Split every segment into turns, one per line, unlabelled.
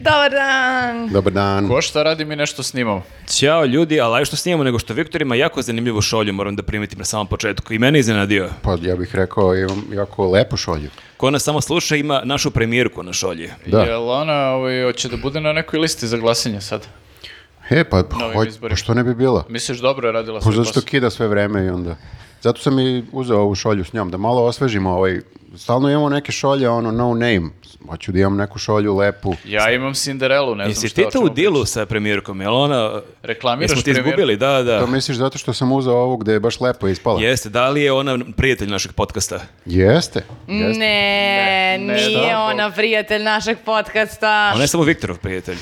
Dobar dan.
Dobar dan.
Ko šta radi, mi nešto snimamo.
Ćao ljudi, ali aj što snimamo, nego što Viktor ima jako zanimljivu šolju, moram da primetim na samom početku. I mene je iznenadio.
Pa ja bih rekao, imam jako lepo šolju.
Ko nas samo sluša, ima našu premijerku na šolji.
Da.
Jel ona ovaj, hoće da bude na nekoj listi za glasanje sad?
E, pa,
Novim
hoj,
izborima.
pa što ne bi bila?
Misliš dobro je radila
Pa
svoj
zato što
posao?
kida sve vreme i onda... Zato sam i uzeo ovu šolju s njom, da malo osvežimo ovaj... Stalno imamo neke šolje, ono, no name. Hoću da imam neku šolju lepu.
Ja imam Cinderelu, ne znam
Jesi
šta,
ti
o
to
čemu
u dilu sa premijerkom, jel ona...
Reklamiraš
Jesmo ti izgubili, da, da.
To misliš zato što sam uzeo ovu gde je baš lepo ispala?
Jeste, da li je ona prijatelj našeg podcasta?
Jeste.
Ne,
Jeste.
ne,
nije
šta?
ona prijatelj našeg podcasta.
Ona je samo Viktorov prijatelj.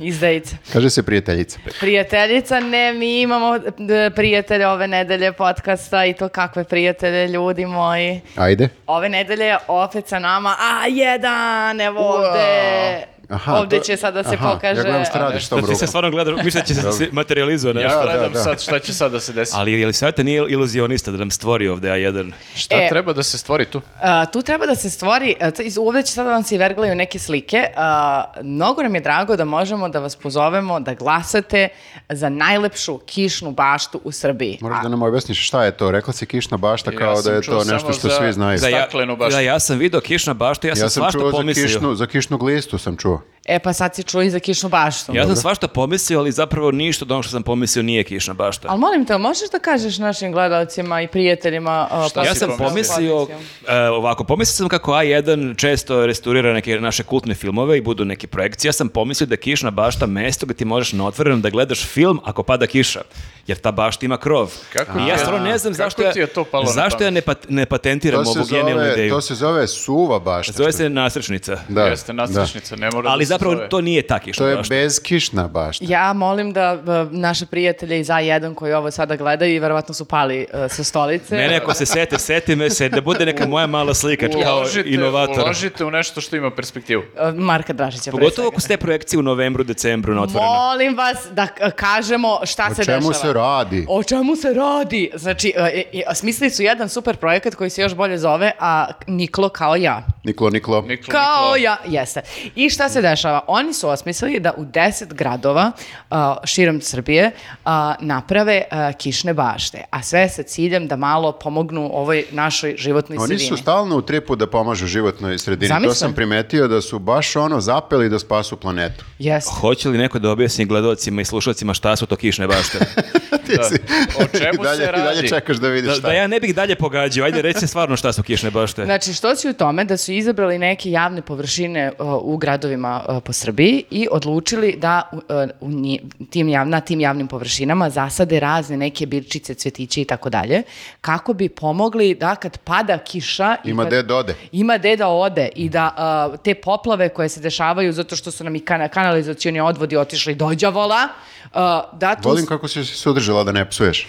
Izdajica.
Kaže se prijateljica.
Prijateljica, ne, mi imamo d, prijatelje ove nedelje podcasta i to kakve prijatelje, ljudi moji.
Ajde.
Ove nedelje je opet sa nama A1, evo ovde.
Aha,
ovde
to-
će sad da se
aha,
pokaže.
Ja gledam šta radiš
nešto
tom
ti se
rukom.
stvarno gledaš, misliš da će se materializovati
Ja
nešto.
Da,
gledam
da, da.
sad šta će sad da se desi.
Ali je li Saveta nije iluzionista da nam stvori ovde A1?
šta
E.
treba da se stvori tu?
A, tu treba da se stvori, a, to iz- ovdje će sad da vam se i verglaju neke slike. A, mnogo nam je drago da možemo da vas pozovemo da glasate za najlepšu kišnu baštu u Srbiji.
Moraš da nam objasniš šta je to. Rekla si kišna bašta
Ja
kao da
sam
je
čuo
to
samo
nešto što
za-
svi znaju.
za-
ja,
Staklenu baštu.
da, ja sam vidio kišna baštu, ja sam,
Ja sam
svašta
čuo za
pomislio.
kišnu, za kišnu glistu sam čuo.
E pa sad si čuo i za kišnu
Pa
baštu.
Ja sam svašta pomislio, ali zapravo ništa od onog što sam pomislio nije kišna bašta.
Ali molim te, možeš da kažeš našim gledalcima i prijateljima? a,
Šta
ja
si
sam
pomislio?
pomislio, e, ovako, pomislio sam kako A1 često restaurira neke naše kultne filmove i budu neke projekcije. Ja sam pomislio da je kišna bašta mesto gdje ti možeš na otvorenom da gledaš film ako pada kiša, jer ta bašta ima krov.
Kako
I
ti
ja
je-
stvarno ne znam
kako
zašto ja,
ti je to palo na
zašto ja
pamet?
ne, pat- ne patentiram
To se,
ovu genijalnu
zove,
ideju.
to se zove suva bašta.
Zove se nasrečnica.
Da,
Jeste
da.
nastrašnica, ne mora
Ali
da se
zapravo
zove.
to nije ta
To
kišna
je
bašta.
bezkišna bašta.
Ja molim da a, naše prijatelje iz A1 koji ovo sada gledaju i verovatno su pali a, sa stolice.
Mene ako se sete, seti me se da bude neka moja mala slika kao
Uložite,
inovator.
uložite u nešto što ima perspektivu.
A, E, Marka Dražića. pre
Pogotovo
svega.
ako ste projekcije u novembru, decembru na otvorenom.
Molim vas da k- kažemo šta
O
se
čemu
dešava.
se radi?
O čemu se radi? Znači, e, e, smislili su jedan super projekat koji se još bolje zove, a Niklo kao ja.
Niklo, Niklo.
Niklo,
Kao
Niklo.
ja, jeste. I šta se dešava? Oni su osmislili da u deset gradova a, širom Srbije a, naprave a, kišne bašte, a sve sa ciljem da malo pomognu ovoj našoj životnoj
Oni
sredini.
su stalno u tripu da pomažu životnoj sredini.
Zamislim.
To sam primetio da su baš ono zapeli da spasu planetu.
Jeste.
Hoće li neko da objasni gledalcima i slušalcima šta su to kišne bašte?
Ti si-
O čemu
I dalje,
se
I dalje
radi?
čekaš da vidiš
Da,
šta
da
je.
ja ne bih dalje pogađao, ajde reci stvarno šta su kišne bašte.
Znači, što si u tome da su izabrali neke javne površine uh, u gradovima uh, po Srbiji i odlučili da u- uh, u nji- tim jav- na tim javnim površinama zasade razne neke biljčice, cvetiće i tako dalje, kako bi pomogli da kad pada kiša... i
Ima
kad-
gde dode.
Ima gde da ode i da uh, te poplave koje se dešavaju zato što su nam i kana, kanalizacioni odvodi otišli do đavola, uh, da tu...
Volim kako si se sudržala da ne psuješ.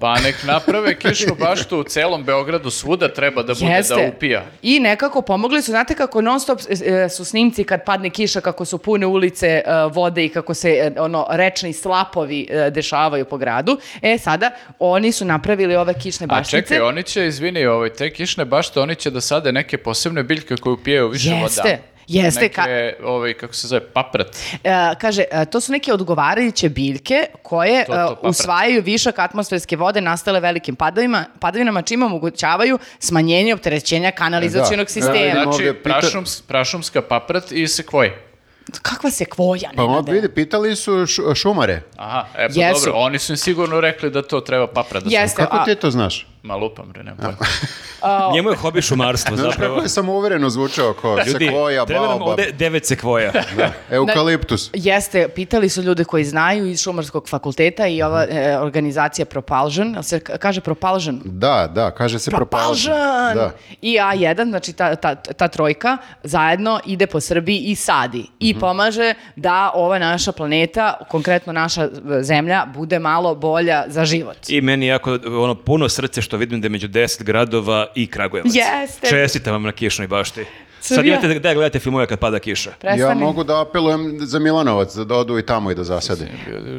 Pa nek naprave kišnu baštu u celom Beogradu, svuda treba da bude da upija.
I nekako pomogli su, znate kako non stop e, su snimci kad padne kiša, kako su pune ulice e, vode i kako se e, ono rečni slapovi e, dešavaju po gradu. E sada oni su napravili ove kišne
A
baštice.
čekaj, oni će, izvini, ovaj, te kišne bašte, oni će da sade neke posebne biljke koje upijaju više
Jeste,
voda.
jeste, ka-
Neke, ovaj, kako se zove, paprat.
E, kaže, e, to su neke odgovarajuće biljke koje
To, to,
e,
paprat.
usvajaju višak atmosferske vode nastale velikim padovima, padovinama, čime omogućavaju smanjenje opterećenja
E,
kanalizacionog
Da,
sistema.
E, da, Idemo
Znači,
ovdje pita-
prašums, prašumska paprat i sekvoj.
Kakva se kvoja,
Pa mo,
Nenade?
vidi, pitali su š- šumare.
Aha, e pa
Jesu.
dobro, oni su im sigurno rekli da to treba paprat da se...
Jeste,
Kako
a-
ti to znaš?
Ma lupam, bre, nema pojma.
Njemu je hobi šumarstvo
Znaš kako
zapravo.
je samouvereno zvučao ko
Ljudi,
sekvoja,
treba nam
baobab,
ovde devet sekvoja.
eukaliptus.
Jeste, pitali su ljude koji znaju iz šumarskog fakulteta i ova
Mhm.
e, organizacija Propulsion, jel se k- kaže Propulsion?
Da, da, kaže se propalžan.
Propulsion!
Da.
I A1, znači ta, ta, ta trojka, zajedno ide po Srbiji i sadi.
Mhm.
I pomaže da ova naša planeta, konkretno naša e, zemlja, bude malo bolja za život.
I meni jako ono puno srce što vidim da je među deset gradova i Kragujevac.
Jeste.
Čestitam vam na kišnoj bašti. Sad
Srbija.
imate gde da gledate filmove kad pada kiša.
Ja
Prestani.
mogu da apelujem za Milanovac, da odu i tamo i da zasade.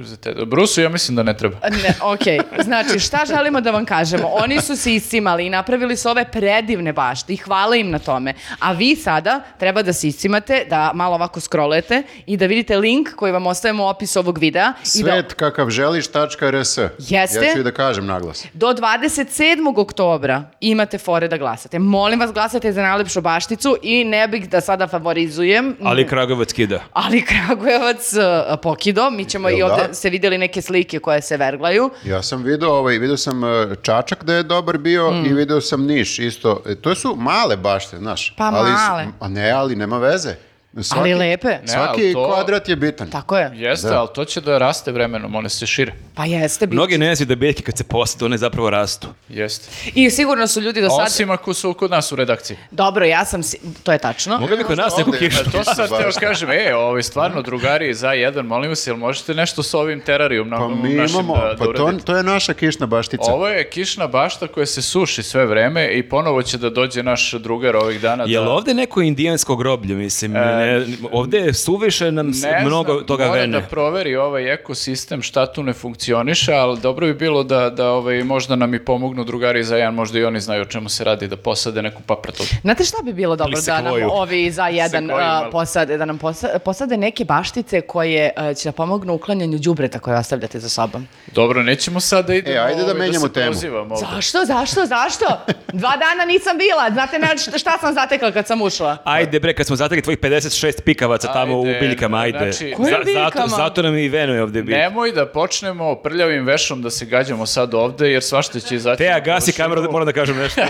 Za te- Brusu ja mislim da ne treba.
Ne, okej. Znači, šta želimo da vam kažemo? Oni su se iscimali i napravili su ove predivne bašte i hvala im na tome. A vi sada treba da se iscimate, da malo ovako scrollete i da vidite link koji vam ostavimo u opisu ovog videa. I da
Svet kakav želiš.rs.
Jeste.
Ja ću i da kažem naglas.
do 27. oktobra imate fore da glasate. Molim vas, glasate za najlepšu bašticu i ne bih da sada favorizujem.
Ali Kragovac kida.
Ali Kragujevac eh, pokido, mi ćemo i
Jel da?
ovde ste vidjeli neke slike koje se verglaju.
Ja sam video, ovaj, video sam e, Čačak da je dobar bio
Mm.
i video sam Niš isto. E, to su male bašte, znaš.
Pa
ali, s-
male.
A ne, ali nema veze. Svaki,
Ali lepe.
Ne,
Svaki
ali to-
kvadrat je bitan.
Tako je.
Jeste, ali to će da raste vremenom, one se šire.
Pa jeste. bit
Mnogi ne znaju da biljke kad se posade, one zapravo rastu.
Jeste.
I sigurno su ljudi do sada...
Osim ako su kod nas u redakciji.
Dobro, ja sam... si- To je tačno.
Mogli bi kod nas
Ovde
neku
je-
kišu.
E, To sad teo
Baš.
kažem, e, ovo je stvarno drugari za jedan, molim vas, jel možete nešto s ovim terarijom na,
Pa mi
našim
imamo,
da, da
pa to,
uradite?
to je naša kišna baštica.
Ovo je kišna bašta koja se suši sve vreme i ponovo će da dođe naš drugar ovih dana.
Jel
da... E,
ovde neko indijansko groblje, mislim, ne, ovde je suviše nam s-
Ne znam,
mnogo toga
mora
vene.
da proveri ovaj ekosistem šta tu ne funkcioniše, ali dobro bi bilo da, da ovaj, možda nam i pomognu drugari za jedan, možda i oni znaju o čemu se radi, da posade neku papratu.
Znate šta bi bilo dobro
Ili
da nam
sekvoju.
ovi za jedan
Sekvoju,
a,
malo.
posade, da nam posa- posade neke baštice koje a, će da pomognu uklanjanju đubreta koje ostavljate za sobom.
Dobro, nećemo sad da idemo
E, ajde da
ovaj,
menjamo
se
temu.
prozivamo ovde.
Zašto, zašto, zašto? Dva dana nisam bila. Znate na šta, šta sam zatekla kad sam ušla?
Ajde bre, kad smo zatekli tvojih 56 pikavaca tamo u
Ajde,
biljkama, ajde.
znači-
Kojim biljkama?
zato, zato nam i venuje ovde biti.
Nemoj da počnemo prljavim vešom da se gađamo sad ovde, jer svašta će izaći.
Teja,
na
gasi
površinu.
kameru, da- moram da kažem nešto.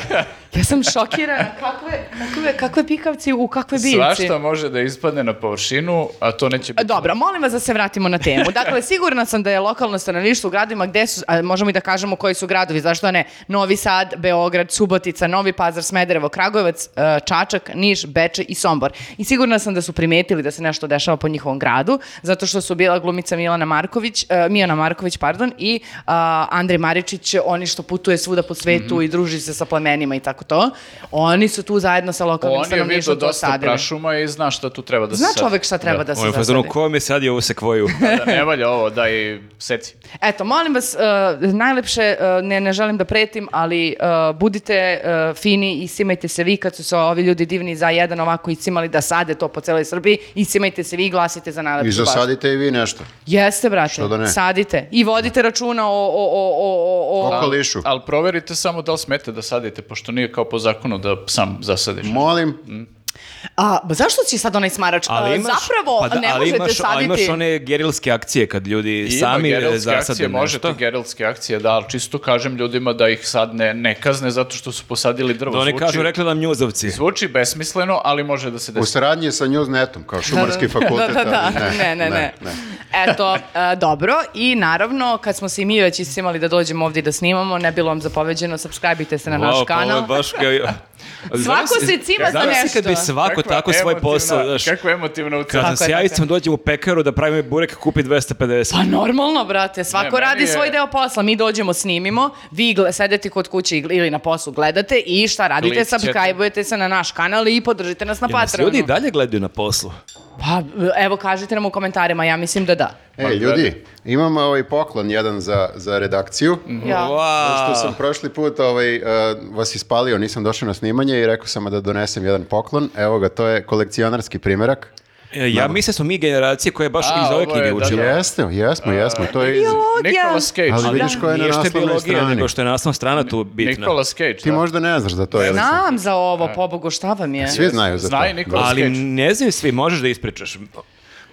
Ja sam šokirana. Kakve, kakve, kakve pikavci u kakve biljci?
Svašta može da ispadne na površinu, a to neće biti.
E, Dobro, molim vas da se vratimo na temu. Dakle, sigurna sam da je lokalno stanovništvo u gradovima gde su, a možemo i da kažemo koji su gradovi, zašto ne, Novi Sad, Beograd, Subotica, Novi Pazar, Smederevo, Kragujevac, e, Čačak, Niš, Beče i Sombor. I sigurna sam da su primetili da se nešto dešava po njihovom gradu, zato što su bila glumica Milana Marković, e, Mijana Marković, pardon, i a, Andrej Maričić, oni što putuje svuda po svetu
Mhm.
i druži se sa plemenima i tako to. Oni su tu zajedno sa lokalnim
On je vidio
stanovništvom to
dosta
sadili.
prašuma i zna šta tu treba da se
Zna
sadi.
čovek šta treba da, se
Ovo je u fazonu,
zasadi.
ko mi je sadio ovu sekvoju?
Da ne valja ovo, da i seci.
Eto, molim vas, e, najlepše, e, ne, ne želim da pretim, ali e, budite e, fini i simajte se vi kad su se ovi ljudi divni za jedan ovako iscimali da sade to po celoj Srbiji i simajte se vi i glasite za najlepšu
I
baštu.
zasadite i vi nešto.
Jeste, brate,
Što da ne?
sadite i vodite računa o... o, o, o, o, o.
Okolišu.
Ali proverite samo da li smete da sadite, pošto nije kao po zakonu da sam zasadiš.
Molim,
A, ba, zašto će sad onaj smarač? E, Zapravo
pa da,
ne
ali
možete
imaš, ali
saditi...
imaš one gerilske akcije kad ljudi
Ima
sami e,
gerelske
zasade
akcije,
nešto.
Možete gerilske akcije, da, ali čisto kažem ljudima da ih sad ne, ne kazne zato što su posadili drvo.
Da oni
Zvuči-
kažu, rekli nam njuzovci.
Zvuči besmisleno, ali može da se
u
desi.
saradnji sa Newsnetom, kao šumarski fakultet.
Da, da, da.
ali
Ne, ne, ne. Eto, e, dobro. I naravno, kad smo se i mi već iscimali da dođemo ovdje i da snimamo, ne bilo vam zapoveđeno, subscribe-ite se na naš
Wow, pa ovo je
kanal.
baš ga... Zamisli-
se cima za
zamisli kad bi
nešto.
svako
Kakva
tako svoj
emotivna-
posao, znaš,
Kako emotivno u
kad sam
Tako je,
s jajicom dođem u pekaru da pravim burek, kupi 250.
Pa normalno, brate, svako
Ne, meni
radi
je-
svoj deo posla. Mi dođemo, snimimo, vi gle- sedete kod kuće i- ili na poslu, gledate i šta radite,
Klikćete.
subscribe-ujete se na naš kanal i podržite nas na
Jel nas
Patreonu.
ljudi i dalje gledaju na poslu.
Pa, evo, kažite nam u komentarima, ja mislim da da.
E, ljudi, imam ovaj poklon jedan za, za redakciju.
Ja.
Wow.
Što sam prošli put ovaj, uh, vas ispalio, nisam došao na snimanje i rekao sam da donesem jedan poklon. Evo ga, to je kolekcionarski primjerak.
E, Ja mislim da smo mi generacije koja je baš
A,
iz ove
ovo je,
knjige
da,
učila.
Jeste, jesmo, jesmo. To je iz...
Nikolas Cage.
Ali vidiš ko je na
Nije što je
naslovnoj
biologija,
strani.
nego što je naslovna strana tu bitna.
Nikolas Cage,
Ti
da.
možda ne znaš za to, jel?
Znam za ovo,
E.
pobogu, šta vam je?
Svi znaju za to.
Zna i Nikolas
Ali
Cage.
ne znaju svi, možeš da ispričaš.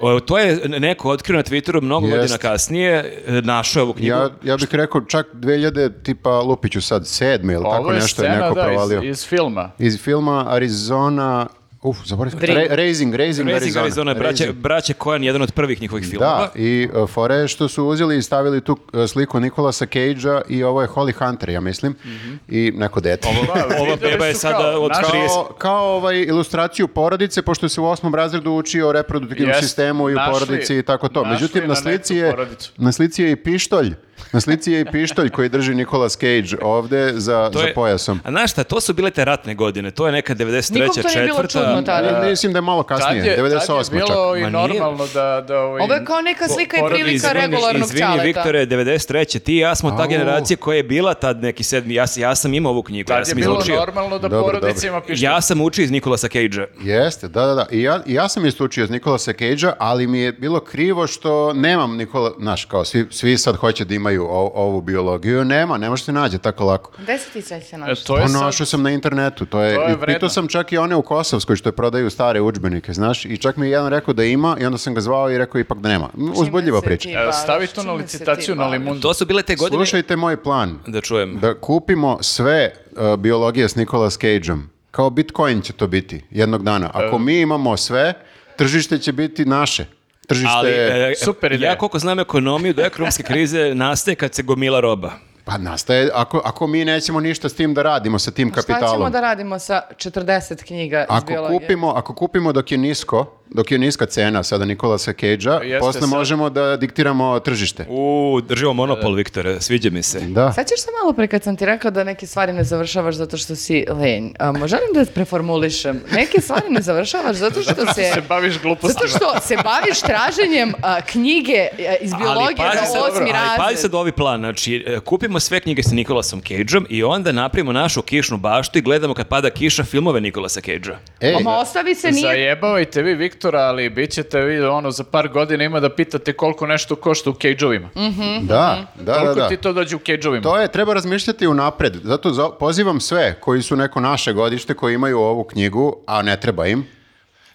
O, To je neko otkrio na Twitteru mnogo
Jest.
godina kasnije, e, našao je ovu knjigu.
Ja, ja bih rekao čak 2000, tipa Lupiću sad, sedme ili tako
Pa Ovo je
nešto je
scena,
neko
da,
provalio.
iz, iz filma.
Iz filma Arizona... Uf, zaboravim.
Bring.
Ra- Raising, Raising,
Raising
Arizona.
Arizona, braće,
Raising.
braće Coen, jedan od prvih njihovih filmova.
Da, i uh, fore je što su uzeli i stavili tu uh, sliku Nikolasa Cage-a i ovo je Holly Hunter, ja mislim,
Mhm.
i neko dete.
Ova
Videli
beba je
su
sada
kao
od
naš-
30.
Kao, kao ovaj ilustraciju porodice, pošto se u osmom razredu učio o reproduktivnom
Jeste,
sistemu i u
našli-
porodici i tako to.
našli
Međutim,
na
na slici,
neku
je,
porodicu.
na slici je i pištolj Na slici je i pištolj koji drži Nicolas Cage ovde za,
To
za
je-
pojasom.
A znaš šta, to su bile te ratne godine, to je neka 93.
Nikom to nije bilo
četvrta.
čudno tada.
Ne, Mislim da je malo kasnije,
Tad je, tad
98.
je
čak.
bilo i
Ma nije.
normalno da... da ovaj,
Ovo je kao neka slika i
po-
Izvini,
prilika
izvini,
regularnog
izvini,
čaleta.
Viktore, 93. Ti i ja smo ta
Au.
generacija koja je bila tad neki sedmi. Ja, s- ja sam imao ovu knjigu, ja
Tad je
sam
bilo
izučio.
normalno da
Dobro,
porodicima piše
Ja sam učio iz Nikolasa Cage-a.
Jeste, da, da, da. I ja, i ja sam istučio iz Nikolasa Cage-a, ali mi je bilo krivo što nemam Nikola, znaš, kao svi, svi sad hoće da imaju o- ovu biologiju, nema, ne može se nađe tako lako.
Gde si ti sve se
E,
našao?
To je sad,
Ponašao sam na internetu, to je,
To je
i pitao
vredno.
sam čak i one u Kosovskoj što prodaju stare udžbenike, znaš, i čak mi je jedan rekao da ima i onda sam ga zvao i rekao ipak da nema. Uzbudljiva
Čime se
priča.
ti
e,
baviš?
stavi to na
Čime Pa, se
licitaciju
ti
na
baviš?
limundu.
To su bile te godine...
Slušajte moj plan.
Da čujem.
Da kupimo sve uh, biologije s Nicolas Cage-om. Kao Bitcoin će to biti jednog dana. Ako
E.
mi imamo sve, tržište će biti naše. Tržište...
Ali, e,
Super
ja
ideja.
koliko znam ekonomiju, do ekonomske krize nastaje kad se gomila roba.
Pa nastaje, ako, ako mi nećemo ništa s tim da radimo, sa tim
Šta ćemo
kapitalom.
da radimo sa 40 knjiga iz
Ako
biologije?
kupimo, ako kupimo dok je nisko, dok je niska cena sada Nikolasa Cage-a,
Jeste,
posle
sad-
možemo da diktiramo tržište.
U, držimo monopol, Viktore, sviđa mi se.
Da.
Sećaš se malo pre kad sam ti rekao da neke stvari ne završavaš zato što si lenj. A, mo- želim da preformulišem. Neke stvari ne završavaš zato što se...
se baviš glupostima.
Zato što se baviš traženjem a, knjige a, iz biologije
pazi
za
sad,
osmi
dobro, ali
razred.
pazi sad ovaj plan, znači e, kupimo sve knjige sa Nikolasom Cageom i onda napravimo našu kišnu baštu i gledamo kad pada kiša filmove Nikolasa Cagea.
Ej,
Ama ostavi se nije...
Zajebavajte vi Viktora, ali bit ćete vi ono za par godina ima da pitate koliko nešto košta u cage-ovima.
Mhm.
da, da, da,
koliko
da.
ti to dođe u cage-ovima?
To je, treba razmišljati unapred. Zato za- pozivam sve koji su neko naše godište, koji imaju ovu knjigu, a ne treba im,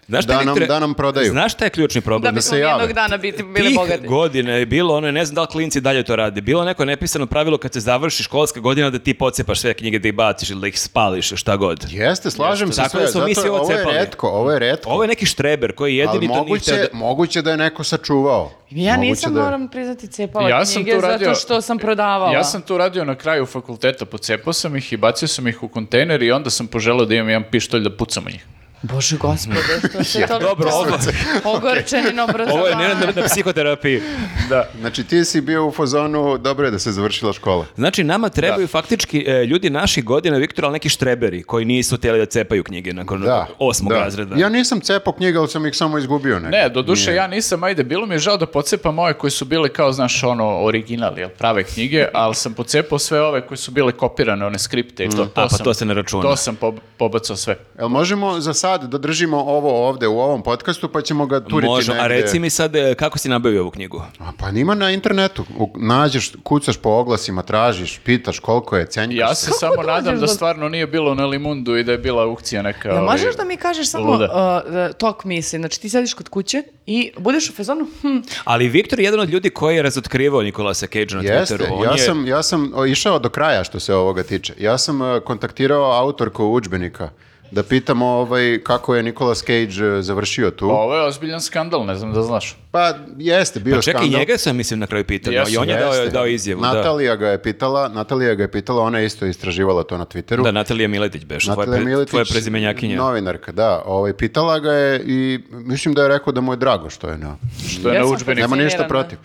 Znaš šta,
Da nam-
Viktore,
da nam prodaju.
Znaš šta je ključni
Da
problem?
bi
se jave.
jednog dana biti, bili
Tih
bogati.
godina je bilo ono, ne znam da li klinci dalje to rade, bilo neko nepisano pravilo kad se završi školska godina da ti pocepaš sve knjige da ih baciš ili da ih spališ, šta god.
Jeste, slažem se
Tako
sve.
da smo mi
Zato
svi ovo
ovo je
cepali.
retko, ovo je retko.
Ovo je neki štreber koji
ali
jedini to nije
moguće,
htio da...
moguće da je neko sačuvao.
Ja
Moguće
nisam,
da je-
moram priznati, cepala
Ja sam
Pa, knjige
to radio-
zato što sam prodavala.
Ja sam to radio na kraju fakulteta, pocepao sam ih i bacio sam ih u kontejner i onda sam poželao da imam jedan pištolj da pucam u njih.
Bože gospode, što ste to...
Dobro, ovo,
Ogorčeni na
ovo je
obrazovanje.
Nenad na, na psihoterapiji.
Znači ti si bio u fazonu, dobro je da se završila škola.
Znači, nama trebaju faktički e, ljudi naših godina, Viktor, ali neki štreberi koji nisu htjeli da cepaju knjige nakon
Da.
osmog
da.
razreda.
Ja nisam cepao knjige, ali sam ih samo izgubio nekako.
Ne, doduše ja nisam, ajde, bilo mi je žao da pocepam ove koje su bile kao, znaš, ono, original, jel, prave knjige, ali sam pocepao sve ove koje su bile kopirane, one skripte i to, to
A, pa
sam,
to se ne računa.
To sam pob- pobacao sve.
Jel možemo za sad da držimo ovo ovde u ovom podcastu pa ćemo ga turiti
Može,
negde?
a reci mi sad e, kako si nabavio ovu knjigu?
A Pa nima na internetu. U- Nađeš, kucaš po oglasima, tražiš, pitaš koliko je, cenjkaš.
Ja se
Kako
samo
dođeš
nadam da
do-
stvarno nije bilo na Limundu i da je bila aukcija neka.
Jel
ovaj,
možeš da mi kažeš samo
luda.
uh, da tok misli? Znači ti sediš kod kuće i budeš u fazonu, hm,
Ali Viktor je jedan od ljudi koji je razotkrivao Nikolasa Cage na
Jeste,
Twitteru. On
ja
je-
sam, ja sam o, išao do kraja što se ovoga tiče. Ja sam e, kontaktirao autorku udžbenika da pitam ovaj, kako je Nicolas Cage e, završio tu.
Ovo je ozbiljan skandal, ne znam da znaš.
Pa jeste, bio
Pa čekaj, i
skandal.
njega sam, mislim, na kraju pitao.
Jesu,
I on je dao,
Jeste.
dao izjavu. Da.
Natalija ga je pitala, Natalija ga je pitala, ona je isto istraživala to na Twitteru.
Da, Natalija Miletić beš, tvoja,
Natalija
pre,
Miletić,
tvoja prezimenjakinja.
Novinarka, da. Ovaj, pitala ga je i mislim da je rekao da mu je drago što je na
Što je
Ja
na
sam
udžbeniku.
fascinirana.
Nema ništa protiv.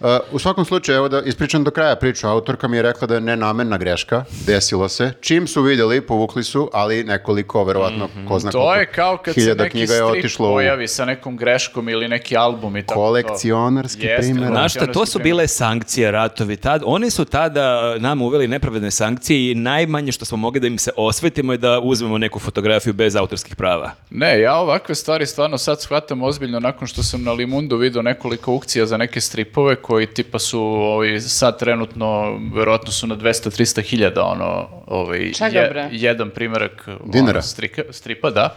Uh, u svakom slučaju, evo da ispričam do kraja priču, autorka mi je rekla da je nenamenna greška, desilo se. Čim su vidjeli, povukli su, ali nekoliko, verovatno, ko zna
Mhm. To
koliko
je kao kad se
hiljada
neki
knjiga je
strip
otišlo u
pojavi sa nekom greškom ili neki album i tako to.
kolekcionarski
Jeste,
primjer.
da.
Znaš šta, to su bile sankcije ratovi tad. Oni su tada e, nama uveli nepravedne sankcije i najmanje što smo mogli da im se osvetimo je da uzmemo neku fotografiju bez autorskih prava.
Ne, ja ovakve stvari stvarno sad shvatam ozbiljno nakon što sam na Limundu video nekoliko aukcija za neke stripove koji tipa su ovi, sad trenutno, verovatno su na 200-300 hiljada ono, ovaj,
Čega, bre?
jedan primjerak
Dinara.
ono, strika, stripa, da.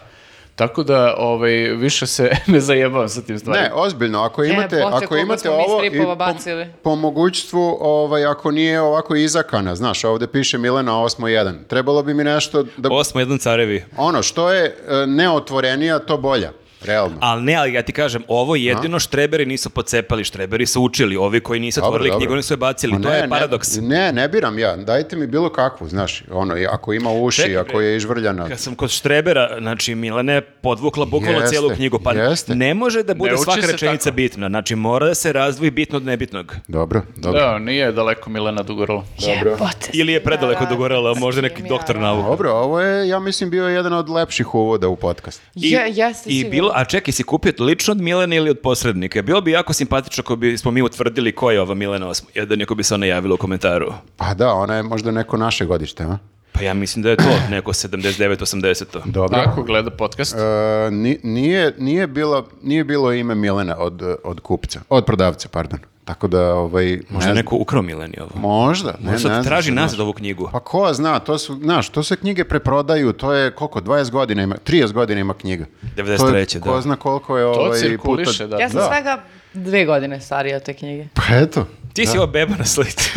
Tako da ovaj, više se ne zajebavam sa tim stvarima.
Ne, ozbiljno, ako imate,
bote,
ako
koliko
imate
E, smo mi
ovo i
stripova
po,
bacili.
po mogućstvu, ovaj, ako nije ovako izakana, znaš, ovdje piše Milena 8.1, trebalo bi mi nešto da...
Osmo jedan carevi.
Ono, što je e, neotvorenija, to bolja. realno.
Ali ne, ali ja ti kažem, ovo jedino štreberi nisu pocepali, štreberi su učili, ovi koji nisu
Dobro,
otvorili
dobro.
knjigu, oni su je bacili,
Ma
to
ne,
je paradoks.
Ne, ne, ne biram ja. Dajte mi bilo kakvu, znaš, ono, i ako ima uši,
Čekaj,
ako je izvrljana.
Kad sam kod Štrebera, znači Milana je podvukla bukvalno
Jeste,
cijelu knjigu, pa
jeste.
ne može da bude
Ne uči
svaka
se
rečenica
tako.
bitna, znači mora da se razdvoji bitno od nebitnog.
Dobro, dobro.
Da, nije daleko Milena Dugorola.
Dobro.
Jebote,
Ili je predaleko
da,
dogorela, možda neki
sam ja
doktor nauka.
Dobro, ovo je, ja mislim, bio jedan od lepših uvoda u podcast.
I,
Ja, jeste
i
sigurno.
bilo, a čekaj, si kupio lično od Milene ili od posrednika? Bilo bi jako simpatično ako bi smo mi utvrdili ko je ova Milena Osmo, da neko bi se ona javila u komentaru.
Pa da, ona je možda neko naše godište, a?
Pa ja mislim da je to neko 79-80.
Dobro.
Ako gleda podcast,
E, ni- nije, nije, bilo, nije bilo ime Milena od, od kupca, od prodavca, pardon. Tako da, ovaj...
Možda
ne znam.
neko ukrao Mileni ovo.
Možda, ne, ne
Možda
znam,
sad traži
znaš.
nazad ovu knjigu.
Pa ko zna, to su, znaš, to se knjige preprodaju, to je koliko, 20 godina ima, 30 godina ima knjiga.
93.,
To je- Ko
da.
zna koliko je
to
ovaj
cirkuliše,
puta-
da.
Ja sam
Da.
svega dve godine starija od te knjige.
Pa eto.
Ti si ova beba na sliti.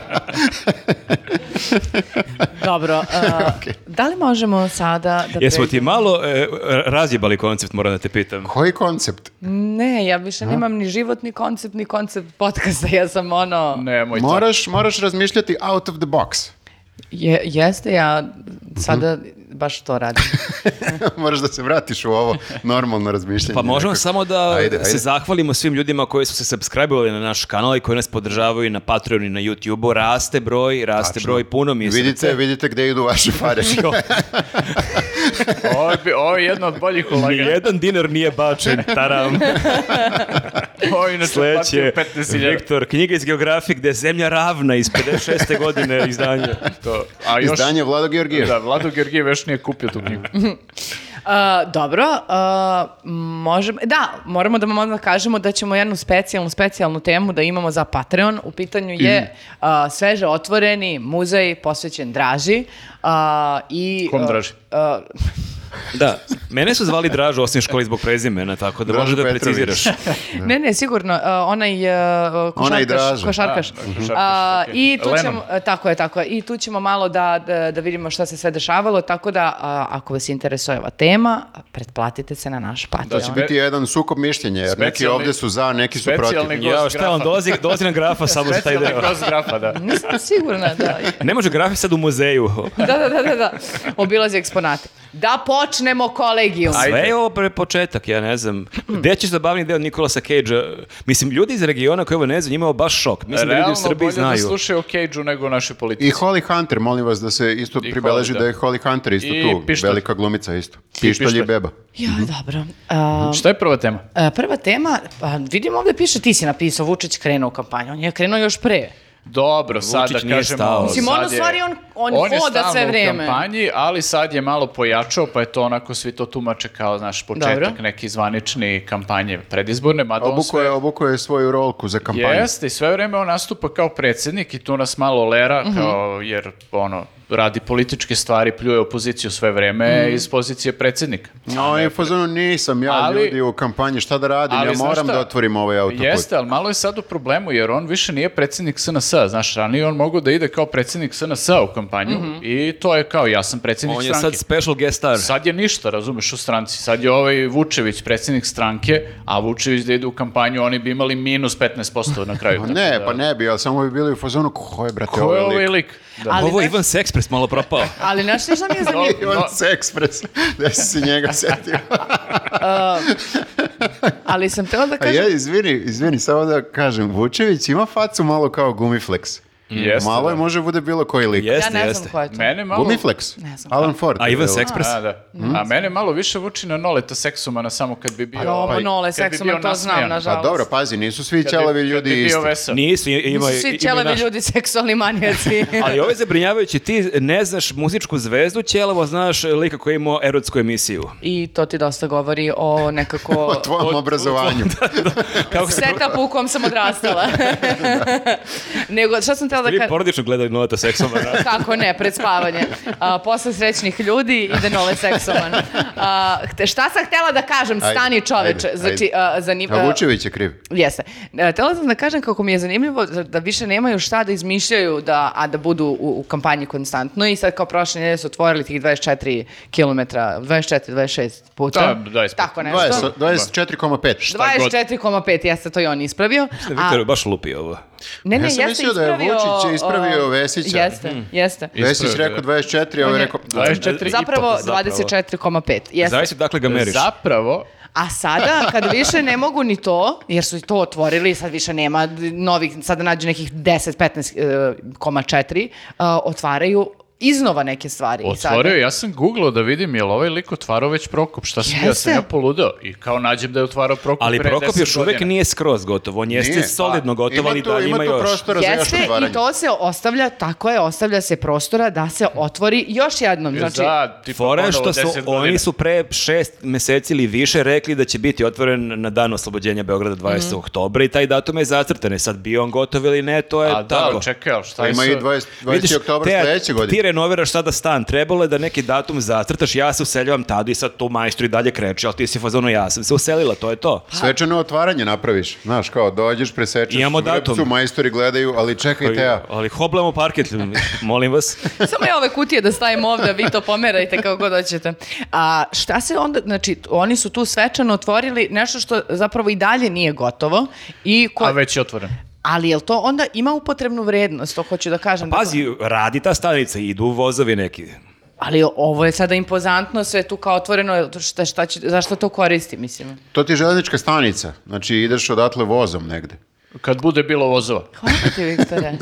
Dobro, e, da li možemo sada da
Jesmo ti
pređemo-
malo e, razjebali koncept, moram da te pitam.
Koji koncept?
Ne, ja više nemam ni život, ni koncept, ni koncept podcasta. Ja sam ono...
Nemoj tako.
Moraš, moraš razmišljati out of the box.
Je, jeste, ja
Mhm.
sada baš to radim.
moraš da se vratiš u ovo normalno razmišljanje.
Pa možemo
nekako.
samo da
Ajde, ajde.
se zahvalimo svim ljudima koji su se subscribe na naš kanal i koji nas podržavaju i na Patreonu i na YouTubeu. Raste broj, raste broj, puno mi je
Vidite,
srce.
vidite gde idu vaše pare.
Ovo je, bi- ovo je jedno od boljih ulaganja.
Nijedan dinar nije bačen, taram.
Ovo je inače
Sledeće,
platio 15.000.
Viktor, knjiga iz geografije gde je zemlja ravna iz 56. godine izdanja.
To. A još,
Izdanje Vlado Georgijeva.
Da, Vlado Georgijev još nije kupio tu knjigu.
A, dobro, a, možemo, da, moramo da vam odmah kažemo da ćemo jednu specijalnu, specijalnu temu da imamo za Patreon. U pitanju je a, sveže otvoreni muzej posvećen Draži. a, i,
Kom
a,
Draži?
a,
Da, mene su zvali Dražu osim škole zbog prezimena, tako da
Dražo
možeš da
Petrović.
preciziraš.
ne, ne, sigurno, a, onaj a,
Onaj
košarkaš.
Draža.
košarkaš.
A, košarkaš,
A,
okej.
I tu
Lennon.
ćemo, e, tako je, tako je. I tu ćemo malo da, da, da vidimo šta se sve dešavalo, tako da a, ako vas interesuje ova tema, pretplatite se na naš Patreon.
će
Biti jedan sukob mišljenja, jer neki
Specijalni-
ovdje su za, neki su
specijalni
protiv.
gost
Ja, šta on
grafa.
dolazi, dolazi nam grafa samo za taj
Specijalni
deo.
gost grafa, da.
Nisam sigurna da...
Ne može grafi sad u muzeju.
Da, da, da, da, da. Obilazi eksponate. Da počnemo kolegijum.
Sve je ovo pre početak, ja ne znam. Gde ćeš zabavni deo Nikolasa Cage-a? Mislim, ljudi iz regiona koji ovo ne znaju, njima je ovo baš šok. Mislim da ljudi u
Realno
Srbiji
bolje da
znaju.
slušaju o Cage-u nego o našoj politici.
I Holly Hunter, molim vas da se isto
Holly,
pribeleži
da.
da je Holly Hunter isto
I
tu.
Pištolj.
Velika glumica isto. Pištolj i
Pištolj.
beba.
Ja, dobro. A,
Šta je prva tema?
a, prva tema, pa vidim ovdje piše ti si napisao Vučić krenuo u kampanju. On je krenuo još pre.
Dobro, sada
Vučić
kažemo...
nije stao.
Mislim,
sad
ono,
je-
stvari, on- on
je
hoda sve
stalno u
vreme.
kampanji, ali sad je malo pojačao, pa je to onako svi to tumače kao, znaš, početak
Dobro.
neki zvanični kampanje predizborne, mada on
Obuko je,
sve...
obuko je svoju rolku za kampanju.
Jeste, i sve vreme on nastupa kao predsjednik i tu nas malo lera, kao, jer ono, radi političke stvari, pljuje opoziciju sve vreme iz pozicije predsjednika.
A on je u fazonu, nisam ja
Ali-
ljudi u kampanji, šta da radim,
Ali
ja
znaš
moram
šta?
da otvorim ovaj autoput.
Jeste, ali malo je sad u problemu, jer on više nije predsjednik SNS, znaš, ranije on mogao da ide kao predsjednik SNS u kampanju i to je kao, ja sam predsjednik
On je
stranke.
sad special guest star.
Sad je ništa, razumeš, u stranci. Sad je ovaj Vučević predsjednik stranke, a Vučević da ide u kampanju, oni bi imali minus 15% na kraju.
Pa
tako
ne,
da-
pa ne bi, ali samo bi bili u fazonu, ko je, brate,
Ko je
ovaj
ovaj
lik?
lik? Da.
Ali
Ovo je
znaš-
Ivan Sexpress malo propao.
Ali znaš ti šta mi je zanimljivo?
Ivan
No.
Sexpress, da si se njega setio.
Ali sam htjela da
A
kažem...
ja, Pa izvini, izvini, samo da kažem, Vučević ima facu malo kao Gumiflex.
Jeste,
malo je,
da.
može bude bilo koji lik.
Ja
Jeste,
ne znam
jeste.
ko je to.
Mene malo...
Gumiflex?
Ne znam.
Alan Ford.
A Ivan
je bio.
Sexpress?
A, da.
Mm.
A mene malo više vuči na Noleta Seksumana samo kad bi bio...
Jo,
pa-
Nole,
kad bi
seksom,
bio
to znam,
nasmejan.
Pa
nažalost.
dobro, pazi, nisu svi
Kad bi-
ćelavi
kad bi
ljudi
bio
isti.
vesel.
Nisu, ima, ima,
Nisu
ima
svi
i
ćelavi
naš.
ljudi seksualni manijaci.
Ali ovo je zabrinjavajuće, ti ne znaš muzičku zvezdu Ćelavo, znaš lika koji je imao erotsku emisiju.
I to ti dosta govori o nekako...
O tvom obrazovanju.
Kako se
setup u kom sam odrastala. Nego, šta sam htjela da
Vi
kažem...
porodično gledali Noleta Seksoma. da?
Kako ne, pred spavanje. A, posle srećnih ljudi ide nole seksoman. A, hte- šta sam htjela da kažem,
Ajde,
stani čoveče.
ajde,
Znači, a, zanim-
A Vučević je kriv.
Jeste. E, Htjela sam da kažem kako mi je zanimljivo za- da više nemaju šta da izmišljaju, da, a da budu u, u kampanji konstantno i sad kao prošle nedelje su otvorili tih 24 km, 24-26 puta.
Da, 25.
Tako nešto.
20 24,5. Šta?
24,5, jeste, to je on ispravio.
Viktor je baš lupi ovo.
Ne, ne,
Ja sam
jeste
mislio da je
ispravio,
Vučić je ispravio
o,
Vesića. Hmm.
Jeste, jeste.
Vesić
Ispravio,
rekao
da.
24, a
On
ovaj
je-
rekao...
24
Zapravo
i po, zapravo.
24,5. Jeste.
Zavisi dakle ga meriš.
Zapravo,
A sada, kad više ne mogu ni to, jer su i to otvorili, sad više nema d- novih, sada nađu nekih e, 10-15,4, e, otvaraju iznova neke stvari. I sada-
otvorio, je, ja sam googlao da vidim je li ovaj lik otvarao već Prokop, šta sam ja,
Jeste.
sam ja poludeo i kao nađem da je otvarao Prokop
Ali
pre
Prokop
10
još uvek
godina.
nije skroz gotov. On jeste
Nije, pa,
solidno gotov,
ima
ali
tu-
da ima
Ima tu
još.
prostora za još
Jeste,
otvaranje.
i to se ostavlja, tako je, ostavlja se prostora da se otvori još jednom. Znači,
E, Za, tipa,
Fora je
ponovo
što su,
10 godina.
oni su pre šest meseci ili više rekli da će biti otvoren na dan oslobođenja Beograda 20.
Mhm.
oktobra i taj datum je zacrtan. E Sad bio on gotov ili ne, to je
A da,
tako.
ali čekaj, ali šta
Pa
je
ima
sa-
i 20, 20. oktobar
Teja,
sledeće
Ti
godine.
renoviraš sada stan, trebalo je da neki datum zacrtaš, ja se useljavam tada i sad tu majstru i dalje kreće, ali ti si fazono ja sam se uselila, to je to.
Pa- Svečano otvaranje napraviš. Znaš, kao, dođeš, presečeš
Imamo datum.
majstori gledaju, ali čekaj, Teja,
Ali hoblamo parket, molim vas.
Samo je ove kutije da stavim ovdje, a vi to pomerajte kako god hoćete. A šta se onda, znači, t- oni su tu svečano otvorili nešto što zapravo i dalje nije gotovo. I ko,
A već je otvoren.
Ali je to onda ima upotrebnu vrednost, to hoću da kažem.
Pa Pazi, radi ta stanica, idu vozovi neki.
Ali ovo je sada impozantno, sve tu kao otvoreno, šta, šta će, zašto to koristi, mislim.
to ti je železnička stanica. Znači, ideš odatle vozom negde.
Kad bude bilo vozova.
Hvala ti, Viktore.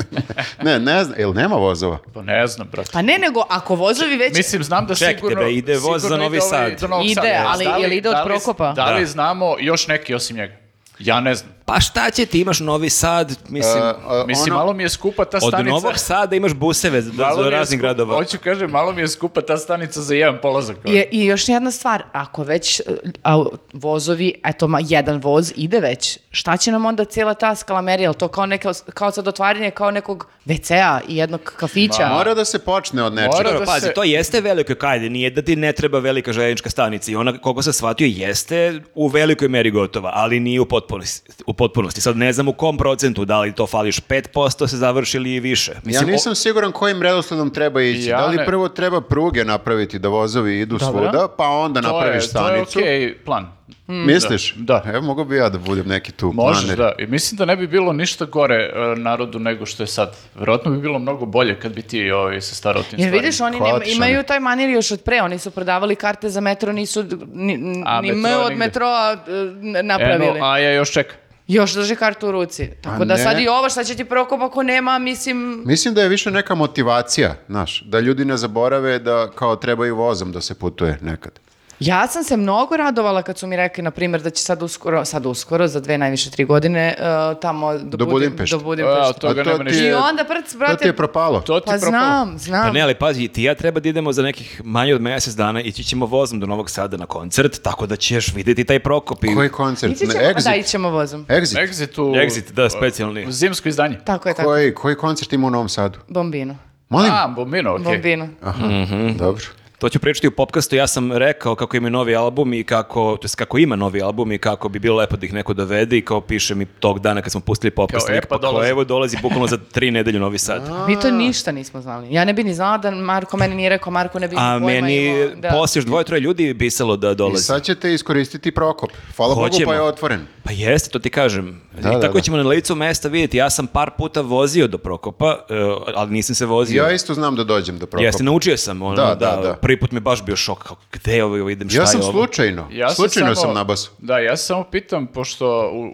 Ne, ne znam, jel nema vozova?
Pa ne znam, brate.
Pa ne, nego ako vozovi već...
Mislim, znam da
Čekajte,
sigurno...
bre, ide voz
sigurno
za Novi
ide ovaj
Sad.
do Novog
Znači, Ide,
Sada.
ali
Da li-
jel ide od
da li-
Prokopa?
Da li
Da.
znamo još neki osim njega? Ja ne znam.
Pa šta će ti, imaš Novi Sad, mislim...
A,
Pa
Mislim,
ono-
malo mi je skupa ta
Od
stanica...
Novog Sada imaš buseve za,
Malo mi
za
je
raznih
skup-
gradova.
Hoću kažem, malo mi je skupa ta stanica za jedan polazak. ono.
Je, I još jedna stvar, ako već e, a, vozovi, eto, ma, jedan voz ide već, šta će nam onda cijela ta skalamerija? Jel to kao, neka, kao sad otvaranje kao nekog WC-a i jednog kafića?
Mora da se počne od nečega.
Mora.
Dobro,
da
pazi,
se-
to jeste veliko kajde, nije da ti ne treba velika željeznička stanica i ona, koliko sam shvatio, jeste u velikoj meri gotova, ali nije u potpunosti. U potpunosti. Sad ne znam u kom procentu, da li to fališ 5%, se završi ili i više.
Ja
Mislim,
nisam siguran kojim redosledom treba ići.
Ja
da li
ne-
prvo treba pruge napraviti da vozovi idu svuda, pa onda napraviš stanicu.
To je okej plan.
Misliš?
Da.
Evo, mogu bi ja da budem neki tu
Možeš,
planer.
da. I mislim da ne bi bilo ništa gore e, narodu nego što je sad. Vjerojatno bi bilo mnogo bolje kad bi ti ovaj, se starao o tim
Jer vidiš, oni
Hvala
nema-
ti, Šane.
imaju taj manir još od pre, oni su prodavali karte za metro, nisu d- ni, ni
A
M
metro
od
nigde.
metroa e, n- napravili.
Eno, a ja još čekam.
Još drži kartu u ruci. Tako da
ne.
sad i ovo šta će ti prokop ako nema, mislim...
Mislim da je više neka motivacija, znaš, da ljudi ne zaborave da kao trebaju vozom da se putuje nekad.
Ja sam se mnogo radovala kad su mi rekli, na primjer, da će sad uskoro, sad uskoro, za dve najviše tri godine, e, tamo do,
Do
Budi-
Budimpešte.
do Budimpešte.
A, to- Toga
A to
nema
ti
ništa.
I
je,
onda prc,
to ti
brate,
je propalo.
To ti
pa
je propalo.
znam, znam.
Pa ne, ali pazi, i ti i ja treba da idemo za nekih manje od mjesec dana, ići ćemo vozom do Novog Sada na koncert, tako da ćeš vidjeti taj Prokop i...
Koji koncert?
Ići ćemo,
Ne,
da,
Exit. E,
ićemo vozom.
Exit.
Exit u...
Exit, da, specijalni.
Zimsko izdanje.
Tako je, tako.
Koji, koji koncert ima u Novom Sadu?
Bombino.
Molim?
A, bombino, okej.
Bombino.
Aha,
Mhm.
dobro.
To ću pričati u popkastu, ja sam rekao kako im je novi album i kako, to jest kako ima novi album i kako bi bilo lepo da ih neko dovede i kao piše mi tog dana kad smo pustili popkast,
Kao, e,
lik,
pa
pa kao,
dolazi.
evo dolazi bukvalno za tri nedelje u Novi Sad.
Mi to ništa nismo znali. Ja ne bi ni znala da Marko meni nije rekao, Marko ne bi ni
A
pojma
meni
imao, da.
poslije još dvoje, troje ljudi je pisalo da
I
dolazi.
sad ćete iskoristiti Prokop. Hvala Bogu
Hoćemo.
pa je otvoren.
Pa jeste, to ti kažem.
Da,
I
da,
tako
da.
ćemo na licu mesta vidjeti. Ja sam par puta vozio do Prokopa, e, ali nisam se vozio.
Ja isto znam da dođem do Prokopa.
Jeste, naučio sam. Ono,
Da,
da,
da, da.
Prvi put mi je baš bio šok. Kao, gde ovo idem, šta
Ja sam
je ovo?
slučajno.
Ja se
slučajno
samo-
sam nabasao.
Da, ja se samo pitam, pošto u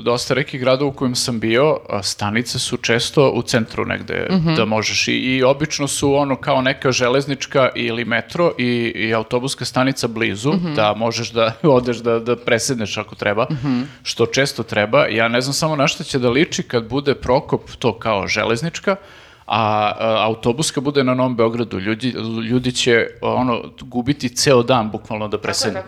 dosta rekih grada u kojim sam bio, a, stanice su često u centru negde da možeš. I, I obično su ono kao neka železnička ili metro i, i autobuska stanica blizu, da možeš da odeš da, da presedneš ako treba, što često treba. Ja ne znam samo na što će da liči kad bude prokop to kao železnička, a e, autobuska bude na Novom Beogradu. Ljudi, ljudi će ono, gubiti ceo dan bukvalno da presednu.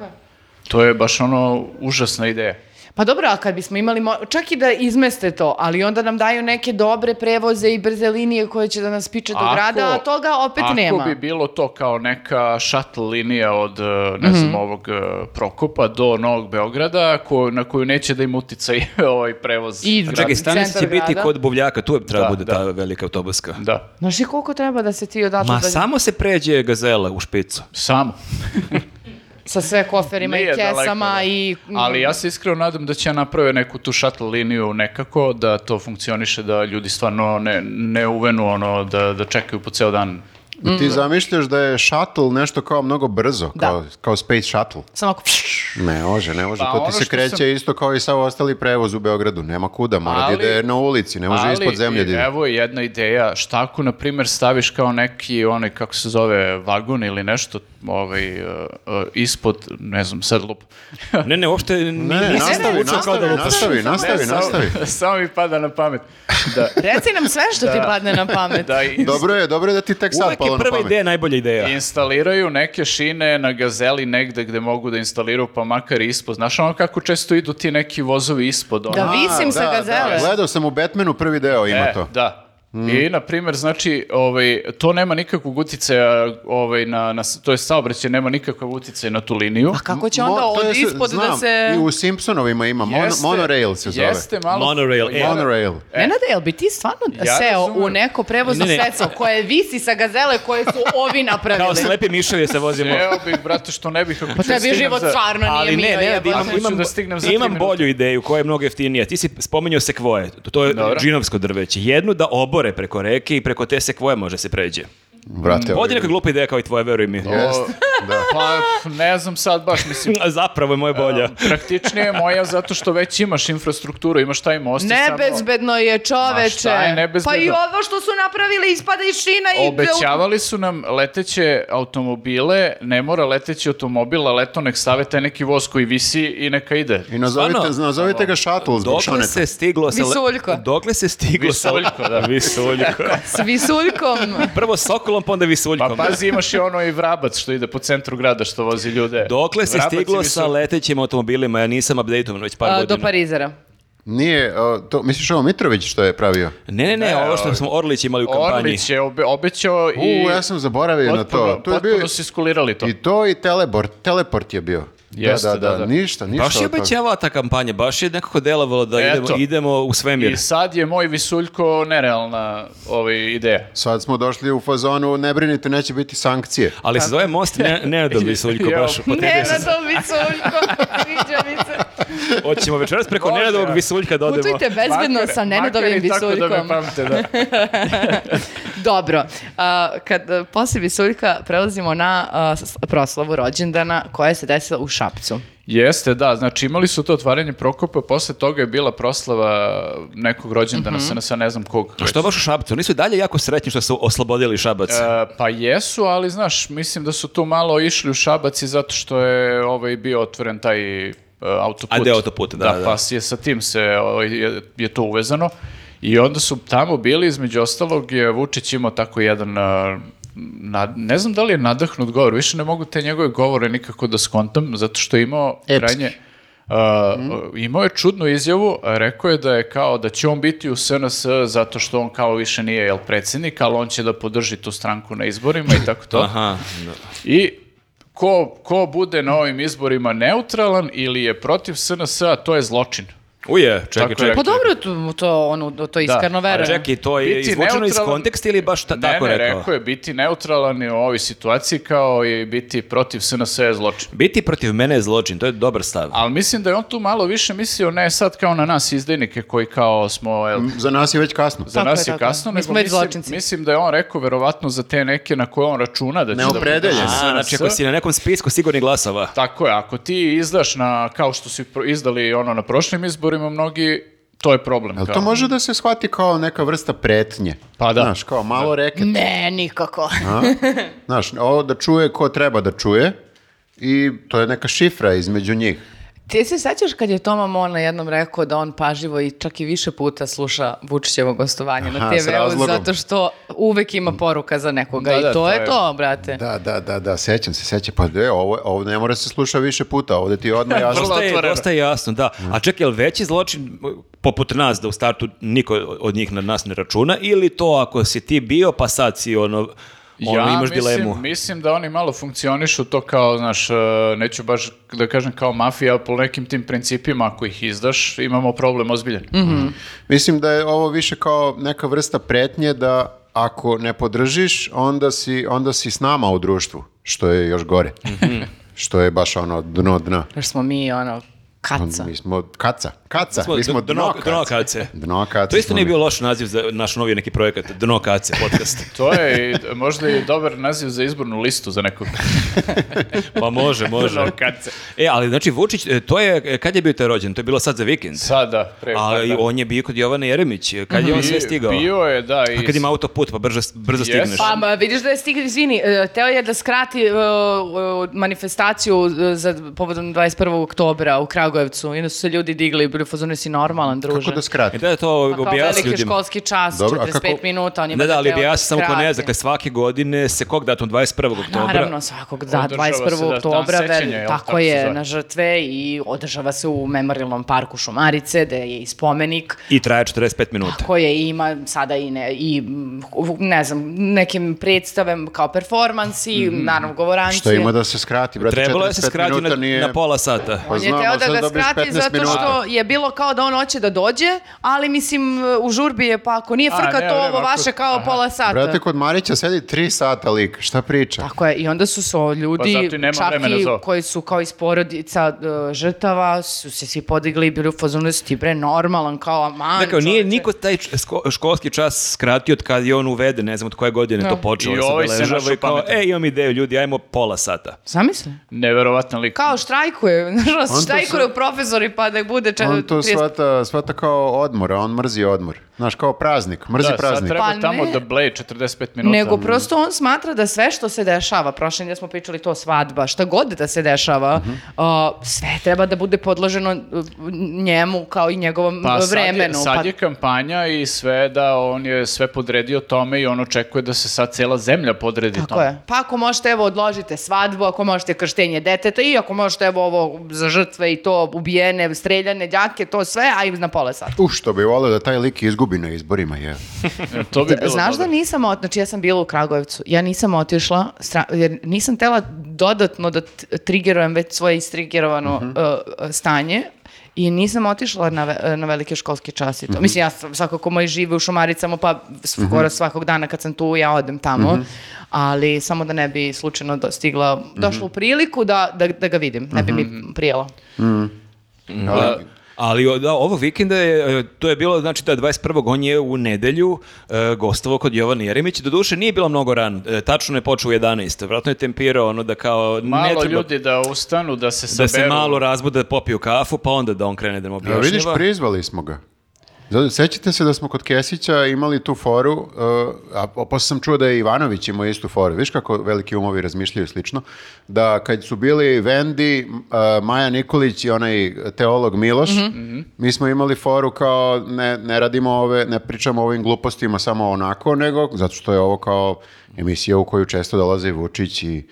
To je baš ono užasna ideja.
Pa dobro, a kad bismo imali, mo- čak i da izmeste to, ali onda nam daju neke dobre prevoze i brze linije koje će da nas piče do grada, a toga opet
ako
nema.
bi bilo to kao neka šatl linija od, e, ne
Mhm.
znam, ovog e, Prokopa do Novog Beograda, ko- na koju neće da im uticaj ovaj prevoz.
I-
Čekaj,
Radni
stanica će
centar
biti
grada.
kod Buvljaka, tu je treba
Da,
bude
da.
ta velika autobuska.
Da,
Znaš i koliko treba da se ti odatle...
Ma
da-
samo se pređe gazela u špicu.
samo.
Sa sve koferima
Nije
i
daleko,
kesama
da.
i... mm,
Ali ja se iskreno nadam da će naprave neku tu šatl liniju nekako, da to funkcioniše, da ljudi stvarno ne, ne uvenu ono, da, da čekaju po ceo dan.
Ti zamišljaš da je shuttle nešto kao mnogo brzo,
Da.
kao, kao space shuttle.
Samo ako...
Ne može, ne može.
Pa
to
ono
ti se
što
kreće
sam-
isto kao i sav ostali prevoz u Beogradu. Nema kuda, mora
Ali-
da ide na ulici, ne može
Ali,
ispod zemlje da ide.
Evo je jedna ideja, šta ako, na primjer, staviš kao neki, onaj, kako se zove, vagon ili nešto, ovaj, uh, uh, ispod, ne znam, sad lup.
Ne, ne, uopšte
Ne,
nije-
ne,
nisam
nastavi,
zvučao kao da
nastavi, nastavi,
lupaš.
Ne,
nastavi,
samo-
nastavi.
Samo mi pada na pamet. Da,
Reci nam sve što ti padne na pamet.
da i-
Dobro je, dobro je da ti tek sad
Uvijek
palo
je
na
prva
pamet.
ideja najbolja ideja.
instaliraju neke šine na gazeli negde gde mogu da instaliraju, pa makar i ispod. Znaš ono kako često idu ti neki vozovi ispod? Ono?
Da visim
A,
sa
da, da.
gazele.
Gledao sam u Batmanu prvi deo ima
E,
to. Mm.
Da. I, na primjer, znači, ovaj, to nema nikakvog uticaja, ovaj, na, na, to je saobraćaj, nema nikakvog uticaja na tu liniju.
A Pa kako će
Mo-
onda
to
od
je s-
ispod da
znam,
se...
I u Simpsonovima ima, mon-
Jeste-
monorail se zove.
Jeste malo...
Monorail, e.
Monorail.
Nenade, jel bi ti stvarno
Ja
seo u
razumem.
neko prevozno
Ne, ne.
sredstvo koje visi sa gazele koje su ovi
Kao
napravili? Pa
slepi miševi se vozimo.
Evo bih, brate, što ne bih... Ako ću da
tebi
stignem
život
za-
stvarno nije
Ali
mio,
ne, ne,
jebote.
imam,
Ako
Imam, imam,
da stignem za
imam
tri minuta.
bolju ideju koja je mnogo jeftinija. Ti si spominjao sekvoje. To- To je
Dobro.
džinovsko drveće. Jednu da obore preko reke i preko te sekvoje može se pređe.
Brate, ovo
Ovdje neka glupa ideja kao i tvoja, veruj mi.
Jeste, da.
Pa, ne znam sad baš, mislim, um,
Zapravo je moja bolja.
praktičnije je moja zato što već imaš infrastrukturu, imaš taj most i samo...
Nebezbedno je
Ma
čoveče.
šta je nebezbedno?
Pa i ovo što su napravili ispada iz šina i...
Obećavali su nam leteće automobile, ne mora leteći automobil, a leto nek stave taj neki voz koji visi i neka ide.
I nazovite,
Stvarno?
nazovite ga shuttle zbog
Dokle
šoneta.
se stiglo sa... le-
Visuljko.
Dokle se stiglo sa...
Visuljko, da.
Visuljko.
S visuljkom.
Prvo sokolom, pa onda
Pa
visuljkom.
pazi, imaš i ono i vrabac što ide po centru grada što vozi ljude.
Dokle se
Vrabac i
stiglo
visu-
sa letećim automobilima? Ja nisam update-ovan već par
a, do
godina.
pa- Parizera.
Nije, o, to, misliš ovo Mitrović što je pravio?
Ne, ne, ne, ovo što smo Orlić imali u kampanji.
Orlić je obe, obećao i...
U, ja sam zaboravio na to.
potpuno-
To je bio
potpuno su iskulirali to.
i to i teleport, teleport je bio.
Jeste,
da, da, da,
da, da.
ništa, ništa.
Baš je
od toga.
obećavala ta kampanja, baš je nekako delovalo da
Eto.
idemo, idemo u svemir.
I sad je moj visuljko nerealna ovaj, ideja.
Sad smo došli u fazonu, ne brinite, neće biti sankcije.
Ali se zove most ne, Nenadom Visuljko,
Jao.
baš upotrebio
Ne, na
sam.
to visuljkom. Sviđa mi se.
Hoćemo večeras preko
Može.
Nenadovog Visuljka da odemo.
Putujte bezbedno
Makar-
sa Nenadovim
makar i tako da
visuljkom.
me pamte, da.
Dobro, a, kad a, posle Visuljka prelazimo na a, s- proslavu rođendana koja se desila u Šapcu.
Jeste, da. Znači imali su to otvaranje Prokopa, posle toga je bila proslava nekog rođendana,
Mhm.
mm ne znam kog.
A Što baš u Šabcu? Oni su i dalje jako sretni što su oslobodili Šabac.
E, pa jesu, ali znaš, mislim da su tu malo išli u Šabaci zato što je ovaj bio otvoren taj e, autoput.
A deo autoputa, da, da.
Pa je sa tim se ovaj, je, je to uvezano. I onda su tamo bili, između ostalog je Vučić imao tako jedan e, na- ne znam da li je nadahnut govor, više ne mogu te njegove govore nikako da skontam, zato što je imao
Epski.
krajnje, Uh, Imao je čudnu izjavu, rekao je da je kao da će on biti u SNS zato što on kao više nije jel predsjednik, ali on će da podrži tu stranku na izborima i tako to.
Aha, da.
I ko, ko bude na ovim izborima neutralan ili je protiv SNS-a, to je zločin.
Uje, čekaj,
Tako je.
čekaj.
Pa dobro, to, to, ono, to iskreno
Da, a
A
verujem.
čekaj, to je
Biti
izvučeno iz
neutralan-
konteksta ili je baš ta-
Ne,
tako
ne,
rekao?
rekao je biti neutralan i u ovoj situaciji kao i biti protiv SNS-a je zločin.
Biti protiv mene je zločin, to je dobar stav.
Ali mislim da je on tu malo više mislio ne sad kao na nas izdajnike koji kao smo jel,
Za nas je već kasno.
Za
Mm. Tako
nas
je,
je,
tako je.
kasno,
Mi
nego
smo već
mislim,
zločinci.
mislim da je on rekao verovatno za te neke na koje on računa da će da
Neopredeljen.
podrži
A,
SNS.
znači ako si na nekom spisku sigurnih glasova.
Tako je, ako ti izdaš na, kao što su pro- izdali ono na prošlim izborima mnogi, to je problem.
Jel
kao.
to može da se shvati kao neka vrsta pretnje?
Pa da.
Znaš, kao malo reket.
Ne, nikako.
Znaš, ovo da čuje ko treba da čuje i to je neka šifra između njih.
Ti se sećaš kad je Toma Mona jednom rekao da on paživo i čak i više puta sluša Vučićevo gostovanje na
Aha, s
TV-u
razlogom.
zato što uvek ima poruka za nekoga
Da,
i
da,
to,
to
je
je-
to, brate.
Da, da, da, da, sećam se, sećam. Pa e, ovo, ovo ne mora se sluša više puta, ovdje ti je odmah jasno.
Dosta je,
otvoreno.
dosta je jasno, da. A čekaj, je li veći zločin poput nas da u startu niko od njih na nas ne računa ili to ako si ti bio pa sad si ono, ono
ja
imaš
mislim,
dilemu?
mislim da oni malo funkcionišu to kao, znaš, e, neću baš da kažem kao mafija, po nekim tim principima ako ih izdaš, imamo problem ozbiljan.
Mhm.
Mislim da je ovo više kao neka vrsta pretnje da ako ne podržiš, onda si, onda si s nama u društvu, što je još gore.
Mhm.
što je baš ono dno dna.
Još smo mi, ono, kaca.
Pa Mi smo kaca, kaca, mi smo
d-
dno,
dno
kaca.
kace.
Dno kaca
To isto
smo
nije
mi.
bio loš naziv za naš novi neki projekat, Dno kace podcast.
To je i- možda i dobar naziv za izbornu listu za nekog. Ono,
Pa može, može.
Dno kace.
E, ali znači Vučić, e, to je, e, kad je bio taj rođen? To je bilo sad za vikend.
Sada, pre par
A i
dana.
on je bio kod Jovane Jeremić. e, Kad je on
Bi-
sve stigao?
Mhm. Bio je, da. I,
A kad ima autoput, pa brzo, brzo
Jes.
stigneš.
Pa ma, vidiš da je stigli, izvini, e, teo je da skrati e, e, manifestaciju e, za povodom 21. oktobra u Kragujevcu. I onda su se ljudi digli i bili u fazonu, jesi normalan, druže.
Kako da
E,
skratim?
da je to
Pa kao
objasni
veliki
ljudima.
školski čas,
Dobro, a
45
kako-
minuta, on je
Ne da,
valjda
ali
teo
objasni samo ko ne zna,
skrati.
dakle svake godine se kog datum 21. oktobra.
Pa, Naravno, svakog, da,
Održava se,
21.
da,
oktobra,
dan sećanja,
velim,
jel,
tako
tako se
je,
zove.
na žrtve i održava se u memorialnom parku Šumarice, gde je i spomenik,
I traje 45 minuta.
koje ima sada i, ne, i mm, ne znam, nekim predstavem kao performansi, naravno govoranci.
Što ima da se skrati, brate,
Trebalo je se
45
skrati
minuta
na,
nije...
na pola sata.
Pa
On je
znamo,
teo
sad
da ga
dobiješ
skrati
15
zato što je bilo kao da on hoće da dođe, ali mislim u žurbi je pa ako nije
A,
frka
ne,
to
ne,
ovo
ako-
vaše kao
aha.
pola sata.
Brate, kod Marića sedi tri sata lik, šta priča?
Tako je, i onda su se o
Pa
ljudi,
zato i nema
čak
vremena
i
za ovo.
koji su kao iz porodica e, žrtava, su se svi podigli i bili u fazonu, "Jesi ti bre normalan, kao aman.
Dakle, nije
čoveče."
niko taj č- sko- školski čas skratio od kad je on uveden, ne znam od koje godine to
Da.
počelo.
I
da se
ovaj se
obeležava
našao
i kao,
pametan.
E, imam ideju, ljudi, ajmo pola sata.
Zamisli.
Neverovatna lik.
Kao štrajkuje, znaš,
to
štrajkuje u profesori pa da bude čet...
On to
30
shvata, shvata kao odmor, a on mrzi odmor. Znaš, kao praznik, mrzi
Da, sad
praznik.
treba
Pa
tamo
ne.
da bleje 45 minuta. Mm.
Nego prosto on smatra da sve što se dešava, prošle nedelje smo pričali to svadba, šta god da se dešava, a, sve treba da bude podloženo uh, njemu kao i njegovom
Pa
uh,
sad je-
vremenu.
Sad je,
pa
kampanja i sve da on je sve podredio tome i on očekuje da se sad cela zemlja podredi
Tako
tome.
je. Pa ako možete, evo, odložite svadbu, ako možete krštenje deteta i ako možete, evo, ovo za žrtve i to ubijene, streljane, đake, to sve, a i na pola sata.
U, što bi volio da taj lik izgubi na izborima, je.
To bi bilo
Znaš da
dobro.
nisam, ot... znači ja sam bila u Kragujevcu, ja nisam otišla, stra- jer nisam tela dodatno da t- trigerujem već svoje istrigerovano uh, uh, stanje i nisam otišla na, ve- na velike školske časi. To. Mislim, ja sam svakako moji žive u Šumaricama, pa skoro svakog dana kad sam tu, ja odem tamo, ali samo da ne bi slučajno do- stigla, došla u priliku da, da, da ga vidim, ne bi mi prijelo.
Pa,
Ali-
Ali o- da, ovog vikenda je, e, to je bilo, znači da 21. on je u nedelju e, gostovo kod Jovana Jeremić. Doduše nije bilo mnogo ran, e, tačno je počeo u 11. Vratno je tempirao ono da kao ne
Malo
treba
ljudi da ustanu, da se saberu.
da se malo razbude, da popiju kafu, pa onda da on krene da mu
Evo,
objašnjava.
vidiš, prizvali smo ga. Zato, sećate se da smo kod Kesića imali tu foru, uh, a po- posle sam čuo da je Ivanović imao istu foru. Viš kako veliki umovi razmišljaju slično? Da kad su bili Vendi, uh, Maja Nikolić i onaj teolog Miloš,
Mhm.
Mhm. mi smo imali foru kao ne, ne radimo ove, ne pričamo o ovim glupostima samo onako, nego zato što je ovo kao emisija u koju često dolaze i Vučić i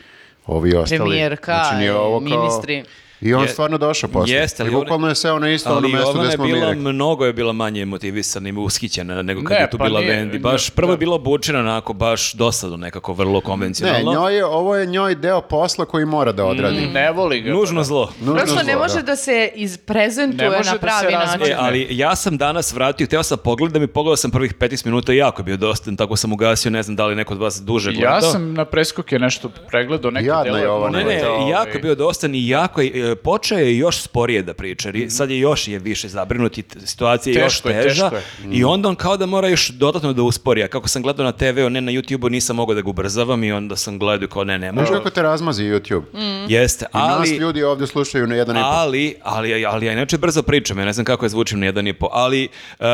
ovi ostali. Znači,
Premijerka
nije
i
ovo
ministri.
I on
Je-
stvarno došao posle.
Jeste,
I
ali on-
bukvalno je seo na isto ono
Ali
mesto
Jovana
gde
je
smo mi
bila,
rekli.
mnogo je bila manje motivisana i ushićena nego kad
Ne,
je tu
pa
bila
nije,
Vendi. Baš,
ne,
prvo je
da.
bila obučena onako baš dosadno nekako, vrlo
Ne,
konvencionalno.
njoj je, ovo je njoj deo posla koji mora da odradi.
Ne voli ga.
Nužno zlo.
Nužno
Mm. Prosto ne
zlo,
može da,
da.
se
Ne
izprezentuje
može
na
da
pravi
se
način.
razmaže.
E, ali ja sam danas vratio, teo sam pogledam i pogledao sam prvih 15 minuta i jako je bio dosta, tako sam ugasio, ne znam da li neko od vas duže gledao.
Ja sam na preskuke nešto pregledao, neke
Jadna
delove.
je ova,
Ne, ne,
gledao,
jako
ovaj.
je bio dostan i jako je, e, počeo je još sporije da priča, jer je- sad je još je više zabrinut i t- situacija je još
Mhm. Teško je,
teža
teško je. Mhm.
i onda on kao da mora još dodatno da uspori, a kako sam gledao na TV-u, ne na YouTube-u, nisam mogao da ga ubrzavam i onda sam gledao kao ne, ne
Znaš
mogu.
kako te razmazi YouTube?
Mm.
Mhm.
Jeste,
I nas
ali...
ljudi ovdje slušaju na jedan i po.
Ali, ali, ali ja inače brzo pričam, ja ne znam kako je zvučim na jedan i po, ali e,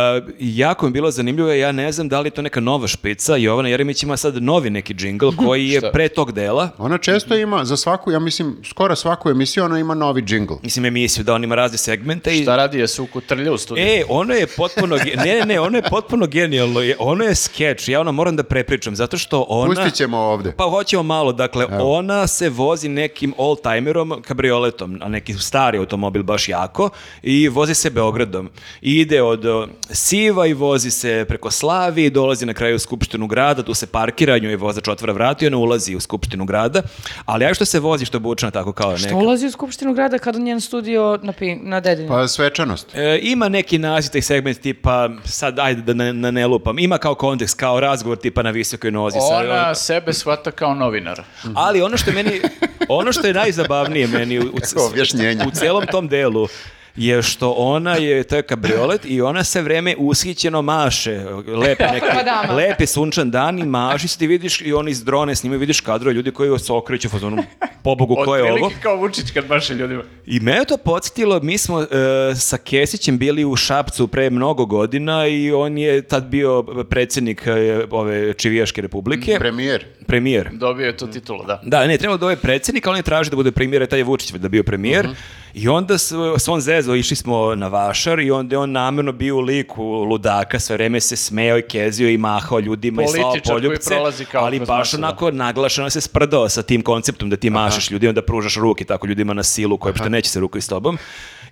jako mi je bilo zanimljivo, ja ne znam da li je to neka nova špica, Jovana Jeremić ima sad novi neki džingl koji je pre tog dela,
Ona često ima, za svaku, ja mislim, skoro svaku emisiju, ona ima novi džingl.
Mislim, emisiju, da on ima razne segmente i...
Šta radi, je se ukotrlja u studiju?
E, ono je potpuno, ge- ne, ne, ne, ono je potpuno genijalno, je- ono je skeč, ja ono moram da prepričam, zato što ona...
Pustit ćemo ovde.
Pa hoćemo malo, dakle, ona se vozi nekim old-timerom, kabrioletom, a neki stari automobil baš jako, i vozi se Beogradom. I ide od o, Siva i vozi se preko Slavi, dolazi na kraju u Skupštinu grada, tu se parkira, njoj je vozač otvara vrat i ona ulazi u Skupštinu grada, ali ja što se vozi, što je bučena tako kao neka...
Što ulazi u Skupštinu grada kada njen studio na, Pink- na Dedinju?
Pa svečanost.
E, ima neki naziv taj segment tipa, sad ajde da ne, ne- ne lupam, ima kao kontekst, kao razgovor tipa na visokoj nozi. sa-
Ona sebe shvata kao novinar.
Ali ono što je meni, ono što je najzabavnije meni u, u,
Kako objašnjenje.
u celom tom delu je što ona je, to je kabriolet i ona se vreme ushićeno maše, lepi
Prva
neki,
dama.
lepi sunčan dan i maši se ti vidiš i oni iz drone snimaju, vidiš kadro ljudi koji se okreću fazonu, pobogu, ko je ovo?
kao Vučić kad maše ljudima.
I me je to podsjetilo, mi smo e, sa Kesićem bili u Šapcu pre mnogo godina i on je tad bio predsjednik e, ove Čivijaške
Mm,
republike,
Premijer.
premijer.
Dobio je tu titulu, da.
Da, ne, trebalo da ovaj predsjednik, ali on je tražio da bude premijer, a taj je Vučić da bio premijer.
Mhm.
I onda s, s on zezo išli smo na Vašar i onda je on namjerno bio u liku ludaka, sve vreme se smeo i kezio i mahao ljudima i
Političar
slao
koji
poljupce,
prolazi kao
ali
kroz
baš
masu, da.
onako naglašeno se sprdao sa tim konceptom da ti mašeš ljudima, da pružaš ruke tako ljudima na silu koja uopšte neće se ruku s tobom.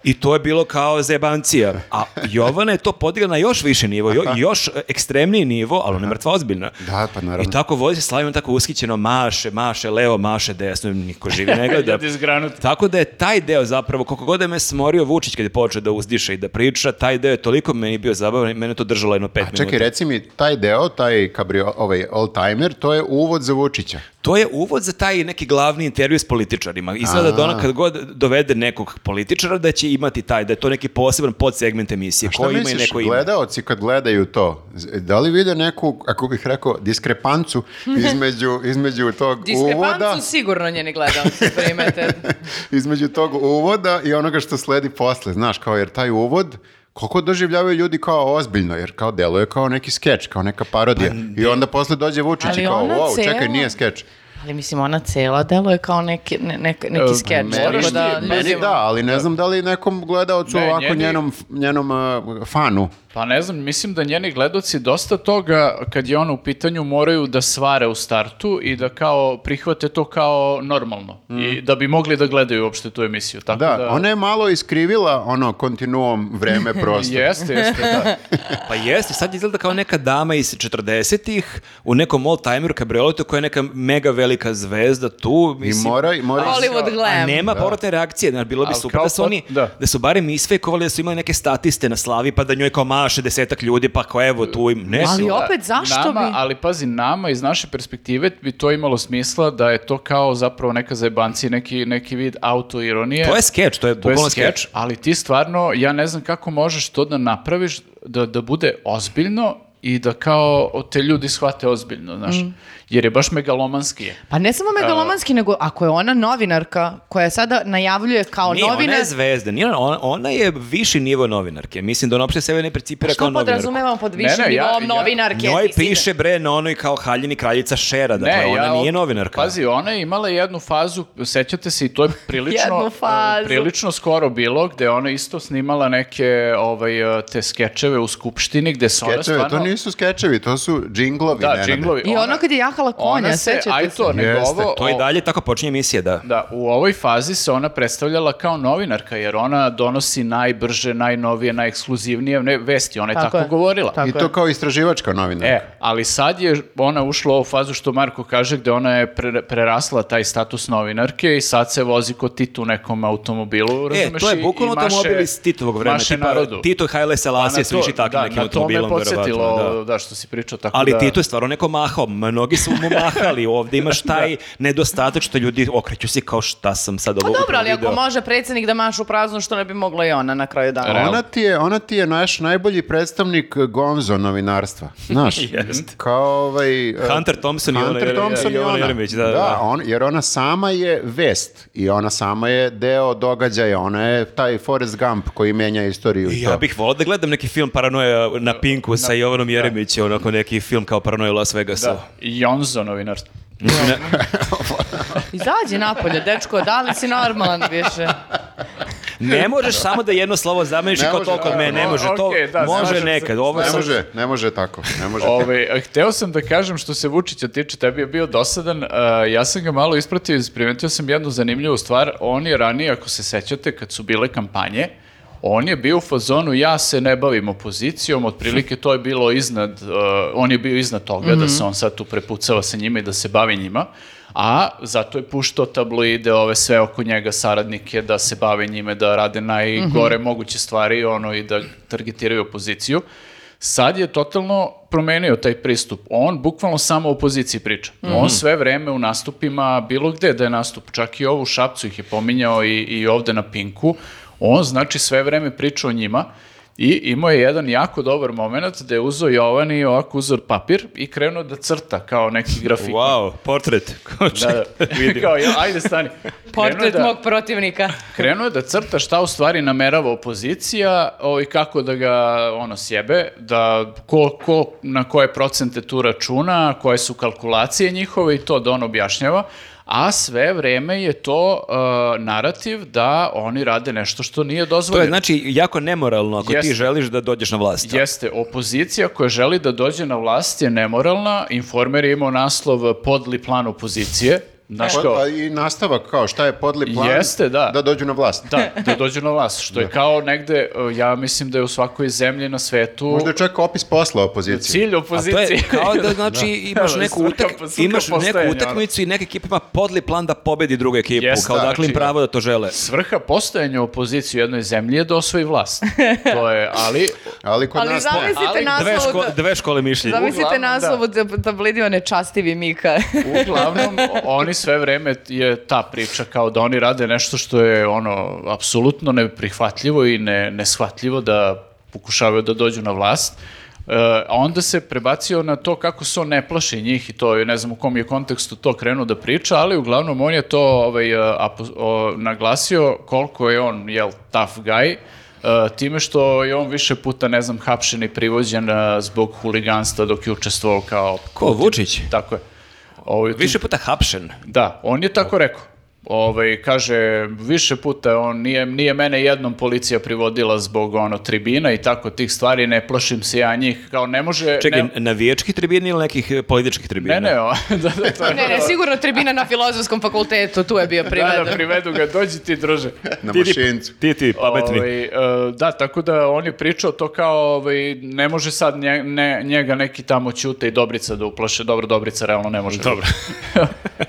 I to je bilo kao zebancija. A Jovana je to podigla na još više nivo, jo- još ekstremniji nivo, ali ona je mrtva ozbiljna.
Da, pa naravno.
I tako vozi se slavim, tako ushićeno maše, maše levo, maše desno, niko živi ne gleda.
Ljudi zgranuti.
tako da je taj deo zapravo, koliko god je me smorio Vučić kad je počeo da uzdiše i da priča, taj deo je toliko meni bio zabavan i mene je to držalo jedno pet
A
minuta.
čekaj, reci mi, taj deo, taj kabrio, ovaj all-timer, to je uvod za Vučića.
To je uvod za taj neki glavni intervju s političarima. Izgleda da ona kad god dovede nekog političara da će imati taj, da je to neki poseban podsegment emisije.
Šta
koji Pa ima i
misliš,
neko ime.
gledaoci kad gledaju to, z- da li vide neku, ako bih rekao, diskrepancu između, između tog uvoda,
Diskrepancu sigurno njeni gledalci primete.
između tog uvoda i onoga što sledi posle, znaš, kao jer taj uvod, koliko doživljavaju ljudi kao ozbiljno, jer kao deluje kao neki skeč, kao neka parodija. I onda posle dođe Vučić i
Ali
kao,
ona
wow, čekaj,
cela-
nije skeč.
Ali mislim, ona cela delo je kao neki, ne, nek- neki
E,
skeč.
meni-
tako da,
meni
Ono Meni
ljudima-
da, ali ne znam da li nekom gledaocu
Ne,
ovako
njeni-
njenom, njenom uh, fanu.
Pa ne znam, mislim da njeni gledoci dosta toga, kad je ona u pitanju, moraju da svare u startu i da kao prihvate to kao normalno. I da bi mogli da gledaju uopšte tu emisiju. Tako Mm. da,
Da, ona je malo iskrivila ono kontinuum vreme prostor.
Jeste, jeste, da.
Pa jeste, sad izgleda kao neka dama iz 40-ih u nekom old-timeru kabrioletu koja je neka mega velika zvezda tu.
I
Mislim,
mora, i mora
Hollywood
A
glam.
nema povratne reakcije, znači bilo bi
Ali
super
kao
da su
pot-
oni da.
da.
su barem isfejkovali da su imali neke statiste na slavi pa da njoj kao maše desetak ljudi pa kao evo tu im ne.
Ali
su-
opet, zašto
nama,
bi?
Ali pazi, nama iz naše perspektive bi to imalo smisla da je to kao zapravo neka zajebanci, neki, neki vid autoironije.
To je skeč, to je
To je
bukvalno skeč.
skeč, ali ti stvarno, ja ne znam kako možeš to da napraviš, da, da bude ozbiljno i da kao o, te ljudi shvate ozbiljno, znaš. Jer je baš megalomanski. je.
Pa ne samo megalomanski, nego ako je ona novinarka koja sada najavljuje kao
Nije, ona
novinar,
je zvezda, nije ona- ona, ona je viši nivo novinarke. Mislim da ona uopšte sebe ne precipira kao
što
novinarku.
podrazumevamo pod
Ne,
višim
ne, ja-
nivom
ja-
novinarke?
Njoj
ti si-
piše bre na onoj kao haljini kraljica Šera, dakle ona
ja
nije
op-
novinarka.
Pazi, ona je imala jednu fazu, sećate se i to je prilično,
Jednu fazu.
e, prilično skoro bilo, gde je ona isto snimala neke ovaj, e, te skečeve u Skupštini, gde se ona
Skečeve,
stvarno...
to nisu skečevi, to su džinglovi.
Da,
Nenade.
džinglovi.
I ono kad je jahala konja,
ona se,
sećate
aj
se?
to, nego
Jeste,
ovo,
To i
o-
dalje tako počinje emisija, da.
Da, u ovoj fazi se ona predstavljala kao novinarka, jer ona donosi najbrže, najnovije, najekskluzivnije ne, vesti. Ona je tako,
Tako je.
govorila.
Tako.
I to kao istraživačka novina.
E, ali sad je ona ušla u ovu fazu što Marko kaže gde ona je pre- prerasla taj status novinarke i sad se vozi kod Titu u nekom automobilu,
E,
razumeš?
to je
i- i
bukvalno
maše-
automobil iz Titovog vremena.
Maše
tipa
narodu.
Tito i Haile
Pa na
Selassie su
to-
išli takvim
da,
nekim
na
automobilom.
to me podsjetilo,
verovatno, da.
da. što si pričao, tako
Ali
da...
Tito je stvarno neko mahao, mnogi su mu mahali, ovdje imaš taj nedostatak što ljudi okreću se kao šta sam sad ovo
Pa dobro, ali
upravo
ako
video.
može predsjednik da mašu prazno, što ne bi mogla i ona na kraju dana?
Realno.
Ona ti, je, ona ti je naš najbolji predstavnik eh, gonzo novinarstva. Znaš,
Jest.
kao ovaj... eh,
Hunter Thompson i ona
Hunter
Jer-
Thompson i
Jovana
ona.
Jeremić, da, da.
on- jer ona sama je vest i ona sama je deo događaja. Ona je taj Forrest Gump koji menja istoriju. i
I Ja
to.
bih volao da gledam neki film Paranoja na Pinku sa Jovanom Jeremićem, onako neki film kao Paranoja u Las Vegasu.
Da, Jonzo novinar.
Izađi napolje, dečko, da li si normalan više?
Ne možeš samo da jedno slovo zameniš i
Ne
kao
može,
to kod
da,
mene, ne
da,
može. To
okej, da, slažem
može
se.
nekad. Ovo
Ne
sam-
može, ne može tako. Ne može tako.
Ove, Ovaj, a hteo sam da kažem što se Vučića tiče, tebi je bio dosadan, a, ja sam ga malo ispratio i primetio sam jednu zanimljivu stvar, on je ranije, ako se sećate, kad su bile kampanje, on je bio u fazonu, ja se ne bavim opozicijom, otprilike to je bilo iznad, e, on je bio iznad toga da se on sad tu prepucava sa njima i da se bavi njima, a zato je puštao tabloide, ove sve oko njega saradnike, da se bave njime, da rade najgore moguće stvari ono, i da targetiraju opoziciju sad je totalno promenio taj pristup. On bukvalno samo o opoziciji priča. On sve vreme u nastupima, bilo gde da je nastup, čak i ovu Šapcu ih je pominjao i, i ovde na Pinku, on znači sve vreme priča o njima i imao je jedan jako dobar moment da je uzeo Jovan i ovako uzor papir i krenuo da crta kao neki grafik.
Wow, portret. Kao
Da, da. Kao, ja, ajde stani. Krenuo
Portret
da-
mog protivnika.
Krenuo je da crta šta u stvari namerava opozicija o, i kako da ga ono sjebe, da ko, ko, na koje procente tu računa, koje su kalkulacije njihove i to da on objašnjava, a sve vreme je to e, narativ da oni rade nešto što nije
To je
dozvoljeno.
znači jako nemoralno ako ti
Jeste.
želiš da dođeš na vlast.
Jeste, opozicija koja želi da dođe na vlast je nemoralna, Informer je imao naslov podli plan opozicije, znaš
Pa-
kao-
pa I nastavak kao šta je podli plan
Jeste, da.
da dođu na vlast.
Da, da dođu na vlast, što je kao negde, e, ja mislim da je u svakoj zemlji na svetu
Možda je čak opis posla opozicije.
cilj
A to
opozicije.
je kao da znači imaš
Da,
neku,
svrha-
utak,
svrha
imaš neku
postojanja, ono.
utakmicu i neka ekipa ima podli plan da pobedi drugu ekipu.
Jeste,
kao
da,
dakle im
znači-
pravo da to žele.
Svrha postojanja opozicije u jednoj zemlji je da osvoji vlast. To je, ali...
Ali kod
Ali
nas ne.
zamislite
Ali
naslov
Dve,
od-
ško- dve škole mišljenja.
Zamislite
Uglavnom,
naslov
da.
od tab- tablidima nečastivi Mika.
Uglavnom, oni sve vreme je ta priča kao da oni rade nešto što je ono, apsolutno neprihvatljivo i ne, neshvatljivo da pokušavaju da dođu na vlast. E, a onda se prebacio na to kako se on ne plaši njih i to je, ne znam u kom je kontekstu to krenuo da priča, ali uglavnom on je to ovaj, e, apo- o, naglasio koliko je on, jel, tough guy, e, time što je on više puta, ne znam, hapšen i privođen e, zbog huliganstva dok je učestvovao kao...
Ko, Vučić?
Tako je. Ovaj, tu-
Više puta hapšen.
Da, on je tako rekao. Ovaj, kaže, više puta on nije, nije mene jednom policija privodila zbog ono tribina i tako tih stvari, ne plašim se ja njih, kao ne može...
Čekaj,
ne,
navijačkih tribina ili nekih eh, političkih tribina?
ne, ne, o- da, da, to je-
ne, ne, sigurno tribina na filozofskom fakultetu, tu je bio
Da, da,
priveden.
privedu ga, dođi ti druže.
Na
Ti, ti-
mašincu.
Ti, ti, pametni.
Ovaj, e, da, tako da on je pričao to kao ovaj, ne može sad nje- ne, njega neki tamo Ćute i Dobrica da uplaše. Dobro, Dobrica realno ne može. Ovaj, Dobro.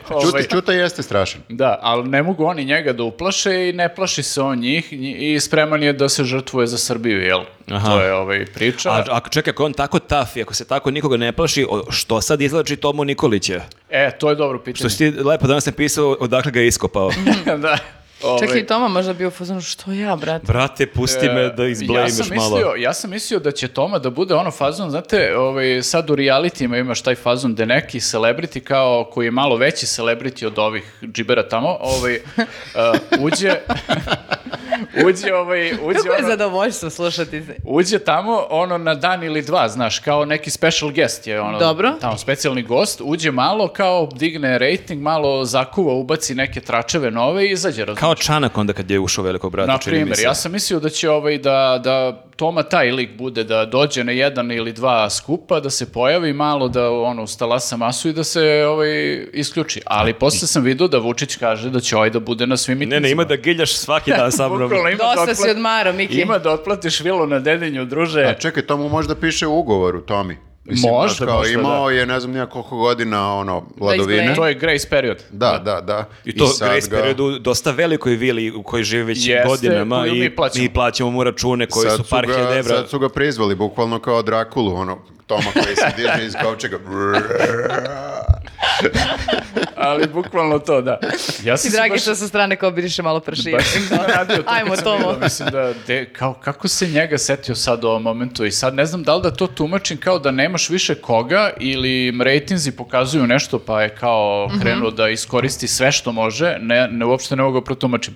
ovaj-
Čuta, čuta jeste strašan.
Da, ali ne mogu oni njega da uplaše i ne plaši se on njih nji- i spreman je da se žrtvuje za Srbiju, jel?
Aha.
To je ovaj priča.
A, ako čekaj, ako je on tako taf i ako se tako nikoga ne plaši, o, što sad izlači Tomu Nikolića?
E, to je dobro pitanje.
Što si ti lepo danas napisao odakle ga je iskopao.
da. Ovaj,
Čak i Toma možda bio u fazonu, što ja, brate?
Brate, pusti me da izblejmiš
E, ja sam
malo.
Mislio, ja sam mislio da će Toma da bude ono fazon, znate, ovaj, sad u realitima imaš taj fazon da neki celebrity kao, koji je malo veći celebrity od ovih džibera tamo, ovaj, eh, uđe, uđe, ovaj, uđe
Kako je
ono-
zadovoljstvo slušati se.
Uđe tamo, ono, na dan ili dva, znaš, kao neki special guest je, ono,
Dobro.
tamo specijalni gost, uđe malo, kao digne rating, malo zakuva, ubaci neke tračeve nove i izađe, razumiješ?
Kao Čanak onda kad je ušao velikog brata,
Na
čini mi
primjer,
se.
ja sam mislio da će ovaj da, da Toma taj lik bude da dođe na jedan ili dva skupa, da se pojavi malo, da ono stalasa masu i da se ovaj isključi. Ali posle sam vidio da Vučić kaže da će ovaj da bude na svim
Ne,
mitinzima.
ne, ima da giljaš svaki dan sa mnom.
Bukvalno ima da
Dosta si
otpla-
odmaro, Miki.
Ima da otplatiš vilu na dedinju, druže.
A čekaj, to mu možda piše u ugovoru, Tomi.
Možda,
znaš, kao,
možda,
Imao je, ne znam, nija koliko godina, ono, vladovine.
izblende.
To je grace period.
Da, da, da.
I to
sad
grace
ga-
periodu dosta velikoj vili u kojoj živi već
Jeste,
godinama
koju
i
mi plaćamo.
mi plaćamo mu račune koji
sad
su par
ga-
hiljada evra.
Sad su ga prizvali, bukvalno kao Drakulu, ono, Toma koji se diže iz kovčega.
Ali bukvalno to, da. Ja sam
Ti
se
dragi
baš-
što sa strane kao biriše malo pršina.
baš sam iznenadio to kad
Ajmo,
sam
Tomo.
vidio. Mislim da, de- kao, kako se njega setio sad u ovom momentu i sad ne znam da li da to tumačim kao da nemaš više koga ili im rejtinzi pokazuju nešto pa je kao krenuo da iskoristi sve što može, ne, ne uopšte ne mogu da protumačim.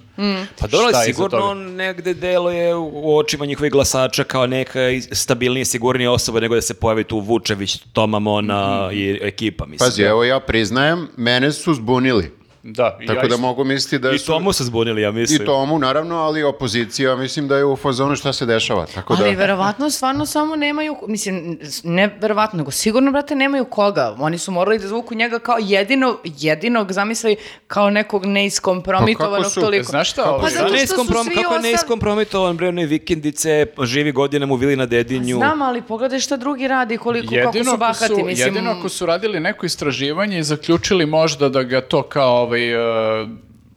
Pa dobro,
Šta
ali
je iza
sigurno
toga?
on negde deluje u- u očima njihovih glasača kao neka iz- stabilnija, sigurnija osoba nego da se pojavi tu
Mhm.
Vučević, Toma Mona i ekipa, mislim.
Pazi, evo ja priznajem, mene su zbunili.
Da, i
Tako
ja
da
isto.
mogu misliti da
I
su...
tomu se zbunili, ja mislim.
I tomu, naravno, ali opozicija, mislim da je u fazonu šta se dešava. Tako
Ali
da...
verovatno stvarno samo nemaju, mislim, ne verovatno, nego sigurno, brate, nemaju koga. Oni su morali da zvuku njega kao jedino, jedinog, zamisli, kao nekog neiskompromitovanog
Pa kako su-
toliko.
Znaš šta,
Pa
ovi-
zato što
ne
su
iskomprom-
svi
kako je
ostali-
neiskompromitovan, bre, one vikendice, živi godinama u vili na
Pa
dedinju.
Znam, ali pogledaj šta drugi radi, koliko, kako su
Jedino ako
bahati,
su,
mislim.
jedino ako su radili neko istraživanje i zaključili možda da ga to kao ovaj, e,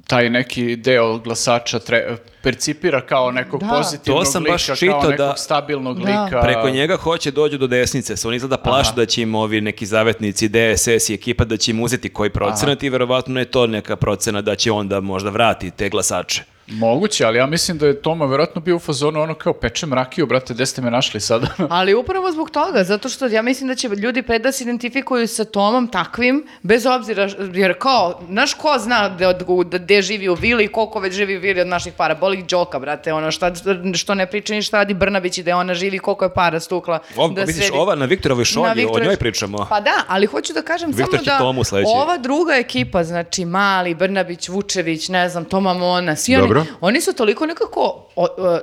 taj neki deo glasača tre- percipira kao nekog
Da.
pozitivnog
To sam
lika,
baš čitao
kao nekog
da-
stabilnog
Da.
lika.
Preko njega hoće dođu do desnice, se oni izgleda plaše da će im ovi neki zavetnici, DSS i ekipa da će im uzeti koji procenat i verovatno je to neka procena da će onda možda vrati te glasače.
Moguće, ali ja mislim da je Toma vjerojatno bio u fazonu ono kao pečem rakiju, brate, gde ste me našli sada?
Ali upravo zbog toga, zato što ja mislim da će ljudi pre da se identifikuju sa Tomom takvim, bez obzira, š- jer kao, znaš ko zna da, da, gde živi u vili i koliko već živi u vili od naših para, boli đoka, brate, ono, šta, što ne priča ni šta radi Brnabić i da je ona živi, koliko je para stukla.
Ovo,
da
misliš,
sredi-
pa ova na Viktorovoj šolji,
Na
o
Viktoroj-
njoj pričamo.
Pa da, ali hoću da kažem
Viktor
samo
će
da
Tomu sledeći.
ova Pa druga ekipa, znači Mali, Brnabić, Vučević, ne znam, Toma Mona, svi oni,
Dobro.
oni su toliko nekako, o- o-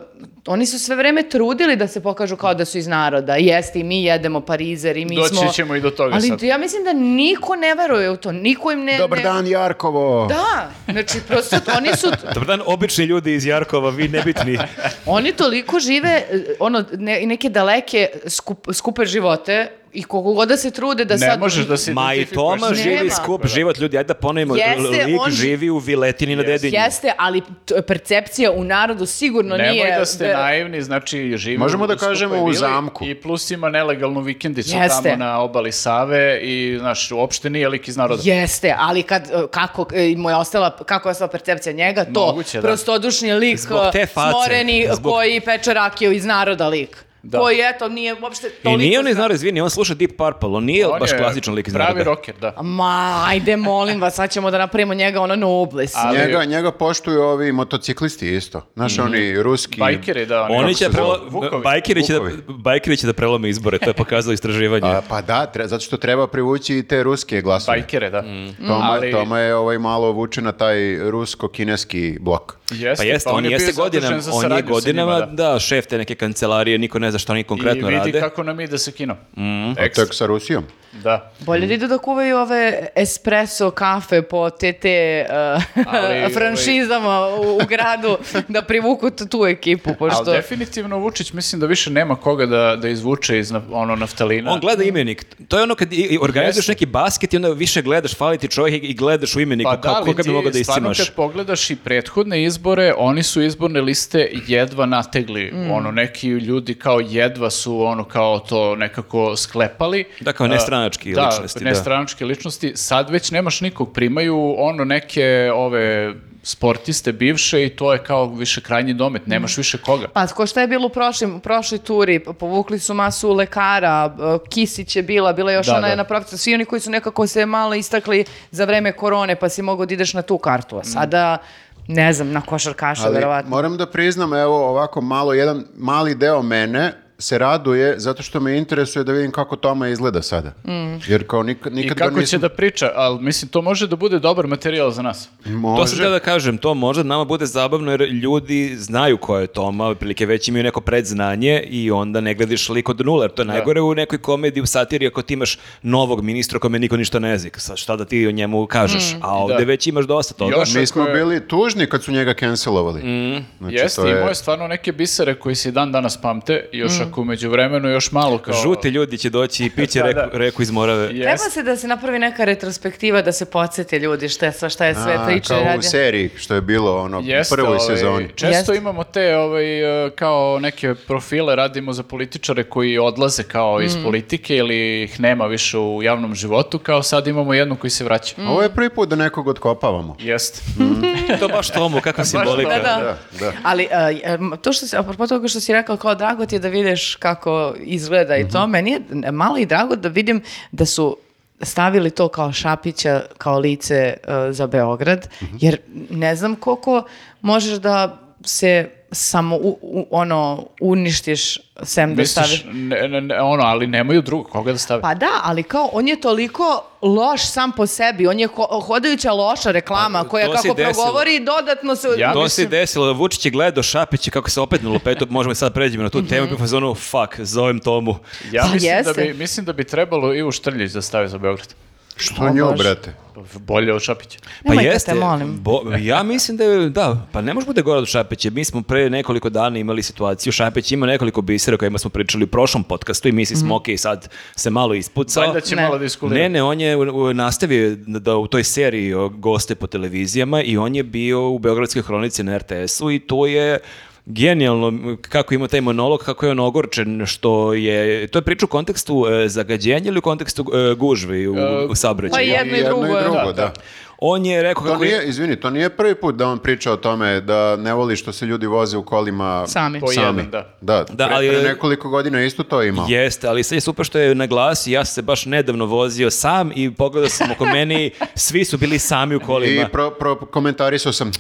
oni su sve vreme trudili da se pokažu kao da su iz naroda. Jeste, i mi jedemo parizer i mi
Doći
smo...
ćemo i do toga
ali
sad.
ja mislim da niko ne veruje u to, niko im ne...
Dobar
ne-
dan, Jarkovo!
Da, znači prosto oni su,
Dobar dan, obični ljudi iz Jarkova, vi nebitni.
oni toliko žive eh, ono ne, neke daleke skup- skupe živote i koliko god da se trude da
ne
sad
možeš da se
Ma i
identifikuješ
Toma
sa
Nema.
živi
njim.
skup život ljudi, ajde da ponovimo,
Jeste,
lik
on-
živi u viletini na dedinju.
Jeste, ali t- percepcija u narodu sigurno nije...
Nemoj da ste
ve-
naivni, znači živimo
Možemo da
skupoj
kažemo u
vili
zamku.
I plus ima nelegalnu vikendicu
Jeste.
tamo na obali Save i, znaš, uopšte nije lik iz naroda.
Jeste, ali kad, e, kako e, mu je ostala, kako je ostala percepcija njega, to
Moguće, da.
prostodušni lik,
Zbog te
e,
face,
smoreni,
zbog-
koji peče rakiju iz naroda lik.
Da.
Koji, eto, nije uopšte
I
toliko...
nije on iz
zna-
naroda, izvini, on sluša Deep Purple, on nije
On
baš
je
klasičan lik iz
Pravi
naroda.
roker, da.
Ma, ajde, molim vas, sad ćemo da napravimo njega ono nublis.
Ali-
Njega, njega poštuju ovi motociklisti isto. Znaš,
Mhm.
oni ruski...
Bajkeri, da. oni-
Oni će,
Kako se
prelo...
zove?
Vukovi.
bajkeri, će da,
Vukovi.
bajkeri će da prelome izbore, to je pokazalo istraživanje.
A, pa da, tre- zato što treba privući i te ruske glasove.
Bajkere, da.
Mm.
Toma,
Pa, Ali-
Toma je ovaj malo vuče na taj rusko-kineski blok.
Jeste,
pa jeste, on,
E, je
jeste
bio zadužen
godinama,
za
on je
saradnju sa njima,
godinama, da. šef te neke kancelarije, niko ne zna šta oni konkretno
I vidi
rade. Mm.
kako nam ide sa kinom.
A
Ekstra,
tek sa Rusijom.
da.
Bolje da idu da kuvaju ove espresso kafe po te te uh,
Ali,
franšizama u, u gradu da privuku t- tu ekipu, pošto...
Ali definitivno Vučić mislim da više nema koga da, da izvuče iz na- ono naftalina.
On gleda imenik. To je ono kad i- i organizuješ
Jeste.
neki basket i onda više gledaš, fali ti čovjek i- i gledaš u imeniku.
Pa da,
kako,
ali
koga bi mogao da
ti stvarno
istimaš?
kad pogledaš i prethodne izbore, oni su izborne liste jedva nategli.
Mm.
Ono, neki ljudi kao jedva su ono kao to nekako sklepali.
Da, kao nestranački
da,
ličnosti, da.
nestranačke ličnosti. Sad već nemaš nikog. Primaju ono neke ove sportiste bivše i to je kao više krajnji domet.
Mm.
Nemaš više koga.
Pa ko šta je bilo u prošlim, u prošloj turi, p- povukli su masu lekara, e, Kisić je bila, bila je još
Da,
ona
da.
jedna profesor, svi oni koji su nekako se malo istakli za vreme korone, pa si mogao da ideš na tu kartu, a sada, ne znam, na košarkaša,
Mm. Ali
verovatno.
moram da priznam, evo ovako malo, jedan mali deo mene se raduje zato što me interesuje da vidim kako Toma izgleda sada.
Mhm.
Jer kao nik, nikad
I
ga
kako će
nisam-
da priča, ali mislim to može da bude dobar materijal za nas.
Može.
To sam htio da kažem, to možda nama bude zabavno jer ljudi znaju ko je Toma, otprilike već imaju neko predznanje i onda ne gledaš lik od nula, jer to je najgore u nekoj komediji, u satiri, ako ti imaš novog ministra kome niko ništa ne zna, sad šta da ti o njemu kažeš, a ovdje
Mm, Da.
već imaš dosta toga.
Još-
Mi smo
Kako je-
bili tužni kad su njega cancelovali. Znači,
Mhm. Jeste,
to je-
imao je stvarno neke bisere koji se i dan danas pamte,
Mm.
još ako umeđu vremenu, još malo kao...
Žuti ljudi će doći i piće
Da,
reku,
da.
reku iz Morave.
Treba
Jeste.
se da se napravi neka retrospektiva da se podsjete ljudi šta je, sva- šta je sve
A,
priča i
kao u
radi.
seriji što je bilo ono u
Jeste,
prvoj
ovaj,
sezoni.
Često
Jeste.
imamo te ovaj, eh, kao neke profile radimo za političare koji odlaze kao iz
Mm.
politike ili ih nema više u javnom životu, kao sad imamo jednu koji se vraća.
Mm. Mhm.
Ovo je prvi put da nekog otkopavamo.
Jeste.
to baš Tomu, kakva simbolika.
Da, Pa da.
Da, da.
Ali e, em, to što si, apropo toga što si rekao kao drago ti je da vidiš kako izgleda i to, meni je n- malo i drago da vidim da su stavili to kao Šapića, kao lice e, za Beograd, jer ne znam koliko možeš da se samo u, u- ono, uništiš sem da staviš.
Misliš, ne, ne, ne, ono, ali nemaju drugog koga da stave.
Pa da, ali kao, on je toliko loš sam po sebi, on je ho- hodajuća loša reklama
Pa,
koja
to se
kako
desilo.
progovori dodatno se...
Ja-
To se
mislim-
desilo, Vučić je gledao Šapić i kako se opet nalupetu, možemo i sad pređemo na tu temu,
Mhm.
bio u fazonu, fuck, zovem Tomu.
ja
Pa
mislim da,
jeste.
bi, mislim da bi trebalo i u Štrljić da stave za Beograd.
Što nju,
baš.
brate?
Bolje od Šapića.
Pa
Nemojte
jeste,
te, molim.
bo- ja mislim da je, da, pa ne može bude gore od Šapića. Mi smo pre nekoliko dana imali situaciju, Šapić ima nekoliko bisera o kojima smo pričali u prošlom podcastu i mislim
Mhm.
smo, ok, sad se malo ispucao.
Valjda će
Ne.
malo da iskulira.
Ne, ne, on je u- u- nastavio da- da u toj seriji o goste po televizijama i on je bio u Beogradskoj hronici na RTS-u i to je genijalno m, kako ima taj monolog, kako je on ogorčen, što je, to je priča u kontekstu e, zagađenja ili u kontekstu e, gužvi u, u saobraćaju?
Pa i jedno i drugo,
i
je.
drugo, da.
On je rekao
To
kako je...
nije, izvini, to nije prvi put da on priča o tome da ne voli što se ljudi voze u kolima
Sami.
Po
sami.
jedan, da.
Da,
Da,
pre-
ali-
pre nekoliko godina je isto to imao.
Jeste, ali sad je super što je naglasio, ja sam se baš nedavno vozio sam i pogledao sam oko meni, svi su bili sami u
I
kolima.
pro, pro, komentarisao sam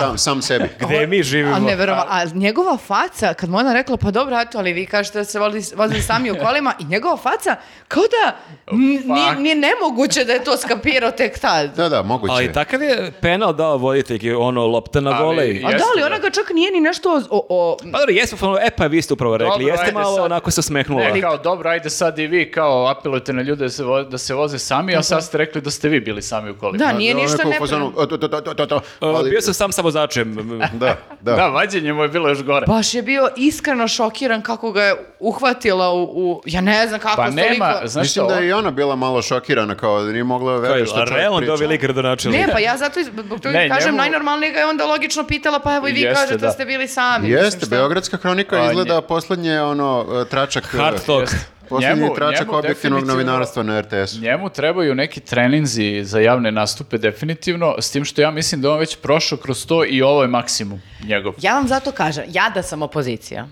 sam, sam sebi.
Gde mi živimo?
A neverova,
Pa-
a njegova faca, kad mu ona rekla, pa dobro, eto, ali vi kažete da se voli, vozili sami u kolima, i njegova faca, kao da n-
Oh, fuck.
ni, ni nemoguće da je to skapirao tek tad.
Da, da, moguće.
Ali
je.
takav je penal dao voditeljki, ono, lopta na
Ali-
volej.
A da,
Jeste,
ali
da.
ona ga čak nije ni nešto o... o
Pa dobro, jeste, ono, e pa vi ste upravo rekli,
Dobro,
jeste
ajde
malo
sad.
onako se osmehnula.
Ne, kao, dobro, ajde sad i vi kao apelujete na ljude da se, vo- da se voze sami, a sad ste rekli da ste vi bili sami u kolima.
da, nije
Ono
ništa
kao u
ne...
fazonu, "O, to, to, to, to, to, to."
Uh,
Ali-
Bio sam sam sa vozačem.
Da, da.
Da, vađenje mu je bilo još gore.
Baš je bio iskreno šokiran kako ga je uhvatila u... u- ja ne znam kako
Pa nema,
toliko-
znaš
Mislim
što,
da je i ona bila malo šokirana, kao da nije mogla veriti što čovjek
Realno
priča.
dobili igra do
Ne, pa ja zato iz- zbog toga
Ne,
kažem,
njemu-
najnormalnije ga je onda logično pitala, pa evo i vi
Jeste,
kažete da
da.
ste bili sami. Mislim,
Jeste,
šta?
Beogradska hronika
A,
izgleda poslednje ono e, tračak e,
Hard talk.
Poslednji
Njemu-
tračak
njemu
objektivnog
definitivno-
novinarstva na RTS-u.
Njemu trebaju neki treninzi za javne nastupe definitivno, s tim što ja mislim da on već prošao kroz to i ovo je maksimum njegov.
Ja vam zato kažem, ja da sam opozicija,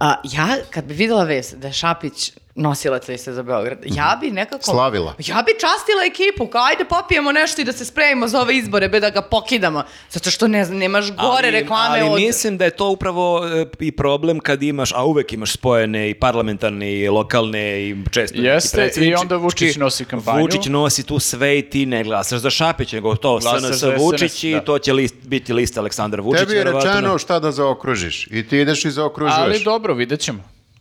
a, ja kad bi videla vest da je Šapić nosilac liste za Beograd, ja bi nekako...
Mhm. Slavila.
Ja bi častila ekipu, kao ajde popijemo nešto i da se spremimo za ove izbore, be da ga pokidamo. Zato što ne znam, nemaš gore reklame
ali
od...
mislim da je to upravo e, i problem kad imaš, a uvek imaš spojene i parlamentarne i lokalne i često neki
Jeste, i
predsjednički-
onda Vučić nosi kampanju.
Vučić nosi tu sve i ti ne glasaš za Šapića, nego to
Glasaš
SNS
za SNS,
Vučić i
da.
to će list, biti lista Aleksandar Vučić.
Tebi je
verovatno.
rečeno šta da zaokružiš i ti ideš i zaokružuješ.
Ali dobro, vidjet ćemo.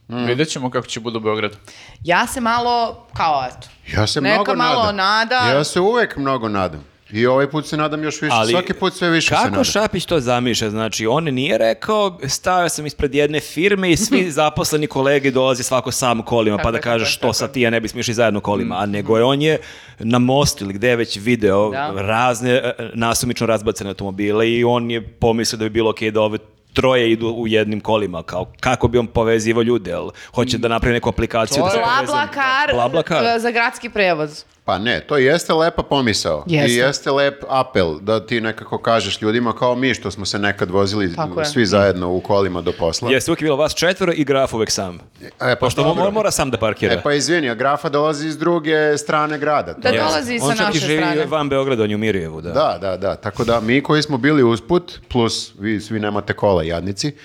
Mm.
Vidjet ćemo kako će bude u Beogradu.
Ja se malo, kao eto,
Ja se
Neka
mnogo nadam.
malo nada.
Ja se uvek mnogo nadam. I ovaj put se nadam još više.
Ali
Svaki put sve više se nadam.
Kako Šapić to zamišlja? Znači, on nije rekao, stavio sam ispred jedne firme i svi zaposleni kolege dolaze svako sam kolima, pa
Tako
da
je,
kažeš
tako je,
što sad ti ja ne bismo išli zajedno kolima,
Mm.
a nego je on je na mostu ili gde je već video
Da.
razne e, nasumično razbacane automobile i on je pomislio da bi bilo ok da ove troje idu u jednim kolima, kao kako bi on povezivao ljude, jel
Mm.
hoće da napravi neku aplikaciju da se
To je-
povezaju.
Blablakar,
Blablakar.
e, za gradski prevoz.
Pa ne, to jeste lepa pomisao.
Jeste.
I jeste lep apel da ti nekako kažeš ljudima kao mi što smo se nekad vozili
Tako je.
svi zajedno u kolima do posla.
Jeste, uvijek je bilo vas četvoro i graf uvek sam.
E, pa,
Pošto
dobro.
on mora sam da parkira.
E pa izvini, a grafa dolazi iz druge strane grada. to
Da
je-
dolazi sa
On čak i
naše
živi
strane.
van Beograda, on je u Mirjevu, da.
Da, da, da. Tako da mi koji smo bili usput, plus vi svi nemate kola, jadnici,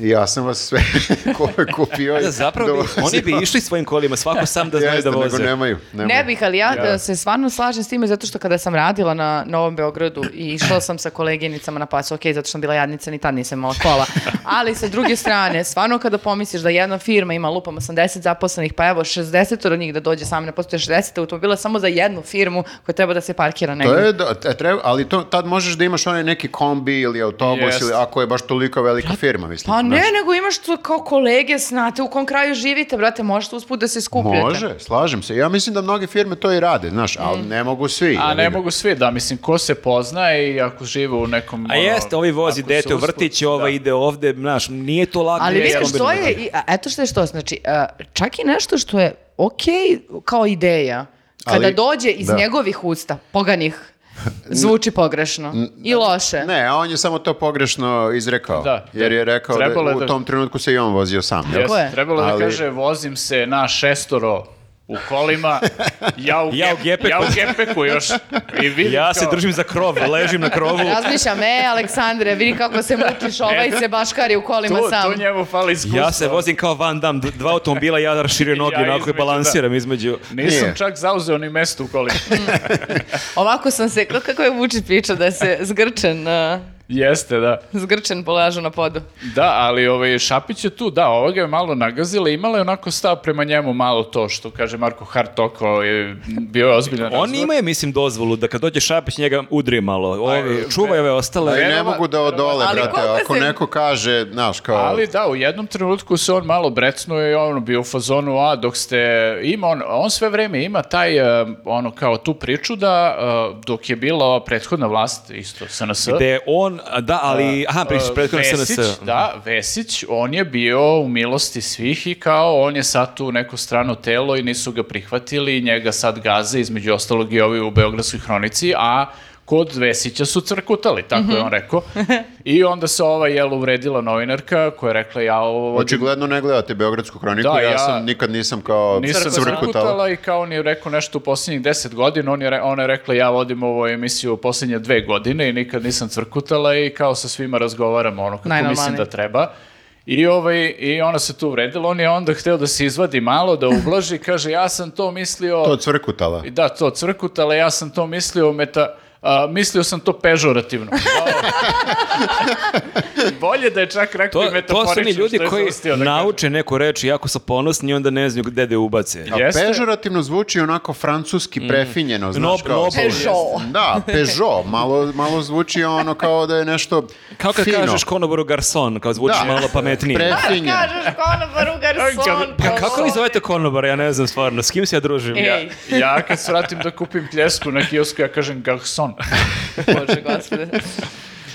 i ja sam vas sve ko- kupio. i
Da, zapravo bi,
dovozio.
oni bi išli svojim kolima, svako sam da znaju da
Jeste,
voze.
Nego nemaju, nemaju.
Ne bih, ali ja, e, se stvarno slažem s time zato što kada sam radila na Novom Beogradu i išla sam sa koleginicama na pas, ok, zato što sam bila jadnica, ni tad nisam imala kola. Ali sa druge strane, stvarno kada pomisliš da jedna firma ima lupam 80 zaposlenih, pa evo 60 od njih da dođe sami na posao, to je 60 automobila samo za jednu firmu koja treba da se parkira
To
negdje.
je, da, e, treba, ali to, tad možeš da imaš onaj neki kombi ili autobus,
Jest.
ili ako je baš toliko velika firma, mislim.
Pa ne,
znaš.
nego imaš to kao kolege, znate, u kom kraju živite, brate, možete usput da se skupljate.
Može, slažem se. Ja mislim da mnoge firme to i rade, znaš, ali ne mogu svi.
A
jebi
ne
ga.
mogu svi, da, mislim, ko se poznaje i ako žive u nekom...
A
ono,
jeste, ovi vozi
ako se
dete u
usput-
vrtić, ovaj ova
da.
ide ovde, znaš, nije to lako.
Ali
da
vidiš,
vidiš, to
iskombinuješ.
je, i- a eto što je što, znači, a, čak i nešto što je okej kao ideja, kada
Ali-
dođe iz
da.
njegovih usta, poganih, zvuči pogrešno i loše.
Ne, a on je samo to pogrešno izrekao.
Da,
jer
da.
je rekao
Trebalo
da
je
u
da-
tom trenutku se i on vozio sam. jel?
Tako
Jeste,
je.
trebalo
Ali-
da kaže vozim se na šestoro u kolima, ja u,
Ja u
gep-
gepeku.
ja u gepeku još. I vidim
Ja se
kao-
držim za krov, ležim na krovu.
Razmišljam, e, Aleksandre, vidi kako se
E,
mučiš, ovaj se baškari u kolima
tu,
sam.
tu njemu fali iskustvo.
Ja se vozim kao Van Damme, d- dva automobila, ja raširio noge,
Ja
onako
između,
i balansiram između.
Nisam
Nije.
čak zauzeo ni mesto u kolima.
Mm. Ovako sam se, kako- kako je Vučić pričao da se zgrčen, uh,
Jeste, da.
zgrčen polažu na podu.
Da, ali ovaj, Šapić je tu, da, ovoga je malo nagazila, imala je onako stav prema njemu malo to što kaže Marko Hartoko, je, bio je ozbiljan
Oni
razgovor.
imaju, mislim, dozvolu da kad dođe Šapić njega udri malo.
Pa, e,
Ovi, čuvaj ove
Ali
ostale.
ne
Verova-
mogu da odole,
Ali
brate.
koliko
Ako
se-
neko kaže, znaš, kao...
Ali da, u jednom trenutku se on malo brecnuo i on bio u fazonu, a dok ste, ima on, on sve vreme ima taj, e, ono kao tu priču da e, dok je bila ova prethodna vlast, isto SNS,
Gde je on, a, da, ali, aha, pričaš
e,
prethodno
Vesić,
SNS.
Da, Vesić, on je bio u milosti svih i kao on je sad tu neko strano telo i nisu ga prihvatili i njega sad gaze, između ostalog i ovi u Beogradskoj hronici, a kod Vesića su crkutali, tako je on rekao. I onda se ova jel uvredila novinarka koja je rekla ja ovo vodim
Očigledno ne gledate Beogradsku hroniku,
Da,
ja,
ja-
sam nikad nisam kao
Nisam
crkutala.
crkutala i kao on je rekao nešto u posljednjih deset godina, on je, re- ona je rekla ja vodim ovu emisiju u posljednje dve godine i nikad nisam crkutala i kao sa svima razgovaramo ono kako
Najnormalnije.
mislim da treba. I, ovaj, I ona se tu uvredila, on je onda hteo da se izvadi malo, da ublaži, kaže ja sam to mislio...
To crkutala.
I Da, to crkutala, ja sam to mislio meta... a, mislio sam to pežorativno. Bolje da je čak rekao
To,
i
to su
metaforično.
oni ljudi
što je
koji
zaustio da kaže.
nauče neku reč i jako su ponosni i onda ne znaju gde da je ubace.
A
Jeste. Mm.
pežorativno zvuči onako francuski prefinjeno, znaš
Nob-
kao...
noblo.
Peugeot.
Da, Peugeot. Malo, malo zvuči ono kao da je nešto
Kao kad
fino.
kažeš konoboru garson, kao zvuči
Da.
malo pametnije.
Prefinjeno.
Kažeš konobaru garson.
Ka- Pa kako vi zovete konobara, ja ne znam stvarno, s kim se ja družim?
E,
Ja-
Ja, ja kad svratim da kupim pljesku na kiosku, ja kažem garson.
Bože, gospode.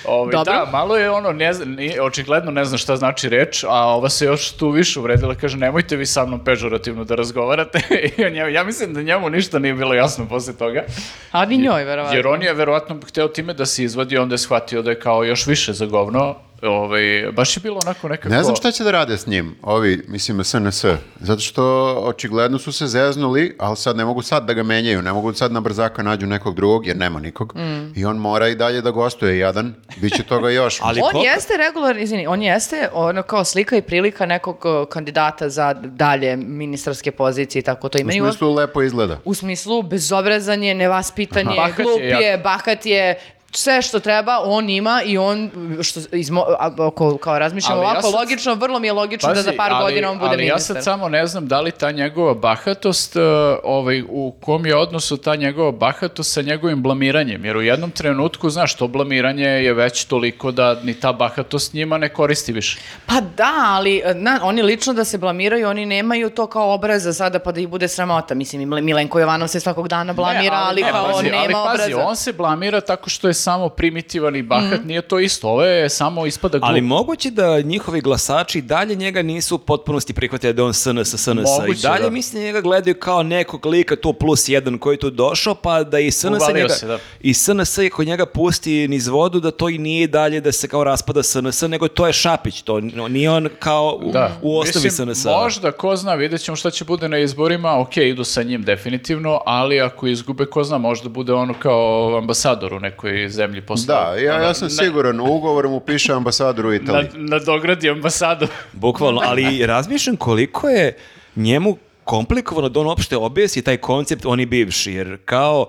Ovaj,
Dobro.
da, malo je ono, ne, zna- ni- očigledno ne znam šta znači reč, a ova se još tu više uvredila, kaže nemojte vi sa mnom pežorativno da razgovarate. I on njemu- ja mislim da njemu ništa nije bilo jasno posle toga,
A ni njoj, Pa verovatno.
jer on je verovatno hteo time da se izvadi, onda je shvatio da je kao još više za govno. Ovaj, baš je bilo onako nekako...
Ne znam šta će da rade s njim, ovi, mislim, SNS. Zato što očigledno su se zeznuli, ali sad ne mogu sad da ga menjaju, ne mogu sad na brzaka nađu nekog drugog, jer nema nikog. I on mora i dalje da gostuje jadan, bit će toga još.
Mm. Ali
on
koliko-
jeste regularni, izvini, on jeste ono kao slika i prilika nekog uh, kandidata za dalje ministarske pozicije i tako to
U
imaju.
smislu lepo izgleda.
U smislu, bezobrazan je, nevaspitan je,
Bahat je
glup je,
jako.
bahat je, sve što treba on ima i on, što, iz mo- a- ako kao razmišljam
Ali ja
ovako,
sad-
logično, vrlo mi je logično da za
Pazi,
par
ali-
godina on bude
ali ja
ministar.
sad samo ne znam da li ta njegova bahatost, e, ovaj, u kom je odnosu ta njegova bahatost sa njegovim blamiranjem, jer u jednom trenutku, znaš, to blamiranje je već toliko da ni ta bahatost njima ne koristi više.
Pa da, ali na, oni lično da se blamiraju, oni nemaju to kao obraza sada pa da ih bude sramota. Mislim, i Milenko Jovanov se svakog dana blamira, ali,
ne,
kao
pazi,
nema
ali pazi,
obraza. Mhm.
on se blamira tako što je samo primitivan i bahat, nije to isto, ovo je samo ispada glup.
Ali moguće da njihovi glasači i dalje njega nisu u potpunosti prihvatili da je on SNS, SNS. I
Moguće,
dalje
da.
mislim njega gledaju kao nekog lika tu plus jedan koji je tu došao, pa da i SNS
Uvalio
njega,
se, da.
i SNS i kod njega pusti niz vodu da to i nije dalje da se kao raspada SNS, nego to je Šapić, to no, nije on kao u,
Da.
u osnovi
Mislim,
SNS. -a.
Možda, ko zna, vidjet ćemo šta će bude na izborima, ok, idu sa njim definitivno, ali ako izgube, ko zna, možda bude ono kao ambasador u nekoj zemlji posle.
Da, ja, ja sam
Ono,
siguran, u ugovoru mu piše ambasador u
Na,
Italiji.
na dogradi ambasadu.
Bukvalno, ali razmišljam koliko je njemu komplikovano da on uopšte objasni taj koncept oni bivši, jer kao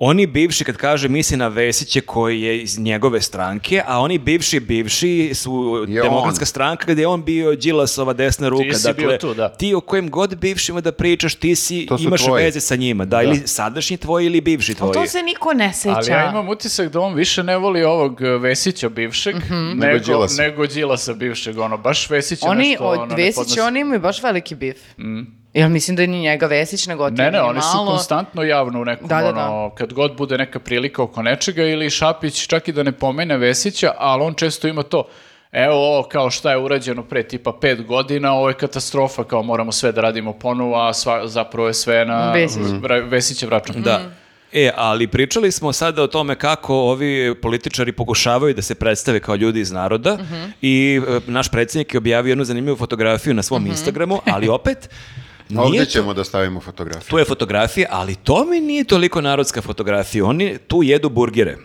oni bivši kad kaže misli na Vesiće koji je iz njegove stranke, a oni bivši bivši su
Je
demokratska
on.
stranka gdje je on bio Đilasova desna ruka. dakle,
si bio tu, da.
Ti o kojem god bivšima da pričaš, ti si,
To su
imaš
tvoji. Pa
veze sa njima. Da, ili sadašnji tvoji ili bivši tvoji.
Ali Pa to se niko ne seća.
Ali ja imam utisak da on više ne voli ovog e, Vesića bivšeg,
Mhm.
nego,
Nego
nego,
Đilasa.
Đilasa. bivšeg, ono, baš Vesića
Oni,
nešto, ono,
od
ne
Vesić,
podnosi. Mm.
oni imaju baš veliki bif. Jel mislim da ni njega Vesić, nego ti
Ne,
ni
ne, oni su
malo.
konstantno javno u nekom,
Da, da,
ono, kad god bude neka prilika oko nečega ili Šapić, čak i da ne pomene Vesića, ali on često ima to, evo ovo kao šta je urađeno pre tipa pet godina, ovo je katastrofa, kao moramo sve da radimo ponovo, a sva, zapravo je sve na
Vesić.
Vra- Vesićev račun.
Da. E, ali pričali smo sada o tome kako ovi političari pokušavaju da se predstave kao ljudi iz naroda
Mhm. Mhm.
i e, naš predsjednik je objavio jednu zanimljivu fotografiju na svom Instagramu, ali opet
Ovdje
Nije to-
ćemo da stavimo fotografiju.
Tu je fotografija, ali to mi nije toliko narodska fotografija. Oni tu jedu burgere.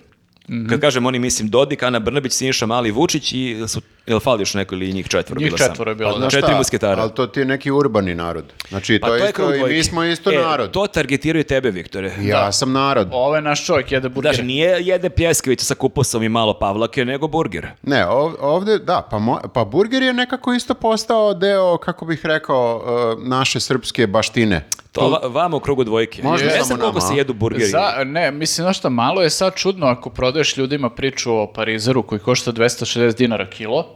Mhm.
Kad kažem oni, mislim Dodik, Ana Brnabić, Siniša Mali Vučić i su, jel fali još neko ili njih četvoro?
Njih
bilo samo?
četvoro je bilo,
Pa,
da. Pa
Znaš
Četiri
šta,
musketara. Pa
Ali to ti je neki urbani narod. Znači, to, je isto, i mi
dvojke.
smo isto
E,
narod.
To targetiraju tebe, Viktore.
Ja sam narod.
Ovo je naš čovjek, jede burger.
Daš, nije jede pljeskavić sa kupusom i malo pavlake, nego burger.
Ne, ov- ovdje, da, pa, mo- pa burger je nekako isto postao deo, kako bih rekao, e, naše srpske baštine.
To va, vama u krugu dvojke.
Možda
ne
samo
znam koliko
nama,
se
a?
jedu burgeri.
Za, ne, mislim, znaš šta, malo je sad čudno ako prodaješ ljudima priču o parizeru koji košta 260 dinara kilo,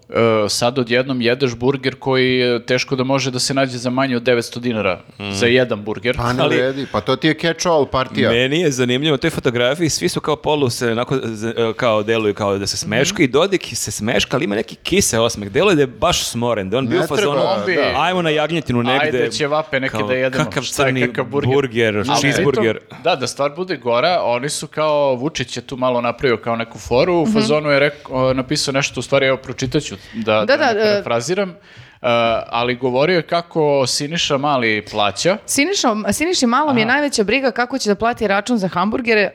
e, sad odjednom jedeš burger koji e, teško da može da se nađe za manje od 900 dinara za jedan burger.
Pa ne
Ali-
vredi, pa to ti je catch-all partija.
Meni je zanimljivo, na toj fotografiji svi su kao polu se onako z- e, kao deluju kao da se
Mhm.
smešku i Dodik se smeška, ali ima neki kise osmeh. Deluje da je baš smoren, da je on bio u
treba,
fazonu,
on bi-
ajmo na jagnjetinu negde.
Ajde ćevape neke da jedemo.
Kakav
Šta je,
crni
kakav burger?
burger,
Ali
cheeseburger.
pritom, da, da stvar bude gora, oni su kao, Vučić je tu malo napravio kao neku foru,
Mhm.
u fazonu je rekao, napisao nešto, u stvari evo pročitaću, da, da,
da,
ne
e.
parafraziram, e, ali govorio je kako Siniša Mali plaća,
Sinišom, Siniši malom je najveća briga kako će da plati račun za hamburgere,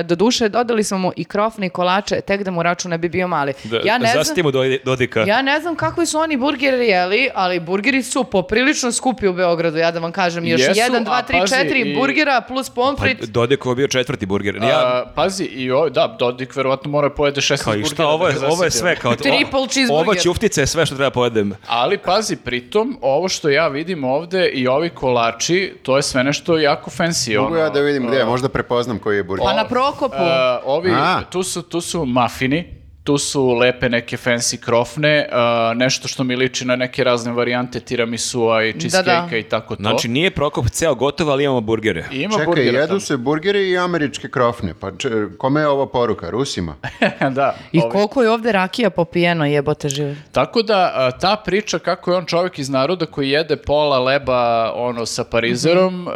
E, do duše dodali smo mu i krofne i kolače, tek da mu račun ne bi bio mali.
Da,
ja ne znam,
Zaštitimo Dodi- Dodika.
ja ne znam kakvi su oni burgeri jeli, ali burgeri su poprilično skupi u Beogradu, ja da vam kažem. Još
Jesu,
jedan, dva,
a
tri,
pazi,
četiri
i-
burgera plus
Pa
pomfrit.
Dodik ovo je bio četvrti burger. Ja,
A, E, pazi, i ovo, da, Dodik verovatno mora pojede 16
kao Pa i šta, ovo je, ovo je sve kao...
Triple cheeseburger.
Ova ćuftica je sve što treba pojedem.
Ali pazi, pritom, ovo što ja vidim ovde i ovi kolači, to je sve nešto jako fancy.
Mogu ja
ono.
da vidim gdje, možda prepoznam koji je burger.
Pa na Prokopu.
E, ovi,
A.
tu su, tu su mafini, tu su lepe neke fancy krofne, e, nešto što mi liči na neke razne varijante tiramisua i cheesecake i tako to.
Znači, nije Prokop ceo gotov, ali imamo burgere.
I ima
Čekaj,
burgera
jedu
tamo.
se burgeri i američke krofne. Pa če- kome je ovo poruka? Rusima?
da,
I
ovi-
koliko je ovde rakija popijeno jebote žive.
Tako da a, ta priča kako je on čovjek iz naroda koji jede pola leba ono sa parizerom,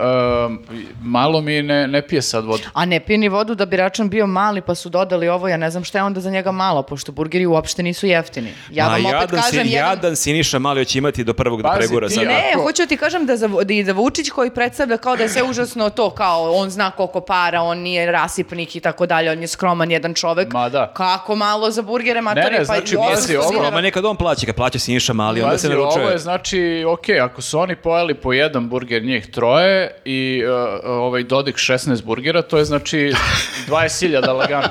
em, malo mi ne, ne pije sad vodu.
A ne pije ni vodu da bi račun bio mali pa su dodali ovo, ja ne znam šta je onda za njega malo, pošto burgeri uopšte nisu jeftini. Ja
Ma,
vam opet
jadan
kažem,
si,
jedan
jadan Siniša Mali će imati do prvog da
Pazi,
pregura
ti-
sada.
Ne,
Ako-
hoću ti kažem da, za, da i da Vučić koji predstavlja kao da je sve užasno to, kao on zna koliko para, on nije rasipnik i tako dalje, on je skroman jedan čovek.
Ma da.
Kako malo za burgere, matori,
ne,
pa
znači,
i
pazi,
800
ovo-
dinara.
Ma nekad on plaća, kad plaća Siniša Mali, onda se
Pazi,
naručuje.
ovo je znači, ok, ako su oni pojeli po jedan burger njih troje i e, ovaj Dodik 16 burgera, to je znači 20.000 lagano,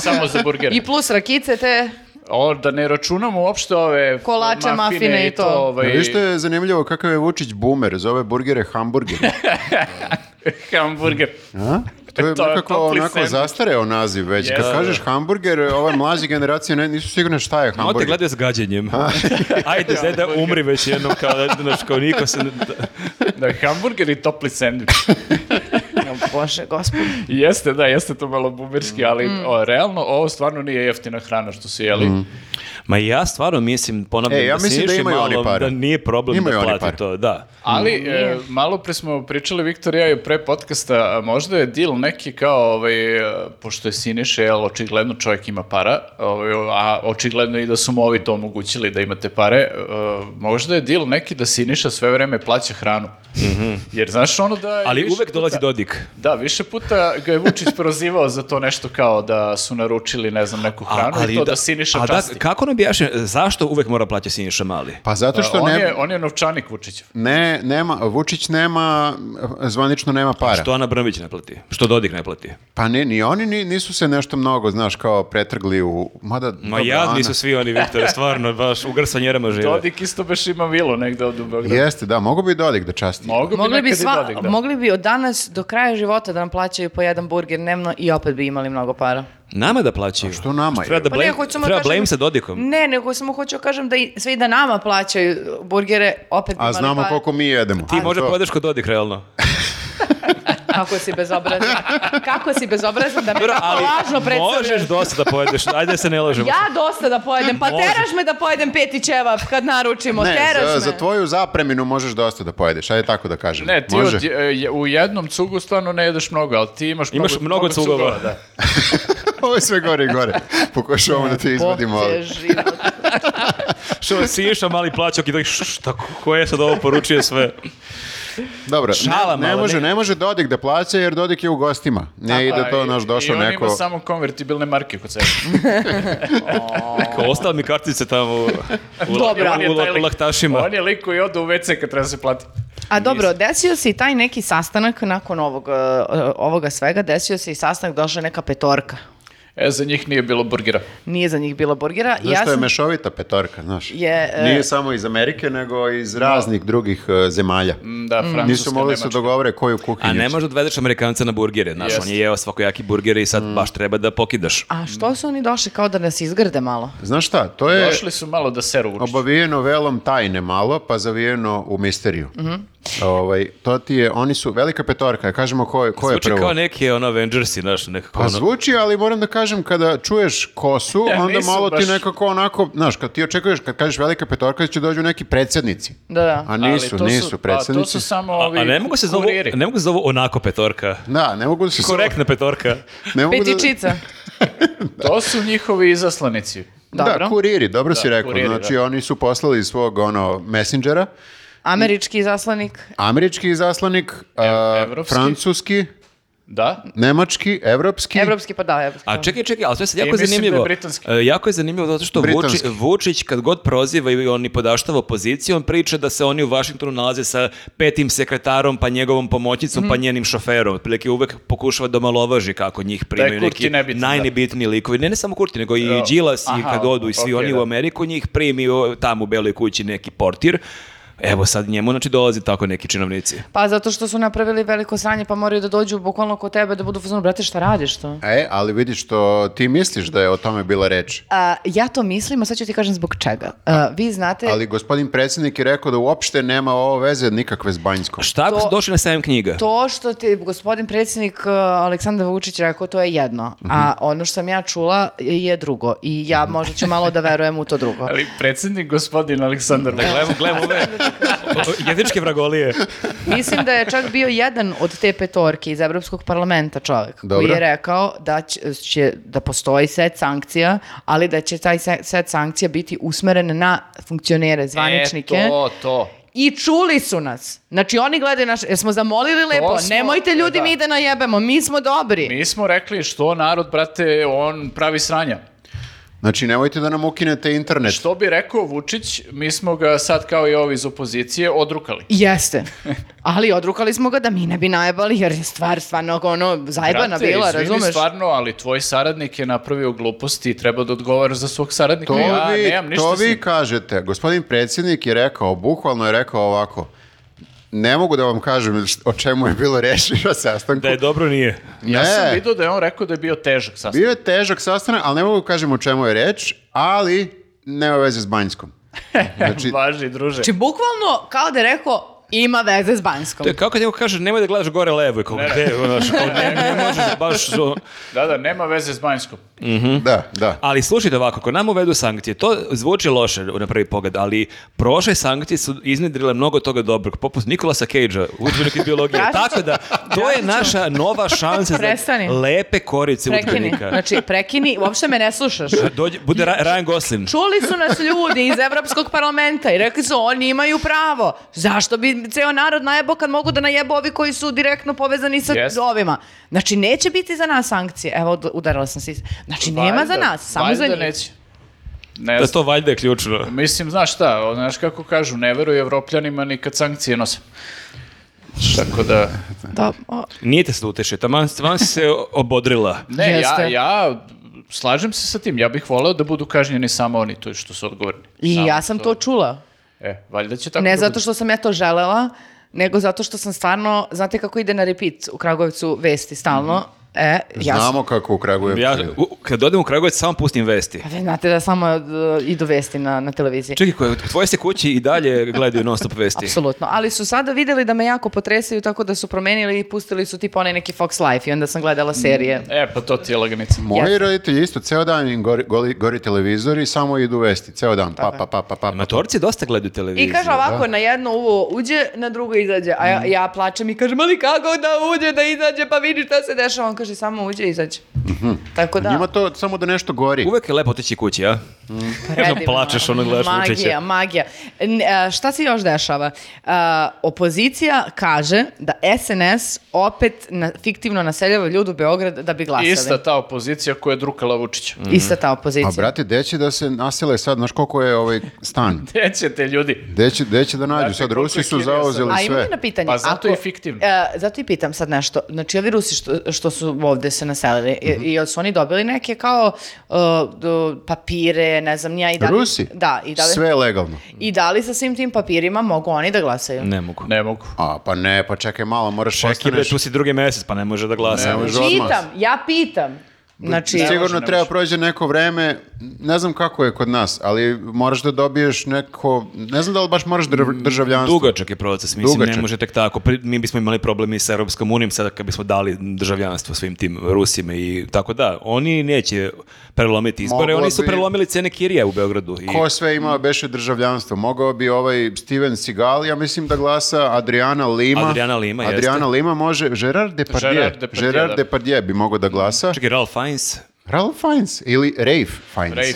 samo za burgere.
I plus rakice te,
O, da ne računamo uopšte ove
Kolače, mafine i to.
Pa
ovaj,
Viš što je zanimljivo kakav je Vučić boomer, zove burgere hamburgeri.
hamburger.
A? To je
To je
nekako
topli
onako
sandvič.
zastareo naziv već. Kad kažeš hamburger, ove mlađe generacije ne, nisu sigurne šta je
Ma te
hamburger.
gledaju s gađenjem. Ajde, deda, umri već jednom, kao da, znaš, kao niko se... ne-
Da, hamburger i topli sandvič.
Jo, bože, gospod.
jeste, da, jeste to malo
Mm.
bumerski, ali
Mm.
o, realno ovo stvarno nije jeftina hrana što su jeli.
Mm. Ma ja stvarno mislim, ponavljam,
E, ja mislim da
Siniši
imaju oni
Malom
pare.
da nije problem
Imaju
da
oni
plati
pare.
to, da.
Ali, e, malo pre smo pričali, Viktor i ja, i pre podcasta, a možda je deal neki kao, ovaj, e, pošto je Siniše, jel, očigledno čovjek ima para, ovaj, a očigledno i da su mu ovi to omogućili da imate pare, e, možda je deal neki da Siniša sve vreme plaća hranu. Jer znaš ono da... je
Ali
više
uvek dolazi
puta-
Dodik.
Da, više puta ga je Vučić prozivao za to nešto kao da su naručili, ne znam, neku
A-
hranu i to da, Siniša
a
časti.
kako nam objašnja, zašto uvek mora plaća Siniša Mali?
Pa zato što
on,
ne,
je, on je novčanik Vučićev.
ne, nema, Vučić nema, zvanično nema para.
Što Ana Brnović ne plati? Što Dodik ne plati?
Pa ne, ni oni ni- nisu se nešto mnogo, znaš, kao pretrgli u... Mada,
Ma
dobro,
jadni
Ana-
su svi oni, Viktore, stvarno, baš u grsanjerama žive.
Dodik isto beš ima vilu negde ovdje u Beogradu.
Jeste, da, mogu bi Dodik da časti.
Mogu
Mogli bi,
nekad i
sva,
Dodik, da.
mogli bi od danas do kraja života da nam plaćaju po jedan burger dnevno i opet bi imali mnogo para.
Nama da plaćaju.
Što nama je?
Treba da
Pa ne,
blame,
hoću samo
treba
kažem-
blame sa Dodikom.
Ne, nego samo hoću kažem da i, sve i da nama plaćaju burgere, opet bi pa-
A
imali
znamo
para.
koliko mi jedemo.
Ti možda
To-
pojedeš kod Dodik, realno.
Kako si bezobrazan? Kako si bezobrazan da me tako lažno predstavljaš?
možeš dosta da pojedeš, ajde da se ne lažemo.
Ja dosta da pojedem, pa
Možeš.
teraš me da pojedem peti ćevap kad naručimo,
Ne,
teraš
za,
Pa me.
za tvoju zapreminu možeš dosta da pojedeš, ajde tako da kažem.
Ne, ti
Može?
od- je- u jednom cugu stvarno ne jedeš mnogo, ali ti imaš,
Imaš mnogo cugova.
da.
Ovo je sve gore i gore. Pokušavamo da te izvadimo.
Bog te
ali-
život.
Što si išao mali plaćok i tako, šta, ko je sad ovo poručio sve?
Dobro, ne-
Šala
ne,
malo,
može,
ne.
ne može Dodik da plaća jer Dodik je u gostima. Ne ide to, naš došao
I on
neko...
ima samo konvertibilne marke kod sebe.
Kao ostale mi kartice tamo u, u,
Dobro.
u- u- u- u- u laktašima.
On je lik koji ode u WC kad treba da se plati.
A dobro, desio se i taj neki sastanak nakon ovog, e, ovoga svega, desio se i sastanak, došla je neka petorka.
E, za njih nije bilo burgira.
Nije za njih bilo burgera.
Zašto
ja
je
sam-
mešovita petorka, znaš?
Je, e,
Nije samo iz Amerike, nego iz raznih drugih e, zemalja.
Mm, Da, Francuska,
Nisu mogli se
Nemačka.
dogovore koju kuhinju.
A
će.
ne možeš da odvedeš Amerikanca na burgere, znaš,
Jest.
on je jeo svakojaki burgere i sad baš treba da pokidaš.
A što su oni došli kao da nas izgrde malo?
Znaš šta, to je
E, Došli su malo da seru učiti.
obavijeno velom tajne malo, pa zavijeno u misteriju.
Mhm.
ovaj, to ti je, oni su, velika petorka, kažemo ko je, ko je
Zvuči
prvo.
kao neki ono Avengersi, znaš, nekako
Pa
ono-
zvuči, ali moram da kažem, kada čuješ kosu,
Ja,
onda
nisu
malo ti
baš-
nekako onako, znaš, kad ti očekuješ, kad kažeš velika petorka, da će dođu neki predsjednici.
Da, da.
A
Ali
nisu,
to su-
nisu
Pa, to
predsjednici.
su samo
A,
ovi
a ne mogu se zovu,
kuriri.
ne mogu se zovu onako petorka.
Da, ne mogu da se...
Korektna petorka.
Ne mogu da-
Petičica.
To su njihovi izaslanici.
Da,
Dobro.
kuriri, dobro si rekao.
kuriri,
znači,
da.
oni su poslali svog ono, messengera,
Američki zaslanik.
američki izaslanik, a,
evropski.
francuski,
Da?
nemački, evropski.
Evropski, pa da, evropski.
A čekaj, čekaj, ali to je sad jako
mislim da je
zanimljivo.
britanski.
E, jako je zanimljivo zato što Vuči,
Britanski.
Vučić kad god proziva i on i podaštava opoziciju, on priča da se oni u Vašingtonu nalaze sa petim sekretarom, pa njegovom pomoćnicom,
Mhm.
pa njenim šoferom. Otprilike uvek pokušava da omalovaži kako njih primaju
Kurti
neki
nebitan, da.
najnebitniji likovi. Ne, ne samo Kurti, nego i
Jo.
Đilas i
Aha,
kad odu i svi
okej,
oni
da.
u Ameriku, njih primi o, tamo u Beloj kući neki portir. Evo sad njemu znači dolazi tako neki činovnici.
Pa zato što su napravili veliko sranje pa moraju da dođu bukvalno kod tebe da budu fazonu, brate šta radiš to?
E, ali vidiš što ti misliš da je o tome bila reč.
A, ja to mislim, a sad ću ti kažem zbog čega. A, vi znate,
Ali gospodin predsjednik je rekao da uopšte nema ovo veze nikakve s Banjskom.
Šta ako
To-
su došli na sajam knjiga?
to što ti gospodin predsjednik uh, Aleksandar Vučić rekao, to je jedno. A
Mhm.
ono što sam ja čula je drugo. I ja možda ću malo da verujem u to drugo.
Ali predsjednik gospodin Aleksandar Vučić.
Gledamo, gledamo ove jezičke vragolije.
Mislim da je čak bio jedan od te petorke iz Evropskog parlamenta čovjek koji
Dobro.
je rekao da će, će- da postoji set sankcija, ali da će taj se- set sankcija biti usmeren na funkcionere, zvaničnike.
E, to, to.
I čuli su nas. Znači oni gledaju naš, jer smo zamolili lepo,
smo-
nemojte ljudi
da.
mi da najebemo, mi smo dobri.
Mi smo rekli što narod, brate, on pravi sranja.
Znači, nemojte da nam ukinete internet.
Što bi rekao Vučić, mi smo ga sad kao i ovi iz opozicije odrukali.
Jeste. Ali odrukali smo ga da mi ne bi najebali, jer je stvar stvarno ono zajebana
Brate,
bila,
izvini
razumeš?
stvarno, ali tvoj saradnik je napravio gluposti i treba da odgovaraš za svog saradnika.
To
ja
vi,
nemam ništa
to
s njim.
vi kažete. Gospodin predsjednik je rekao, bukvalno je rekao ovako, ne mogu da vam kažem š- o čemu je bilo rešeno na sastanku.
Da je dobro nije.
Ja sam
Ne.
vidio da je on rekao da je bio težak sastanak.
Bio je težak sastanak, ali ne mogu da kažem o čemu je reč, ali nema veze s Banjskom. Znači,
Važi, druže.
Znači, bukvalno, kao da je rekao, ima veze s Banjskom.
To je kako kad neko kaže nemoj da gledaš gore levo i kao gde, znaš, kao ne, ne možeš baš... zo-
Da, da, nema veze s Banjskom.
da, da.
Ali slušajte ovako, ako nam uvedu sankcije, to zvuči loše na prvi pogled, ali prošle sankcije su iznedrile mnogo toga dobrog, poput Nikolasa Cage-a, udžbenik iz biologije.
Ja ću-
Tako da, to je naša nova šansa za
Prestani.
lepe korice
Prekini.
udžbenika.
Znači, prekini, uopšte me ne slušaš.
Dođe, bude Ra- Ryan Gosling.
Čuli su nas ljudi iz Evropskog parlamenta i rekli su oni imaju pravo. Zašto bi ceo narod najebo kad mogu da najebo ovi koji su direktno povezani sa
Jest.
ovima? Znači, neće biti za nas sankcije. Evo, ud- udarila sam se. Znači, nema za
Valjda,
nas, samo
valjda
za njih.
neće. Ne
Da
znam.
to valjda je ključno.
Mislim, znaš šta, o, znaš kako kažu, ne veruju evropljanima ni kad sankcije nose. Tako da...
Da, o,
Nije te se utešio, taman, taman si se obodrila.
Ne, ja,
Jeste.
ja slažem se sa tim. Ja bih voleo da budu kažnjeni samo oni to što su odgovorni.
I
Samo
ja sam to čula.
E, valjda će tako
Ne
da
zato
bude.
što sam ja to želela, nego zato što sam stvarno, znate kako ide na repeat u Kragovicu vesti stalno. E, ja sam-
Znamo kako u Kragujevcu.
Ja,
ide.
u- kad odem u Kragujevac samo pustim vesti.
Pa vi znate da samo e, idu vesti na, na televiziji.
Čekaj, koje, tvoje se kući i dalje gledaju non stop vesti.
Apsolutno, ali su sada vidjeli da me jako potresaju tako da su promenili i pustili su tipa onaj neki Fox Life i onda sam gledala serije.
Mm,
E, pa to ti je laganica.
Moji roditelji isto, ceo dan im gori, goli- gori televizor i samo idu vesti, ceo dan, pa, pa, pa, pa, pa.
Matorci dosta gledaju televiziju.
I kaže ovako, na jedno uvo uđe, na drugo izađe. A
Mm.
ja, ja plačem i kažem, ali kako da uđe, da izađe, pa vidi šta se
Mhm.
dešava. On kaže, samo uđe i izađe. Tako da,
Njima to samo da nešto gori.
Uvek je lepo otići kući, a? Jednom plačeš, ono gledaš
magija,
Vučića.
Magija, N- e, šta se još dešava? E, opozicija kaže da SNS opet na, fiktivno naseljava ljudi u Beograd da bi glasali.
Ista ta opozicija koja je drukala Vučića.
Ista
Mhm.
ta
A
opozicija.
brate, gde će da se nasele sad, znaš koliko je ovaj stan?
Gde ćete ljudi?
Gde će, gde će da nađu?
Brate,
sad
koliko
Rusi
je
su
Kirija
zauzeli
A imam
sve.
jedno pitanje.
Pa zato
Ako-
je fiktivno.
E, zato i pitam sad nešto. Znači, ovi Rusi što, što su ovde se naselili, i-
Mhm.
i, jel su oni dobili neke kao e, do- papire, ne znam, nija i da li...
Rusi?
Da, i da li...
Sve je legalno.
I da li sa svim tim papirima mogu oni da glasaju?
Ne mogu.
Ne mogu.
A, pa ne, pa čekaj malo, moraš
Čekaj, bre,
postaneš...
tu si drugi mjesec, pa ne može da glasa.
Ne može odmah.
Pitam, ja pitam. Znači,
Ne može,
Sigurno
ne
treba
može.
prođe neko vreme, ne znam kako je kod nas, ali moraš da dobiješ neko, ne znam da li baš moraš dr-
Mm,
državljanstvo.
Dugačak je proces, mislim,
Dugačak.
ne može tek tako. Pri- Mi bismo imali problemi sa Europskom unijom sada kad bismo dali državljanstvo svim tim Rusima i tako da. Oni neće prelomiti izbore,
Moglo
oni su
bi-
prelomili cene kirija u Beogradu. I...
Ko sve imao beše državljanstvo? Mogao bi ovaj Steven Seagal, ja mislim da glasa Adriana Lima.
Adriana Lima, jeste.
Adriana Lima može, Gerard Depardieu. Gerard
Gerard
Depardieu,
Depardieu, da.
bi mogao da glasa.
Čekaj, Ralph Fiennes,
Ralph Fiennes ili Rafe Fiennes.
Rej,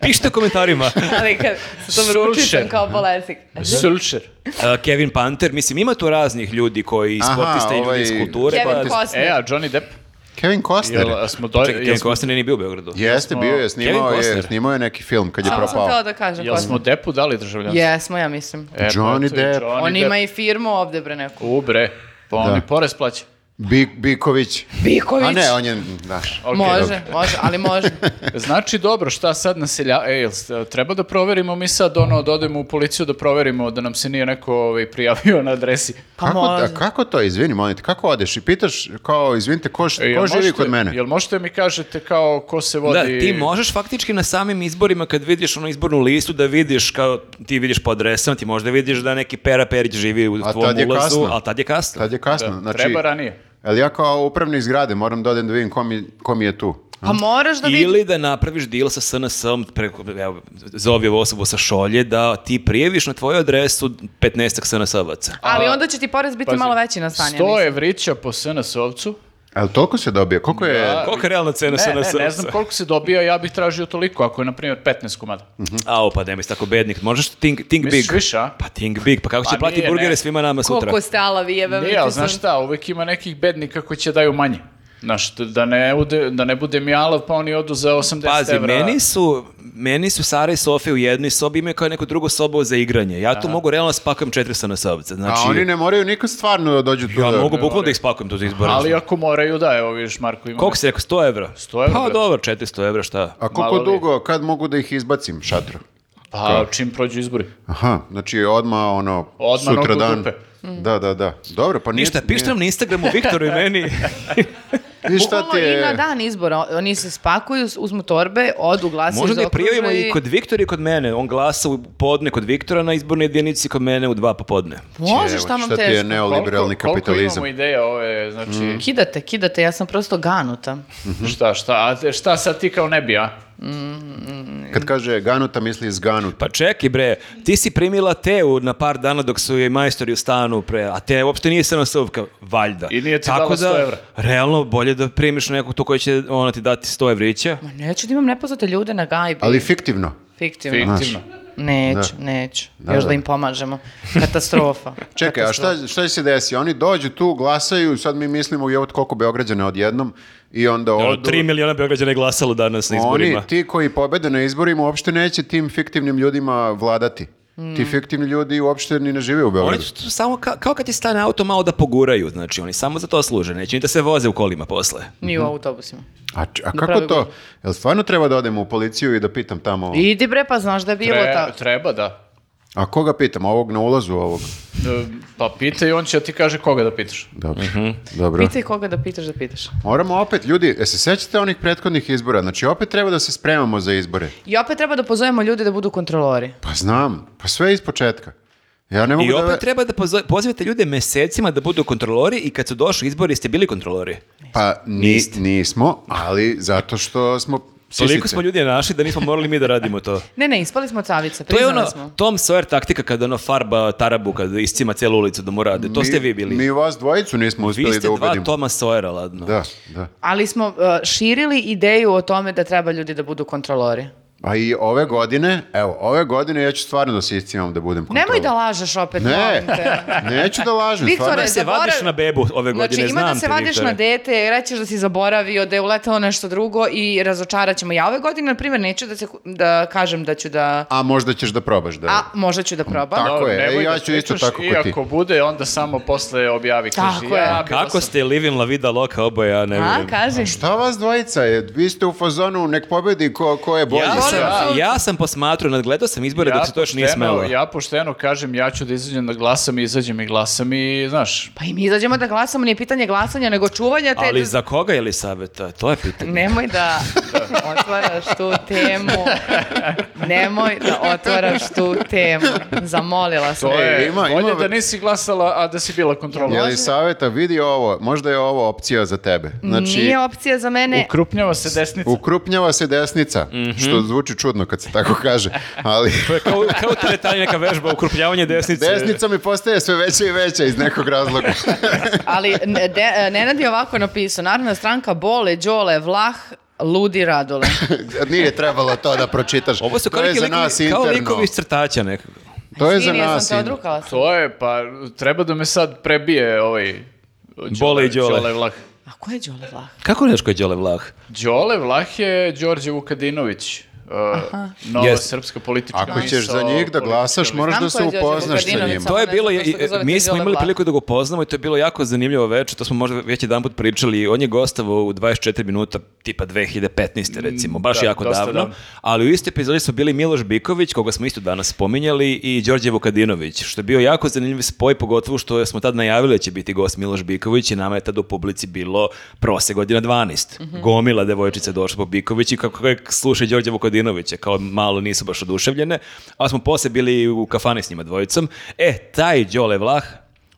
pišite u komentarima.
ali kad sam ručićem
Sulšer.
kao bolesnik.
E,
Sulšer.
Uh, Kevin Panter, mislim, ima tu raznih ljudi koji
Aha,
sportiste i ljudi
ovaj-
iz kulture.
Kevin
pa-
Kevin
E,
Costner.
a Johnny Depp?
Kevin Costner.
Jel, a smo do...
Čekaj,
jel
Kevin
smo-
Costner nije bio u Beogradu.
Jeste, bio je, snimao je,
Costner.
snimao je neki film kad je
Samo sam htjela
propao.
da kažem.
Jel smo
Costner.
Deppu dali državljanstvo?
Jesmo, ja mislim.
E, pa
Johnny
eto i
Depp.
Johnny
On ima
Depp.
i firmu ovde, bre, neku.
U bre, pa on
Da.
i porez plaća.
Bi- Biković.
Biković.
A ne, on je, daš.
Ok.
Može, može, ali može. Pa
Znači dobro, šta sad naselja... E, jel ste- treba da proverimo mi sad ono, da odemo u policiju da proverimo da nam se nije neko ovaj, prijavio na adresi.
Pa
Kako,
može.
da, kako to, izvini, molim te, kako odeš i pitaš kao, izvinite, ko, š-
E, jel
ko živi
možete-
kod mene?
Jel možete mi kažete kao ko se vodi...
Da, ti možeš faktički na samim izborima kad vidiš onu izbornu listu da vidiš kao ti vidiš po adresama, ti možda vidiš da neki Pera Perić živi u
A
tvom
tad je
ulazu,
kasno.
ali tad je kasno.
Tad je kasno,
Da,
znači...
Treba ranije.
Ali ja kao upravnik zgrade moram da odem da vidim ko mi, ko mi je tu.
Pa moraš da vidiš.
Ili da napraviš deal sa SNS-om, preko, evo, zove ovu osobu sa šolje, da ti prijeviš na tvoju adresu 15 SNS-ovaca.
Ali onda će ti porez biti
Pazi,
malo veći na stanje.
Sto evrića po SNS-ovcu.
Ali toliko se dobije? Koliko je...
Da.
Koliko je realna cena
Ne,
SNS-ovaca?
ne, ne znam koliko se dobija, ja bih tražio toliko, ako je, na primjer, 15 komada.
Ao, pa nemoj si tako bednik, možeš think, think
Misliš
big.
više, a?
Pa think big, pa kako će
Pa
platiti
nije,
burgere
ne.
svima nama sutra?
Koliko ste alavi, jebe.
Nije, ali znaš šta, uvek ima nekih bednika koji će daju manje. Znaš, da- da ne, ude, da ne budem jalav, pa oni odu za 80
Pazi,
evra.
meni su, meni su Sara i Sofija u jednoj sobi, imaju kao neku drugu sobu za igranje. Ja tu mogu realno spakam četiri SNS-ovce. Znači,
A oni ne moraju nikad stvarno da dođu tu.
Ja
da-
mogu bukvalno da ih spakujem tu za izbore.
Ali ako moraju, da, evo vidiš, Marko ima...
Koliko si rekao, 100 evra?
100 evra,
Pa
brate.
dobro, 400 evra, šta?
A koliko
Malo li je.
dugo, kad mogu da ih izbacim šatru?
Pa čim prođu izbori.
Aha, znači odma ono,
Odma
sutra
nogu
dan.
dupe.
Da, da, da. Dobro, pa nije...
Ništa, pišite nam
nije-
na Instagramu, Viktoru i meni.
I šta ti
I na
je...
dan izbora. Oni se spakuju, uzmu torbe, odu, glasaju,
Možda da je
zaokruže
prijavimo i kod Viktora i kod mene. On glasa u podne kod Viktora na izbornoj jedinici, kod mene u dva popodne.
Može, šta
Evo,
vam
šta ti je
teško?
neoliberalni
Koliko-
kapitalizam?
Koliko imamo ideja ove, znači,
Kidate, kidate, ja sam prosto ganuta.
Mm, mhm.
šta, šta, a te- šta sad ti kao ne bi, a?
Kad kaže ganuta, misli zganuta.
Pa čeki bre, ti si primila teu na par dana dok su je majstori u stanu pre, a te uopšte nije se nasovka, valjda.
I nije ti
Tako
dala 100
da,
evra.
realno bolje da primiš nekog tu koji će ona ti dati 100 evrića.
Ma neću da imam nepoznate ljude na gajbi.
Ali fiktivno.
Fiktivno.
Fiktivno.
Neću, neću. Još da, im pomažemo. Katastrofa.
Čekaj, a šta, šta se desi? Oni dođu tu, glasaju, sad mi mislimo, jevo koliko Beograđana odjednom, i onda
Ono,
odu...
3 miliona Beograđana je glasalo danas na izborima.
Oni, ti koji pobede na izborima, uopšte neće tim fiktivnim ljudima vladati.
Mm.
Ti fiktivni ljudi uopšte ni ne žive u
Oni
Beogradu.
su tu samo ka- kao kad ti stane auto malo da poguraju, znači oni samo za to služe, neće ni da se voze u kolima posle.
Ni u autobusima.
A, č- a
Da
kako
pravi
to?
govor.
Jel stvarno treba da odem u policiju i da pitam tamo?
Idi bre, pa znaš da je bilo
Tre-
tako.
treba, da.
A koga pitam? Ovog na ulazu ovog?
E, Pa pitaj, on će ti kaže koga da pitaš.
Dobro.
Mhm.
Dobro.
Pitaj koga da pitaš da pitaš.
Moramo opet, ljudi, e se sećate onih prethodnih izbora? Znači, opet treba da se spremamo za izbore.
I opet treba da pozovemo ljude da budu kontrolori.
Pa znam, pa sve iz početka. Ja ne mogu
I opet
da...
treba da pozo- pozivate ljude mesecima da budu kontrolori i kad su došli izbori ste bili kontrolori.
Pa ni, nismo, ali zato što smo
Toliko
sisice.
smo ljudi našli da nismo morali mi da radimo to.
Ne, ne, ispali smo od cavice,
To je
priznali
ono
smo.
Tom Sawyer taktika kada ono farba tarabu, kada iscima cijelu ulicu da mu rade. To ste vi bili.
Mi vas dvojicu nismo
vi
uspjeli
ste
da
dva
ubedimo.
Toma Sawyera, ladno.
Da, da.
Ali smo uh, širili ideju o tome da treba ljudi da budu kontrolori.
A i ove godine, evo, ove godine ja ću stvarno da se iscijam da budem kontrolor.
Nemoj da lažeš opet,
Ne,
molim te.
neću da lažem.
Viktore,
stvarno.
Da se
Zaborav-
vadiš na bebu ove godine,
Znači, ima
znam
da
te,
se vadiš
Viktore.
na dete, rećeš da si zaboravio, da je uletelo nešto drugo i razočarat ćemo. Ja ove godine, na primjer, neću da, se, da kažem da ću da...
A možda ćeš da probaš da...
A, možda ću da probam.
Tako
Dobro,
je, e,
nemoj
ja
da
ću isto
pričaš
tako ko
i
ti.
ako bude, onda samo posle objavi. Kaži,
Tako je.
ja, bila
Kako
sam-
ste living la vida loka oboje, ja ne
A,
vidim.
kaži.
Šta vas dvojica je? Vi ste u fazonu, nek pobedi ko, ko je bolji.
Ja
sad.
sam, ja sam posmatrao, nadgledao sam izbore dok se to još nije
pošteno-
smelo.
Ja pošteno kažem, ja ću da izađem da glasam i izađem i glasam i, znaš,
Pa i mi izađemo da glasamo, nije pitanje glasanja, nego čuvanja te...
Ali za koga je li saveta? To je pitanje.
Nemoj da otvaraš tu temu. Nemoj da otvaraš tu temu. Zamolila sam.
to
E,
je
ima-
bolje
ima-
da nisi glasala, a da si bila kontrola.
Je li saveta, vidi ovo, možda je ovo opcija za tebe. Znači,
Nije opcija za mene.
Ukrupnjava se desnica.
ukrupnjava se desnica,
Mhm.
što zvuči čudno kad se tako kaže, ali...
To je kao, kao teretanje neka vežba, ukrupljavanje desnice.
Desnica mi postaje sve veća i veća iz nekog razloga.
Ali ne- de, e, Nenad je ovako napisao. Narodna stranka Bole, Đole, Vlah, Ludi Radole.
Nije trebalo to da pročitaš.
Ovo su kao,
to je
neki
za
likovi,
nas
kao
interno.
likovi iz crtaća nekako.
To je za
Izvini,
nas
Jesam te
in-
odrukala sam.
To je, pa treba da me sad prebije ovaj...
Bole i Đole.
Đole Vlah.
A ko je Đole Vlah?
Kako neš koji je Đole Vlah?
Đole Vlah je Đorđe Vukadinović. Uh, nova
Yes.
srpska politička
Ako ćeš za
misao,
njih da glasaš,
politička
moraš
Znam
da
ko
se
je Đorđe
upoznaš sa
Vukadinović,
njima.
To
samo
je
ne
bilo,
znam
je-
zašto ga zovete
mi smo
Đole
imali
Vlah.
priliku da ga upoznamo i to je bilo jako zanimljivo večer, to smo možda već jedan put pričali, on je gostovao u 24 minuta, tipa 2015. recimo, baš
da,
jako
dosta
davno,
davno.
ali u istoj epizodi su bili Miloš Biković, koga smo isto danas spominjali, i Đorđe Vukadinović, što je bio jako zanimljiv spoj, pogotovo što smo tad najavili da će biti gost Miloš Biković i nama je tad u publici bilo prose godina 12. Gomila devojčice došla po Biković i kako je slušaj Đorđe Vukadinovića, kao malo nisu baš oduševljene, ali smo posle bili u kafani s njima dvojicom. E, taj Đole Vlah,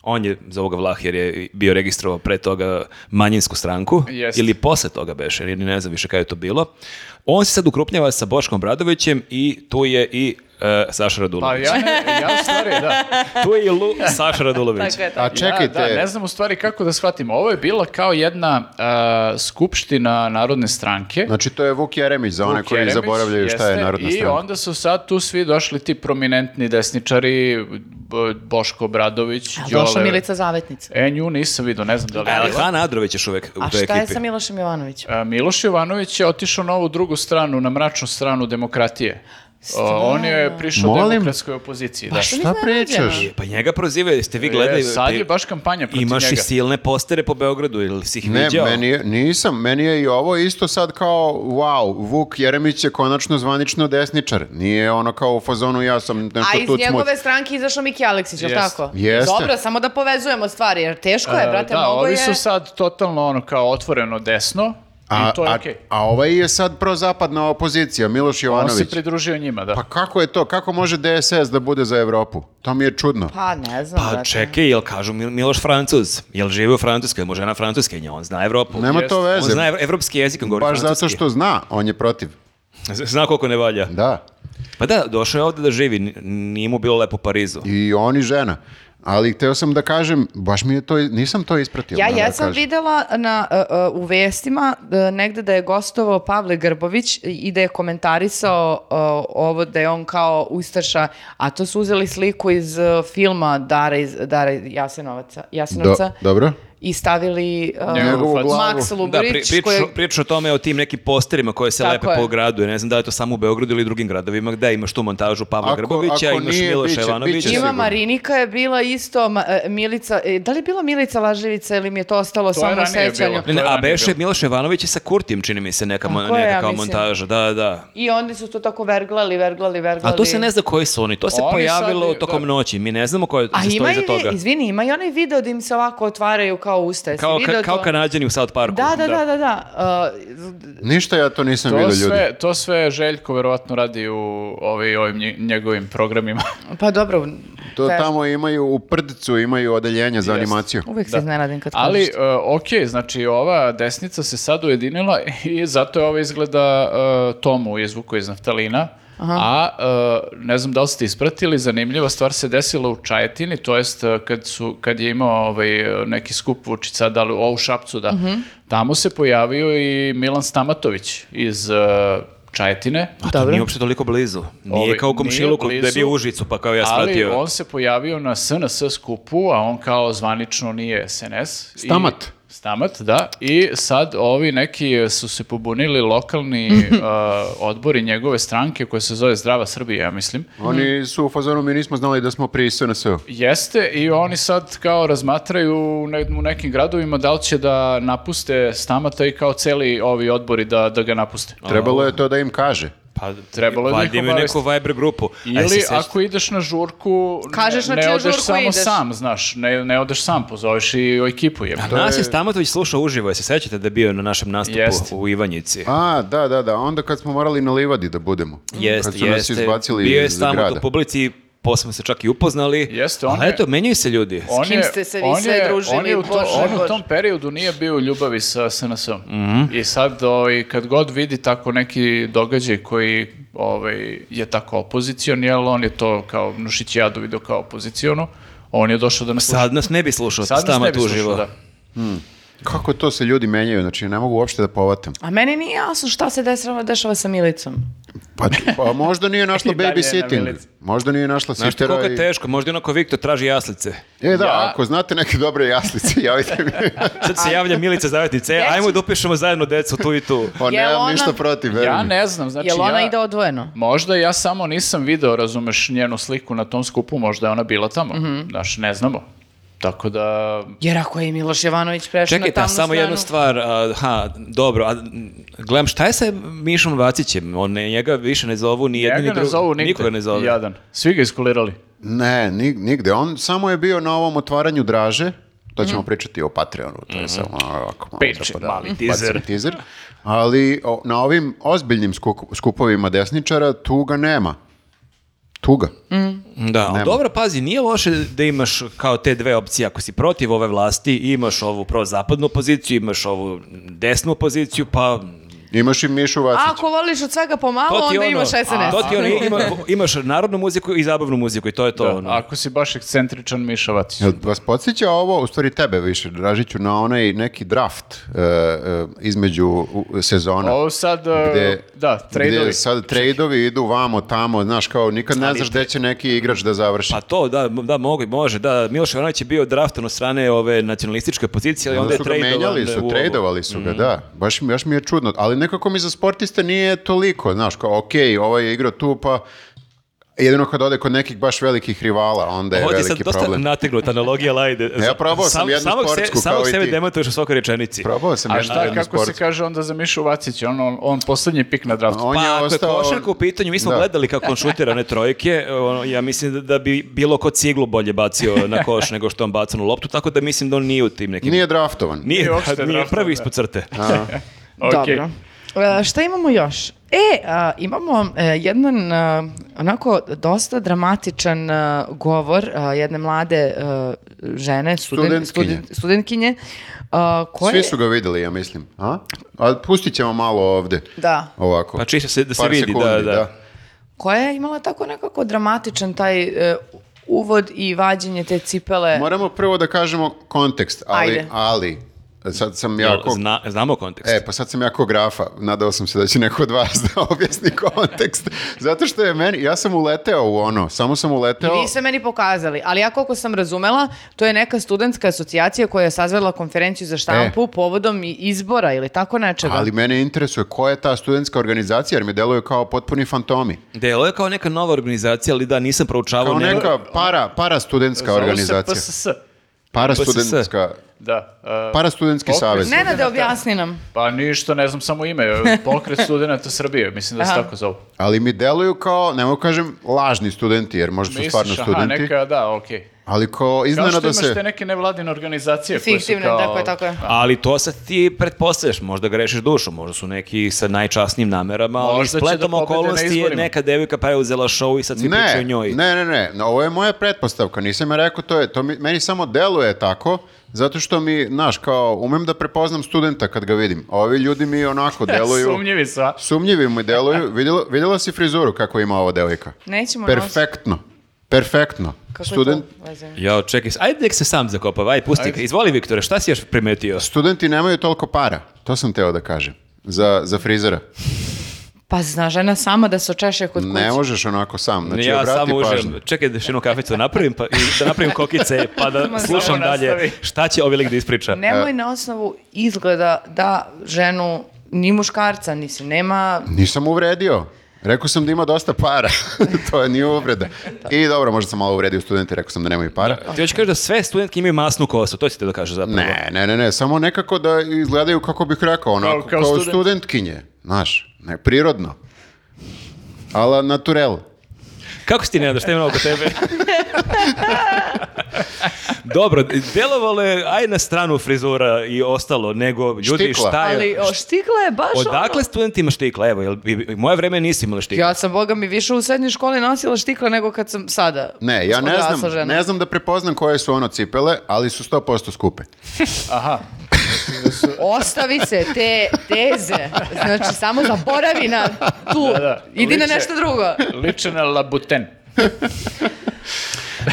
on je za ovoga Vlah jer je bio registrovao pre toga manjinsku stranku
Jeste.
ili posle toga beše, jer ne znam više kada je to bilo. On se sad ukrupnjava sa Boškom Bradovićem i tu je i e, Saša
Pa
Radulović.
ja, ne, ja u stvari, da.
Tu je i Lu, Saša Radulović.
Tako je, tako.
A čekajte,
Ja, da, ne znam u stvari kako da shvatim. Ovo je bila kao jedna uh, skupština Narodne stranke.
znači to je Vuk Jeremić za one
Vuk
koji
Jeremić,
zaboravljaju šta je
jeste,
narodna stranka.
I onda su sad tu svi došli ti prominentni desničari, B- Boško Bradović,
A
Đole.
Došla Milica Zavetnica.
E, nju nisam vidio, ne znam da li
A
je
E, Ali
bila.
Han Adrović još uvek u
A
toj
šta je
ekipi.
sa Milošem Jovanovićem?
A, Miloš Jovanović je otišao na ovu drugu stranu, na mračnu stranu demokratije. O, on je prišao
Molim?
demokratskoj opoziciji. Da.
što
Šta
nisam
pričaš?
nađena?
Pa njega prozivaju, jeste vi gledali?
E, sad je
pri-
baš kampanja protiv
Imaš i
njega.
silne postere po Beogradu, ili si ih
Ne,
viđao?
meni je, nisam, meni je i ovo isto sad kao, wow, Vuk Jeremić je konačno zvanično desničar. Nije ono kao u fazonu, ja sam
A
nešto
iz
tucmut.
njegove stranke izašao Miki Aleksić, je li
Jeste.
tako?
Jeste.
Dobro, samo da povezujemo stvari, jer teško je,
E,
brate,
da,
mnogo
ovi
je...
su sad totalno ono kao otvoreno desno
A,
i to je
a,
okej.
a ovaj je sad prozapadna opozicija, Miloš
On se
Jovanović.
pridružio njima, da.
Pa kako je to? Kako može DSS da bude za Evropu? To mi je čudno.
Pa ne znam,
Pa
brate.
čekaj, jel kažu Mil- Miloš Francuz? Jel živi u Francuskoj? Jel mu žena Francuskinja? On zna
Pa,
Evropu.
Nema to
On
veze.
zna ev- evropski jezik, on govori
Baš zato
francuski.
što Mm. zna, on je protiv.
Zna koliko ne valja.
Da.
Pa da, došao je ovde da živi, n- nije mu bilo lepo u Parizu.
I on i žena. Ali hteo sam da kažem, baš mi je to, nisam to ispratio.
Ja
moram da
jesam
kažem.
videla na, e, e, u vestima e, negde da je gostovao Pavle Grbović i da je komentarisao e, ovo da je on kao ustaša, a to su uzeli sliku iz e, filma Dara, iz, Dara Jasenovaca, Jasenovca
Do- dobro.
i stavili e,
Njegovu glavu.
Max
Da, pri,
Luburić
priča,
koji je-
priča o tome o tim nekim posterima koje se
Tako
lepe
je.
po gradu. Ja Ne znam da li je to samo u Beogradu ili drugim gradovima gde imaš tu montažu Pavla
Ako-
Grbovića,
ako
imaš
nije,
Miloša
biće-
Jovanovića.
biće
Ima
sigurno.
Marinika je bila isto, ma- e, Milica, e, da li je bila Milica Laževica ili mi je to ostalo
To je
samo u
ranije
sećanju?
bilo.
Ne, ne,
To je
a
ranije
Beše
bilo.
Miloš Jovanović je sa Kurtijem, čini mi se, neka, mo-
Tako je, ja
neka
mislim.
montaža. Da, da.
I oni su to tako verglali, verglali, verglali.
A to se ne zna koji su oni, to se
Oni
pojavilo
sad i-
tokom
da.
noći, mi ne znamo ko je
A
se
ima
stoji
i,
iza toga.
izvini, ima i onaj video da im se ovako otvaraju kao kao usta. Jesi
Kao, ka-
video
kao
to?
kanadjani u South Parku.
Da, da, da, da, da. Uh,
Ništa ja to nisam
To
vidio ljudi.
sve, to sve Željko verovatno radi u ovi, ovim nje- njegovim programima.
Uh, pa dobro,
To
fair.
tamo imaju, u Prdcu imaju odeljenje za
Jeste. Mhm.
animaciju.
uvijek se iznenadim kad
Ali,
kažeš.
uh, ok, znači ova desnica se sad ujedinila i zato je ova izgleda uh, Tomu izvuku iz naftalina. A uh, ne znam da li ste ispratili, zanimljiva stvar se desila u Čajetini, to jest uh, kad, su, kad je imao ovaj, uh, neki skup Vučića, da li o, u Šapcu, da.
Mhm.
Tamo se pojavio i Milan Stamatović iz uh, Čajetine.
A to
Dobro.
nije uopšte toliko blizu. Nije
Ovi,
kao u
nije
komšiluku da je
blizu,
bio u Užicu, pa kao ja
Ali
shvatio.
on se pojavio na SNS skupu, a on kao zvanično nije SNS. I-
Stamat.
Stamat, da. I sad ovi neki su se pobunili lokalni uh, odbori njegove stranke koje se zove Zdrava Srbija, ja mislim.
Oni su u fazonu, mi nismo znali da smo pri SNS-u.
Jeste i oni sad kao razmatraju u ne- u nekim gradovima da li će da napuste Stamata i kao celi ovi odbori da, da ga napuste.
Trebalo je to da im kaže.
Pa,
Trebalo je da ih
valjda imaju neku
obavesti.
Viber grupu. A jesi
Ili
se-
ako ideš na žurku, ne-
Kažeš znači na
ne,
čiju
odeš
žurku
samo
ideš.
sam, znaš, ne, ne odeš sam, pozoveš i ekipu je.
A nas je Stamatović slušao uživo, jesi sećate da je bio na našem nastupu
Jeste.
u Ivanjici?
A, da, da, da, onda kad smo morali na livadi da budemo.
Jeste,
kad su nas
jeste.
izbacili
bio je
iz
Stamot
grada.
u publici i posle smo se čak i upoznali.
Jeste, on
Ali
je-
eto, menjaju se ljudi.
On
kim
je-
ste se vi
on
sve
je-
družili,
on je u to-
Bože,
on u
Bože.
tom periodu nije bio u ljubavi sa SNS-om.
Mhm.
I sad, ovaj, kad god vidi tako neki događaj koji ovaj, je tako opozicion, jel, on je to kao Nušićijadu vidio kao opozicionu, on je došao da nas
Sad nas ne bi slušao
sluša. Sad nas ne
Stamot
bi slušao,
uživo.
da.
Kako to se ljudi menjaju, znači ne mogu uopšte da povatam.
A meni nije jasno šta se dešava, dešava sa Milicom.
Pa, pa možda nije našla
I dalje je na
babysitting.
milici.
Možda nije našla
Znaš ti koliko
sitera.
je
i-
teško, možda i onako Viktor traži jaslice.
E da,
Ja-
ako znate neke dobre jaslice, javite mi.
Sad se javlja Milica Zavetnica, e, ajmo da upišemo zajedno decu tu i tu.
Pa
Jel
nemam
ona-
ništa protiv, veruj
Ja
mi.
ne znam, znači
Jel ona
ja...
ide odvojeno?
Možda ja samo nisam video, razumeš, njenu sliku na tom skupu, možda je ona bila tamo.
Mhm.
Znaš, ne znamo. Tako da...
Jer ako je Miloš Jovanović prešao na
Čekajte, a
tamnu
samo
stranu...
jednu stvar, a, ha, dobro, a, m, gledam, šta je sa Mišom Vacićem? On ne- njega više ne zovu ni jedan ni
Njega ne
drugi.
zovu nigde.
Nikoga ne zovu.
Jadan. Svi ga iskulirali.
Ne, ni- nigde. On samo je bio na ovom otvaranju draže. To ćemo pričati o Patreonu, to je samo ovako malo
Peče,
da poda-
mali
bacim
teaser.
teaser. Ali o, na ovim ozbiljnim skuku- skupovima desničara tu ga nema. Tu ga.
Da, ali dobro, pazi, nije loše da imaš kao te dve opcije. Ako si protiv ove vlasti, imaš ovu prozapadnu poziciju, imaš ovu desnu poziciju, pa...
Imaš i Mišu Vacića.
Ako voliš od svega pomalo, onda imaš SNS.
To ti ono, ima, imaš narodnu muziku i zabavnu muziku i to je to. ono.
Ako si baš ekscentričan Miša Vatić.
Jel vas podsjeća ovo, u stvari tebe više, Dražiću, na onaj neki draft e, e, između u- sezona?
Ovo sad, uh,
gde,
da, tradeovi.
gde sad trejdovi idu vamo, tamo, znaš, kao nikad ne znaš gde će neki igrač da završi.
Pa to, da, m- da, mogu, može, da, Miloš Jovanović je bio draftan od strane ove nacionalističke pozicije, ali onda je
su ga
tradovan
menjali,
u Mhm.
su,
ovu.
trejdovali su ga, da. Baš, mi- baš mi je čudno. Ali nekako mi za sportiste nije toliko, znaš, kao, okej, ovaj je igrao tu, pa jedino kad ode kod nekih baš velikih rivala, onda je
Ovo ti je sad
veliki
dosta
problem.
nategnuta analogija lajde.
Ja probao sam jednu
samog
sportsku
samog
kao i
sebe
ti.
demantuješ u svakoj rečenici.
Probao sam
A
jednu-
šta,
jednu
kako se
sportsku.
kaže onda za Mišu Vacića? On, on, on poslednji pik na draftu.
On
pa
je
ako
ostao-
je košarka u pitanju, mi smo
Da.
gledali kako on šutira one trojke, ono, ja mislim da, da bi bilo ko ciglu bolje bacio na koš nego što on baca na loptu, tako da mislim da on nije u tim nekim...
Nije draftovan.
Nije,
Nije uopšte
nije
draftovan,
prvi
da.
ispod crte.
Ok.
Dobro. E, šta imamo još? E, a, imamo e, jedan a, onako dosta dramatičan a, govor a, jedne mlade a, žene, studen-
Studentkinje.
studen- studentkinje, a, koje...
Svi su ga videli, ja mislim. A? A pustit ćemo malo ovde.
Da.
Ovako.
Pa čisto se, da se
Par
vidi,
sekundi,
da, da.
koja je imala tako nekako dramatičan taj e, uvod i vađenje te cipele.
Moramo prvo da kažemo kontekst, ali,
Ajde.
ali sad sam ja
Jel,
ko...
Zna, znamo kontekst.
E, pa sad sam ja ko grafa, nadao sam se da će neko od vas da objasni kontekst, zato što je meni, ja sam uleteo u ono, samo sam uleteo,
I vi ste meni pokazali, ali ja koliko sam razumela, to je neka studentska asocijacija koja je sazvala konferenciju za štampu povodom i- izbora ili tako nečega.
E. ali mene interesuje koja je ta studentska organizacija, jer mi deluje kao potpuni fantomi,
Delo je kao neka nova organizacija, ali da, nisam proučavao.
kao
ne-
neka para, para
Zovu Ono- se
organizacija,
PSS.
para
PSS.
studentska
Da. e,
Pa- Parastudentski
pokret
savez.
studenata-
Nenade, objasni nam.
Pa ništa, ne znam samo ime. Pokret studenta Srbije, mislim da se
Aha.
tako zovu.
Ali mi deluju kao, ne mogu kažem, lažni studenti, jer možda su
Misliš,
stvarno
aha,
studenti,
neka, da, okej.
ali kao
Kao što
iznenada
imaš te
se...
neke nevladine organizacije koje su
Fiktivne,
kao...
tako je, tako je.
Ali to sad ti pretpostavljaš, možda grešiš dušu, možda su neki sa najčasnijim namerama, ali
Možda će
spletom
da pobede na
okolnosti je
izborima.
neka devojka preuzela show i sad svi pričaju
Ne,
o njoj.
ne, ne, ne, no, ovo je moja pretpostavka, nisam ja rekao, to je, to mi, meni samo deluje tako, zato što mi, znaš, kao, umem da prepoznam studenta kad ga vidim, a ovi ljudi mi onako deluju,
Sumnjivi su, a?
sumnjivi mi deluju, vidjela, vidjela si frizuru kako ima ova devojka?
Nećemo nositi.
Perfektno, perfektno,
Kako je to
student,
veze?
Jo, čekaj, ajde nek se sam zakopava, aj, pusti ga. Izvoli, Viktore, šta si još primetio?
studenti nemaju toliko para, to sam teo da kažem, za, za frizera.
Pa zna žena sama da se očeše kod kuće.
Ne možeš onako sam. Znači,
ja
obrati
samo
pažnju.
uživam. Čekaj da još jednu kaficu da napravim, pa, i da napravim kokice, pa da
Samo
slušam dalje
nastavi.
šta će ovaj lik da ispriča.
Nemoj na osnovu izgleda da ženu ni muškarca, mislim, nema...
Nisam uvredio. Rekao sam da ima dosta para. to je nije uvreda. I dobro, možda sam malo uvredio studente, rekao sam da nemaju para.
Ti hoćeš kaži da sve studentke imaju masnu kosu, to ćete da kažeš zapravo.
Ne, ne, ne, ne, samo nekako da izgledaju kako bih rekao, onako kao,
kao student.
studentkinje, znaš, ne, prirodno. Ala naturel.
Kako si ti ne šta ima oko tebe? Dobro, delovalo je aj na stranu frizura i ostalo, nego ljudi
Štikla.
šta je...
Ali o, ono? štikla je baš
Odakle studentima štikla? Evo, jel, bi- bi- moje vreme nisi imali štikla.
ono... Ja sam, boga mi, više u srednjoj školi nosila štikla nego kad sam sada.
Ne, ja ne
odrasla žena.
znam, ne znam da prepoznam koje su ono cipele, ali su 100% skupe.
Aha.
Ostavi se te teze. Znači, samo zaboravi na tu.
Da, da.
Idi na
Liče.
nešto drugo.
Liče na labuten.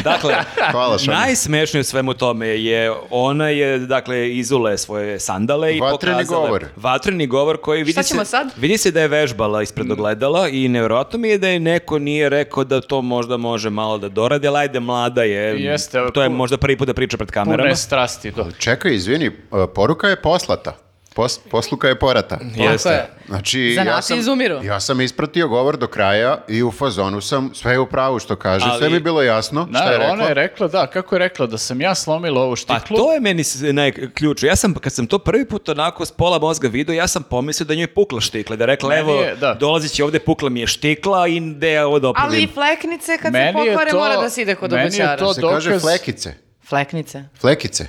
Dakle,
Hvala Šan.
najsmešnije u svemu tome je ona je dakle izule svoje sandale i
Vatreni
pokazala
govor.
vatreni govor koji vidi
Šta ćemo
se
sad?
vidi se da je vežbala ispred ogledala i nevjerojatno mi je da je neko nije rekao da to možda može malo da doradi, ali ajde mlada je.
Jeste,
to je
pu-
možda prvi put da priča pred kamerama.
Pune strasti. Do.
Čekaj, izvini, poruka je poslata. Pos- posluka je porata.
Pa
Jeste.
Tako je.
Znači, ja
Zanati
sam,
izumiru.
ja sam ispratio govor do kraja i u fazonu sam sve je u pravu što kaže,
Ali-
sve mi je bilo jasno
Da,
šta je
ona
rekla.
ono je rekla, da, kako je rekla, da sam ja slomila ovu štiklu.
Pa to je meni s- najključ. Ja sam, kad sam to prvi put onako s pola mozga vidio, ja sam pomislio da njoj je pukla štikla. Da je rekla,
Meni
evo,
je, da.
dolazeći ovdje pukla mi je štikla i da ja ovo dopravim.
Ali i fleknice kad se
Meni je
pokvare
to-
mora da se ide kod
meni je
obućara.
to
Se kaže
dokaz-
flekice.
Fleknice.
Flekice.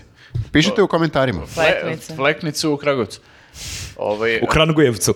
Pišite u komentarima.
Fleknice.
Fleknicu u Kragovcu. Ovaj,
U Krangujevcu.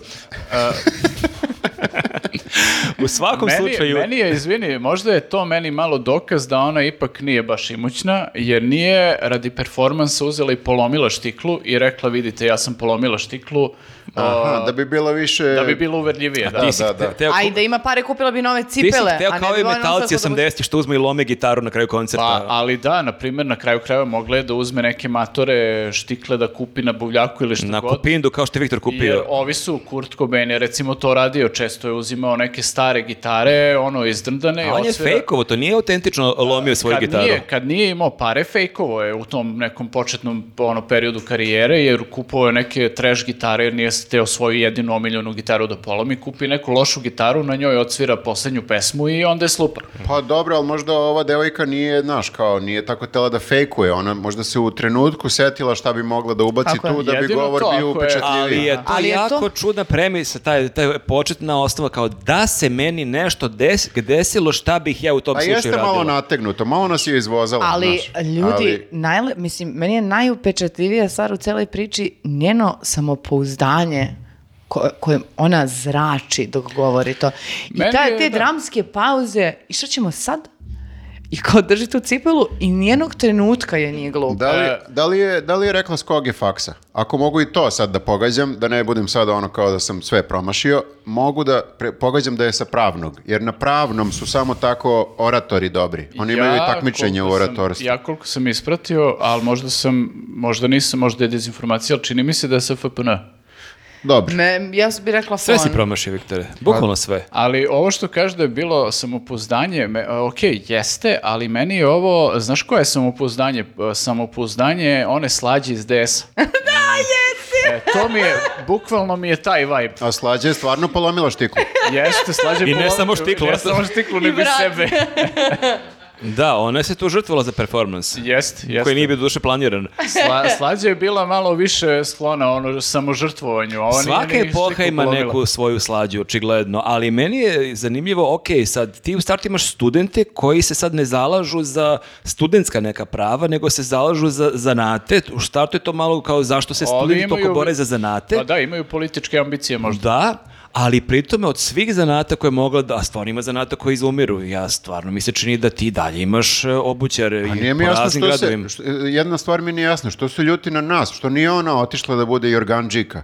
u svakom
meni,
slučaju...
Meni je, izvini, možda je to meni malo dokaz da ona ipak nije baš imućna, jer nije radi performansa uzela i polomila štiklu i rekla, vidite, ja sam polomila štiklu,
Aha, da bi bilo više...
da bi bilo uverljivije. Da,
Ti si
da, da.
hteo-
A i da ima pare, kupila bi nove
Ti si
cipele.
hteo
a ne
kao
bi
i
ona
metalci
nosila kod
80 što uzme i lome gitaru na kraju koncerta.
Pa, ali da, na primjer, na kraju krajeva mogla je da uzme neke matore štikle da kupi na buvljaku ili što
na
god.
kupindu kao što je Viktor
Jer
kupio.
ovi su, Kurt Cobain je recimo to radio, često je uzimao neke stare gitare, ono, izdrndane.
A on je
osvira-
fejkovo, to nije autentično lomio svoju
kad
gitaru.
Nije, kad nije imao pare, fejkovo je u tom nekom početnom ono, periodu karijere, jer kupovao je neke trash gitare, jer nije teo svoju jedinu omiljenu gitaru da polomi, kupi neku lošu gitaru, na njoj odsvira posljednju pesmu i onda je slupa.
Pa dobro, ali možda ova devojka nije, znaš, kao nije tako tela da fejkuje. Ona možda se u trenutku setila šta bi mogla da ubaci
Tako je.
tu da bi
Jedino
govor
to,
bio
ako je-
upečatljiviji.
Ali je to
Ali je
jako
to-
čudna premisa, taj, taj početna osnova kao da se meni nešto des, desilo, šta bih ja u tom
Pa
slučaju
jeste
radila.
malo nategnuto, malo nas je izvozala.
Ali
znaš.
ljudi,
Ali-
najle- mislim, meni je najupečatljivija stvar u celoj priči njeno samopouzdanje ko- kojem ona zrači dok govori to. I
Meni
ta-
je,
te
da.
dramske pauze, i šta ćemo sad? I kao drži tu cipelu i nijenog trenutka je nije glup.
Da li,
E.
da, li je, da li je rekla s kog je faksa? Ako mogu i to sad da pogađam, da ne budem sad ono kao da sam sve promašio, mogu da pre- pogađam da je sa pravnog, jer na pravnom su samo tako oratori dobri. Oni imaju i takmičenje u
koliko sam-
oratorstvu.
Ja koliko sam ispratio, ali možda sam, možda nisam, možda je dezinformacija, ali čini mi se da je SFPN.
Dobro.
Me- ja bi rekla
Sve si
fon.
promašio, Viktore. Bukvalno sve.
Ali ovo što kaže da je bilo samopouzdanje, me, e, ok, jeste, ali meni je ovo, znaš koje je samopouzdanje? E, Samopouzdanje one slađe iz DS-a. E, to mi je, bukvalno mi je taj vibe.
A slađa je stvarno polomila štiku.
Jeste, slađe
I ne
polomio-
samo štiklu.
Ne samo štiklu, nego i
vrat.
sebe.
Da, ona se tu žrtvovala za performans.
Jest, jeste.
Koji nije bio duše planiran.
Sla, slađa je bila malo više sklona ono samožrtvovanju. a Ona
Svaka
nije ni
epoha
sliku
ima
polomila.
neku svoju slađu, očigledno, ali meni je zanimljivo, ok, sad ti u startu imaš studente koji se sad ne zalažu za studentska neka prava, nego se zalažu za zanate. U startu je to malo kao zašto se
Ali
studenti
imaju-
toliko bore za zanate.
Pa da, imaju političke ambicije možda.
Da, ali pritome od svih zanata koje je mogla da, a stvarno ima zanata koji izumiru. Ja stvarno mi se čini da ti dalje imaš e, obućare
A
i
Pa nije mi
po
jasno
raznim
što se,
gradovima.
što- jedna stvar mi nije jasna, što su ljuti na nas, što nije ona otišla da bude Jorganđika,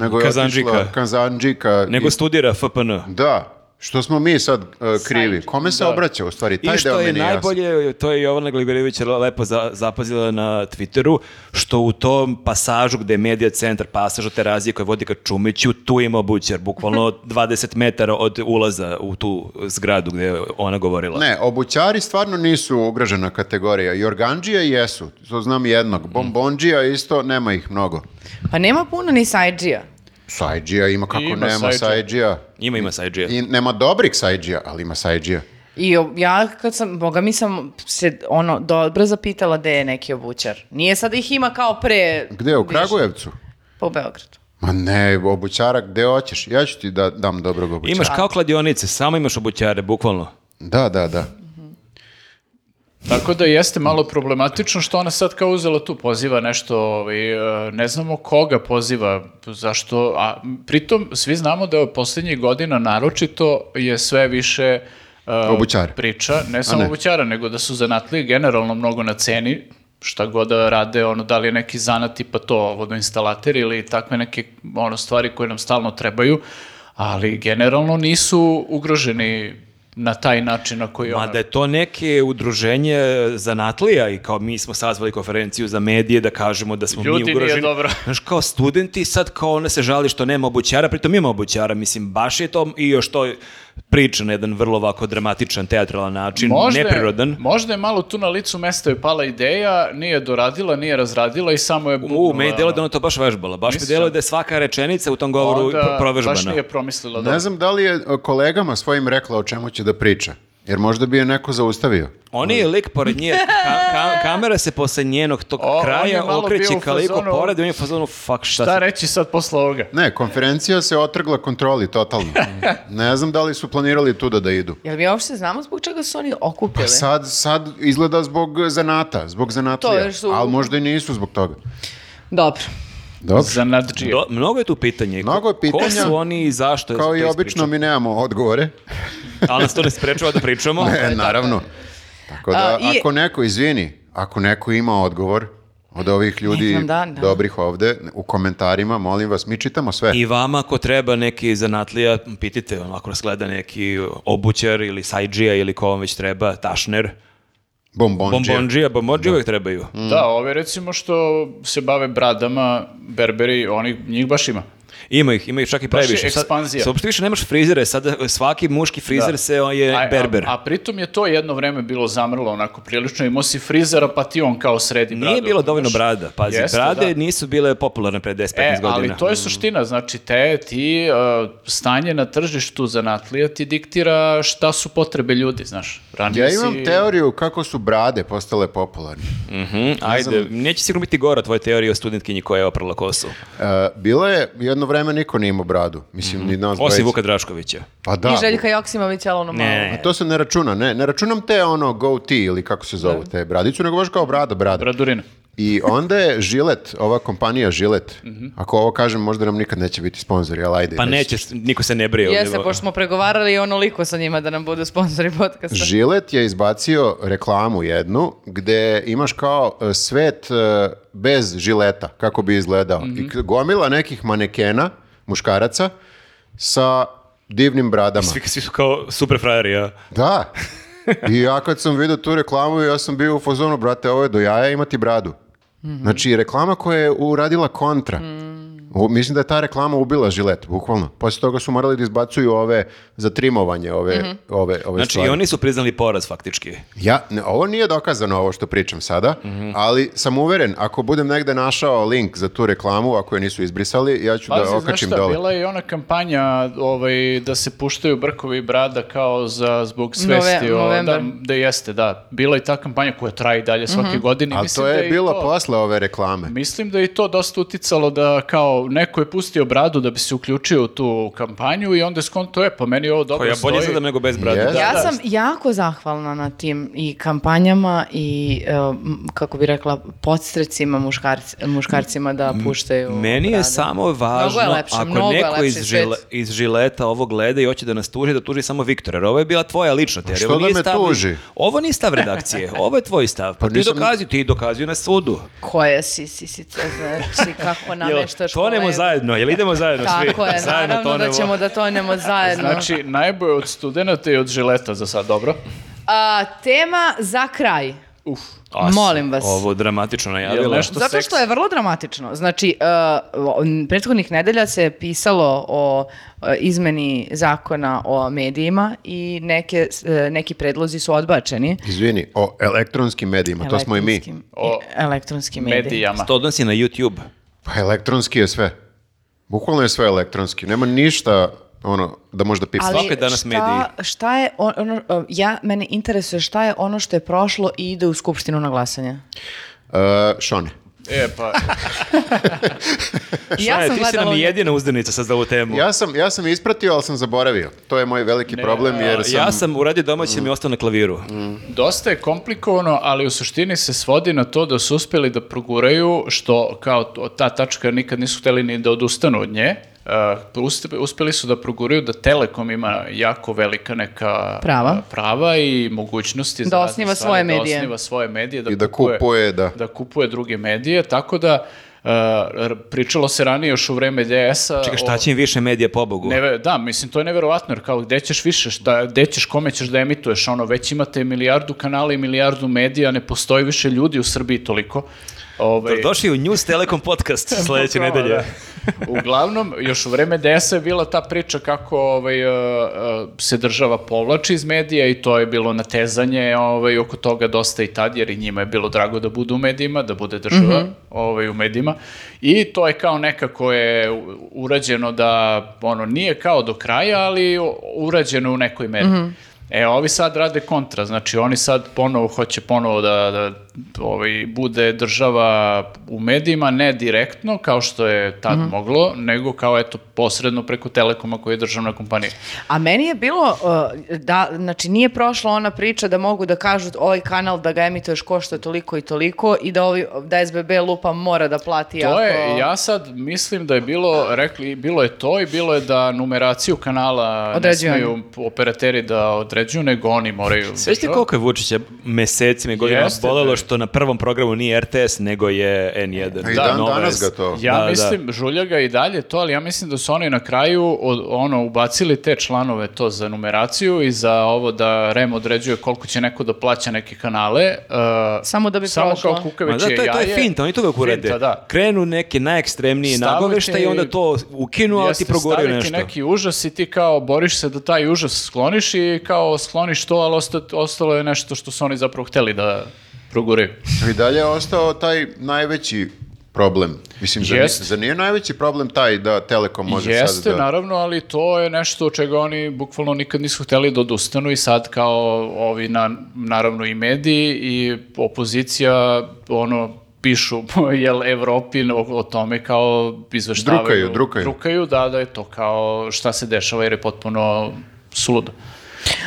nego je
Kazandžika.
otišla Kazandžika.
Mm. Nego studira FPN.
Da, što smo mi sad uh, krivi. Kome se obraća u stvari? Taj
I što
deo
je
meni jasan.
najbolje, to je Jovana Gliberević lepo za- zapazila na Twitteru, što u tom pasažu gde je medija centar, pasaž od terazije koje vodi ka Čumiću, tu ima obućar, bukvalno 20 metara od ulaza u tu zgradu gde je ona govorila.
Ne, obućari stvarno nisu ugrožena kategorija. Jorganđije jesu, to znam jednog. Bombonđija isto, nema ih mnogo.
Pa nema puno ni sajđija.
Sajđija ima kako
Ima
nema
sajđija.
sajđija.
Ima, ima sajđija.
I nema dobrih sajđija, ali ima sajđija.
I o- ja kad sam, boga mi sam se ono dobro zapitala da je neki obućar. Nije sad ih ima kao pre...
Gde, u
više.
Kragujevcu?
Pa u Beogradu.
Ma ne, obućara gde hoćeš? Ja ću ti da dam dobrog obućara.
Imaš kao kladionice, samo imaš obućare, bukvalno.
Da, da, da.
Tako da jeste malo problematično što ona sad kao uzela tu poziva nešto, ovaj, e, ne znamo koga poziva, zašto, a m, pritom svi znamo da je posljednjih godina naročito je sve više e,
Obućara.
priča, ne samo
ne.
obućara, nego da su zanatlije generalno mnogo na ceni, šta god da rade, ono, da li je neki zanat tipa to, vodoinstalater ili takve neke ono, stvari koje nam stalno trebaju, ali generalno nisu ugroženi na taj način na koji
Ma
ona-
da je to neke udruženje zanatlija i kao mi smo sazvali konferenciju za medije da kažemo da smo
Ljudi,
mi
nije
ugroženi.
dobro.
Znaš, kao studenti sad kao ona se žali što nema obućara, pritom ima obućara, mislim, baš je to i još to priča na jedan vrlo ovako dramatičan, teatralan način,
Možda je-
Znači, neprirodan.
možda je malo tu na licu mesta je pala ideja, nije doradila, nije razradila i samo je...
U,
bubnula,
meni delo da
ono.
ona to baš vežbala. Baš mi
Mislim.
delo da je svaka rečenica u tom govoru
ono. Onda
pro- provežbana.
Baš nije promislila da...
Ne znam da li je e, kolegama svojim rekla o čemu će da priča. Jer možda bi je neko zaustavio.
On je lik pored nje, ka- ka- kamera se posle njenog tog
O, on je
kraja
malo
okreće
bio u
ka liku
fazonu-
pored i on je u fazonu, fuck, šta,
Šta
se
reći sad posle ovoga?
Ne, konferencija se otrgla kontroli totalno. Ne znam da li su planirali tuda da idu.
Jel mi uopšte znamo zbog čega su oni okupili?
Pa sad, sad izgleda zbog zanata, zbog
To
zanatlija,
je su-
ali možda i nisu zbog toga.
Dobro.
Dobro.
Zanadžije.
Do- mnogo je tu pitanje.
Mnogo je
Ko
pitanja.
su oni i zašto? je
Kao
to
i obično
ispričao?
mi nemamo odgovore.
Ali nas to ne sprečava da pričamo. Ovaj,
E, naravno. Tako da,
A, i-
ako neko, izvini, ako neko ima odgovor od ovih ljudi
Nek nam da, da.
dobrih ovde, u komentarima, molim vas, mi čitamo sve.
I vama ako treba neki zanatlija, pitite, ono, ako nas gleda neki obućar ili sajđija ili ko vam već treba, tašner,
Bombonđija.
bombonđija, bombonđije uvek trebaju.
Da, ove recimo što se bave bradama, berberi, oni, njih baš ima.
Ima ih, ima ih čak i
Baš je
previše. Sad-
ekspanzija.
sad uopšte više nemaš frizere, sada svaki muški frizer
Da.
se on je
A- a-
E, berber.
A, pritom je to jedno vreme bilo zamrlo onako prilično, imao si frizera pa ti on kao sredi
Nije
bradu,
bilo dovoljno
znaš.
brada, pazi,
Jeste,
brade
da.
nisu bile popularne pre 10-15
E,
godina.
ali to je suština, znači te, ti uh, stanje na tržištu zanatlija ti diktira šta su potrebe ljudi, znaš. Ranije
Ja imam
si-
teoriju kako su brade postale popularne.
Mhm, ajde, neće sigurno biti gora tvoja teorija o studentkinji koja je oprala kosu.
E, bila je, jedno vreme niko nije imao bradu. Mislim,
Mhm.
ni nas
Osim
dvojica.
Vuka Draškovića.
Pa da.
I Željka Joksimovića, ali ono malo.
Ne.
To se ne računa, ne, ne računam te ono go ti ili kako se zovu te bradicu, nego baš kao brada, brada.
Bradurina.
I onda je Žilet, ova kompanija Žilet, ako ovo kažem možda nam nikad neće biti sponzori, ali ajde.
Mhm. Pa
reći
neće, niko se ne brije.
Jeste,
Ovo-
pošto smo pregovarali onoliko sa njima da nam budu sponzori podcasta.
Žilet je izbacio reklamu jednu gde imaš kao e, svet e, bez žileta, kako bi izgledao. I
Mhm.
k- gomila nekih manekena, muškaraca, sa divnim bradama.
Svi, svi su kao super frajeri, ja.
Da. I ja kad sam vidio tu reklamu, ja sam bio u fazonu, brate, ovo je do jaja imati bradu. Znači, reklama koja je uradila kontra. U- mislim da je ta reklama ubila žilet, bukvalno. Poslije toga su morali da izbacuju ove za trimovanje, ove, ove, ove
Znači
stvari.
i oni su priznali poraz faktički.
Ja, ne, ovo nije dokazano ovo što pričam sada,
Mhm.
ali sam uveren, ako budem negde našao link za tu reklamu, ako je nisu izbrisali, ja ću
Pazi,
da
znaš
okačim
šta,
dole.
Bila je i ona kampanja ovaj, da se puštaju brkovi i brada kao za, zbog svesti.
Nove-
o, da,
novembar.
da jeste, da. Bila je i ta kampanja koja traje i dalje svake
Mhm.
godine.
Ali
Mislim
to
da
je
i
bilo
to-
posle ove reklame.
Mislim da je i to dosta uticalo da kao neko je pustio bradu da bi se uključio u tu kampanju i onda je skonto je, pa meni ovo dobro
Koja
stoji.
bolje zadam nego bez brade.
Yes.
da.
ja
da.
sam jako zahvalna na tim i kampanjama i e, m, kako bi rekla podstrecima muškarci, muškarcima da puštaju.
Meni je
brade.
samo važno,
lepše, mnogo
ako
je
neko iz,
lepši svet.
žile- iz žileta ovo gleda i hoće da nas tuži, da tuži samo Viktora. jer Ovo je bila tvoja lična teorija.
što
Ovo
da
nije
me
stav-
tuži?
Ovo nije stav redakcije, ovo je tvoj stav. Pa,
Pa
ti
nisam-
dokazi, ti dokazi na sudu.
Koje si sisice, znači kako
Jel
nameštaš
tonemo
kolegu.
zajedno, jel idemo zajedno svi?
Tako je,
Zajedno
naravno da
tonemo.
ćemo da tonemo zajedno.
Znači, najbolje od studenta i od žileta za sad, dobro?
A, tema za kraj.
Uf.
A,
Molim vas.
Ovo dramatično
Jel
najavila.
nešto-
Zato
seks.
što je vrlo dramatično. Znači, uh, o- n- prethodnih nedelja se pisalo o uh, izmeni zakona o medijima i neke, s- e, neki predlozi su odbačeni.
Izvini, o elektronskim medijima, to smo i mi.
Elektronskim-
O
elektronskim medijima.
Medijama.
To odnosi na YouTube.
Pa elektronski je sve. Bukvalno je sve elektronski. Nema ništa ono, da možda pipsa.
Ali- je danas
šta,
mediji.
šta je on- ono, uh, ja, mene interesuje šta je ono što je prošlo i ide u skupštinu na glasanje.
E, šone.
E, pa,
Šta je, ti si nam
gledala-
jedina uzdanica sad za ovu temu.
Ja sam, ja sam ispratio, ali sam zaboravio. To je moj veliki problem, jer sam...
Ja sam uradio domaćim i ostao na klaviru.
dosta je komplikovano, ali u suštini se svodi na to da su uspjeli da proguraju, što kao to- ta tačka nikad nisu hteli ni da odustanu od nje, Uh, uspe- uspjeli su da proguraju da Telekom ima jako velika neka
Prava.
uh, prava i mogućnosti za
Da
razne
osniva
stvari,
svoje
da
medije.
osniva svoje medije da
I da kupuje, da.
da kupuje druge medije tako da uh, r- pričalo se ranije još u vreme DS-a
Čekaj, šta će im više medija pobogu?
Neve- da, mislim, to je neverovatno, jer kao, gde ćeš više, šta, gde ćeš, kome ćeš da emituješ, ono, već imate milijardu kanala i milijardu medija, ne postoji više ljudi u Srbiji toliko. Ovaj,
Došli u News Telekom podcast sljedeće
Bukvalno,
nedelje.
da. Uglavnom, još u vreme DS-a je bila ta priča kako ovaj, e, e, se država povlači iz medija i to je bilo natezanje ovaj, oko toga dosta i tad, jer i njima je bilo drago da budu u medijima, da bude država ovaj, u medijima. I to je kao nekako je u- urađeno da, ono, nije kao do kraja, ali u- urađeno u nekoj meri. E, ovi sad rade kontra, znači oni sad ponovo hoće ponovo da, da ovaj, bude država u medijima, ne direktno, kao što je tad moglo, nego kao eto posredno preko Telekoma koji je državna kompanija.
A meni je bilo, uh, da, znači nije prošla ona priča da mogu da kažu ovaj kanal da ga emituješ košta toliko i toliko i da, ovi, da SBB lupa mora da plati
To
ako...
je, ja sad mislim da je bilo, rekli, bilo je to i bilo je da numeraciju kanala
Određuju
ne smiju operateri da određuju, nego oni moraju.
Svećate koliko je Vučića mesecima i godinama
Jeste,
bolelo
bre.
što na prvom programu nije RTS, nego je N1.
I
Da,
dan
Nova
danas
S.
ga to.
Ja
Da, da.
mislim, žuljaga i dalje to, ali ja mislim da su oni na kraju od- ono ubacili te članove to za numeraciju i za ovo da REM određuje koliko će neko da plaća neke kanale. eh,
Samo da bi
samo
prošlo.
kao
Ma da,
kukaviće
to, je, to je
jaje.
finta, oni to uvek urede.
Finta, da.
Krenu neke najekstremnije
Stavite-
nagovešta i onda to ukinu, ali ti
Jeste,
proguraju
staviti
nešto.
neki užas i ti kao boriš se da taj užas skloniš i kao skloniš to, ali osta- ostalo je nešto što su oni zapravo hteli da proguraju.
I dalje je ostao taj najveći problem. Mislim, zar,
Jest.
zar nije najveći problem taj da Telekom može
Jeste,
sad da...
naravno, ali to je nešto od čega oni bukvalno nikad nisu hteli da odustanu i sad kao ovi, na, naravno, i mediji i opozicija, ono, pišu, jel, Evropi o, o tome kao izveštavaju.
Drukaju, drukaju.
da, da je to kao šta se dešava jer je potpuno suludo.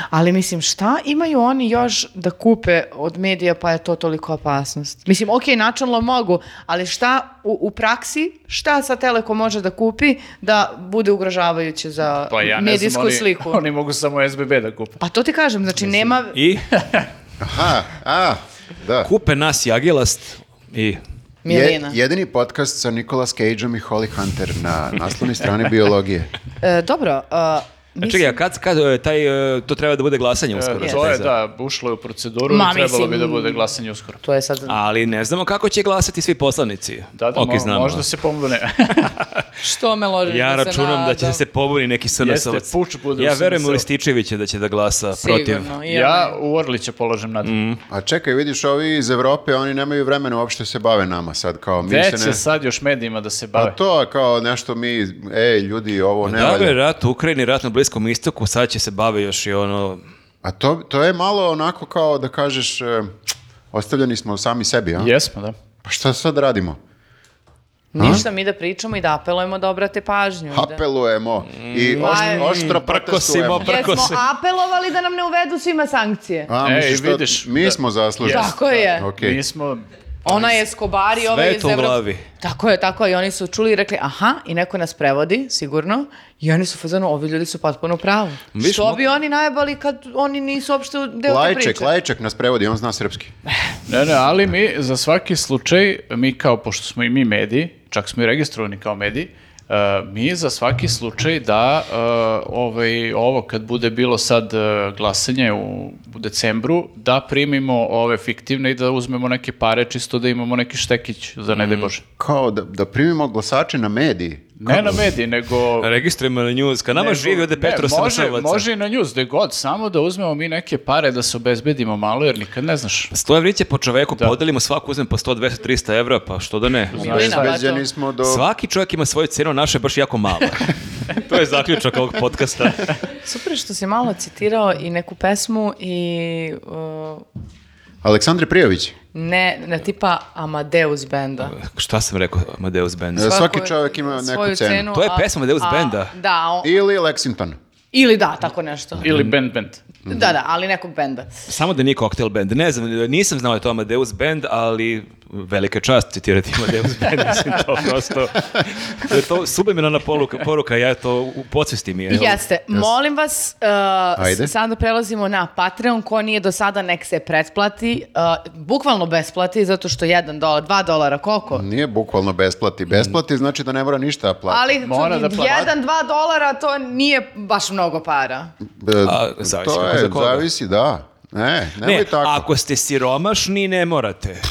Ali mislim, šta imaju oni još da kupe od medija pa je to toliko opasnost? Mislim, ok, načalno mogu, ali šta u, u praksi, šta sa Telekom može da kupi da bude ugrožavajuće za
Pa ja ne
medijsku
znam, oni,
sliku?
oni mogu samo SBB da kupe.
Pa to ti kažem, znači nema...
I
Aha, a, da.
kupe nas Jagilast i...
Je-
Milina.
jedini podcast sa Nicolas Cageom i Holly Hunter na naslovnoj strani biologije.
E, dobro, e, mislim-
Čekaj, a kad, kad e, taj, e, to treba da bude glasanje uskoro?
to je,
za-
da, ušlo je u proceduru,
Ma,
trebalo bi da
mislim-
bude glasanje uskoro.
To je sad...
Ali ne znamo kako će glasati svi poslanici.
Da, da,
Ok,
mo-
znamo.
možda se pomogne.
Što me ložiš
Ja
da se
računam da će
nadam?
se pobuni neki SNS.
Jeste, puč bude u
Ja verujem u
SNS.
Lističevića da će da glasa protiv.
Sigurno, i
Ja u Orlića polažem nadu.
A čekaj, vidiš, ovi iz Evrope, oni nemaju vremena uopšte se bave nama sad, kao mi
Gde
se
će
ne...
sad još medijima da se
Pa
bave? Pa
to kao nešto mi, ej, ljudi, ovo ne
Da je
valja.
Dakle, rat u Ukrajini, rat na Bliskom istoku, sad će se bave još i ono...
A to, to je malo onako kao da kažeš, e, ostavljeni smo sami sebi, a?
Jesmo, da.
Pa šta sad radimo?
Ništa mi da pričamo i da apelujemo da obrate pažnju. da- Mm.
Apelujemo i
Aj.
oš-
Mm,
oštro protestujemo.
prkosimo.
Jer
Prkose.
smo apelovali da nam ne uvedu svima sankcije.
A,
Ej,
misliš to-
vidiš,
mi
da.
smo zaslužni.
Jes,
Tako je.
Ok.
Mi smo...
Ona je skobari, ovaj
je
iz
to u
Evrope.
glavi.
Tako je, tako je. I oni su čuli i rekli, aha, i neko nas prevodi, sigurno. I oni su fazano, ovi ljudi su potpuno u pravu.
Viš,
Što
mo-
bi oni najbali kad oni nisu uopšte deo te
Lajček,
priče?
Lajček nas prevodi, on zna srpski.
Ne, ne, ali mi za svaki slučaj, mi kao, pošto smo i mi mediji, čak smo i registrovani kao mediji, e, mi za svaki slučaj da e, ovaj, ovo kad bude bilo sad e, glasanje u, u decembru, da primimo ove fiktivne i da uzmemo neke pare čisto da imamo neki štekić za ne daj
Mhm.
Bože.
Kao da, da primimo glasače na mediji.
Ne na mediji, nego...
Registrujemo na news, ka nama
Nego-
živi ovde
ne,
Petro
može,
Samosavaca.
može i na njuz, gde god, samo da uzmemo mi neke pare da se obezbedimo malo, jer nikad ne znaš.
Sto evriće po čoveku podelimo, svako uzme po 100, 200, 300 evra, pa što da ne?
Milina,
Bezbeđeni
vato.
smo do...
Svaki čovjek ima svoju cenu, naša je baš jako mala. to je zaključak ovog podcasta.
Super što si malo citirao i neku pesmu i... uh,
Aleksandre Prijović.
ne, ne tipa Amadeus benda.
Šta sam rekao, Amadeus Band?
Da, svaki
Svako-
čovjek ima neku
svoju
cenu.
To je
a-
pesma Amadeus
a-
benda.
Da, o-
Ili Lexington.
ili da, tako nešto.
Ili
Mm.
band band.
Mhm.
Da, da, ali nekog benda.
Samo da nije Cocktail Band. Ne znam, nisam znao da je to Amadeus Band, ali velika je čast citirati Amadeus Band. Mislim, to prosto... To je to subliminalna poruka, poruka ja to u podsvesti mi je.
Jeste. Molim vas, uh,
Ajde.
s- sada prelazimo na Patreon. Ko nije do sada, nek se pretplati. Uh, bukvalno besplati, zato što 1 dolar, 2 dolara, koliko?
Nije bukvalno besplati. Besplati znači da ne mora ništa platiti.
Ali
Mora da plati.
1-2 dolara to nije baš mnogo para.
B-
A, zavisi
E, to
kako
je,
za koga.
zavisi, da. Ne, nemoj
Ne,
tako.
ako ste siromašni, ne morate.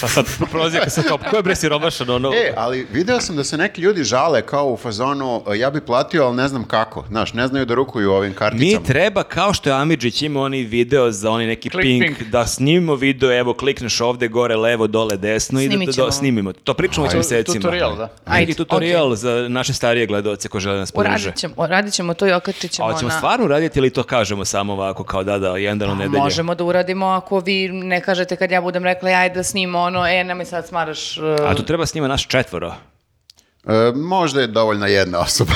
Pa sad prozijeka se kao, ko je bre siromašan? Ono,
E, ali video sam da se neki ljudi žale kao u fazonu, e, ja bi platio, ali ne znam kako. Znaš, ne znaju da rukuju ovim karticama.
Mi treba, kao što je Amidžić imao onaj video za onaj neki
Klik,
pink,
pink.
da snimimo video, evo klikneš ovde, gore, levo, dole, desno i da-
Snimit
da,
ćemo.
da snimimo. To pričamo već
Tu-
mesecima.
tutorial, da.
Ajde,
Neki tutorial za naše starije gledaoce koji žele da nas podrže.
Uradit ćemo, uradit ćemo to i okačit ćemo
A
na...
ćemo
Pa
stvarno raditi ili to kažemo samo ovako kao da, da, jedan dan u nedelji?
Možemo da uradimo ako vi ne kažete kad ja budem rekla ajde da snimo ono, e, nemoj sad smaraš... uh,
A tu treba snima naš četvoro.
E, možda je dovoljna jedna osoba.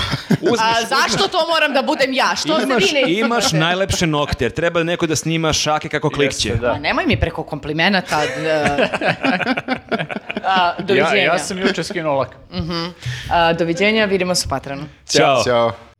A zašto to moram da budem ja? Što se
Pa imaš,
vi ne
imaš
ismate?
najlepše nokte, jer treba neko da snima šake kako klikće.
Jeste, da.
Pa nemoj mi preko komplimenata. d- a, doviđenja.
Ja, ja sam juče skinuo lak.
A, doviđenja, vidimo se u Patranu.
Ćao.
Ćao.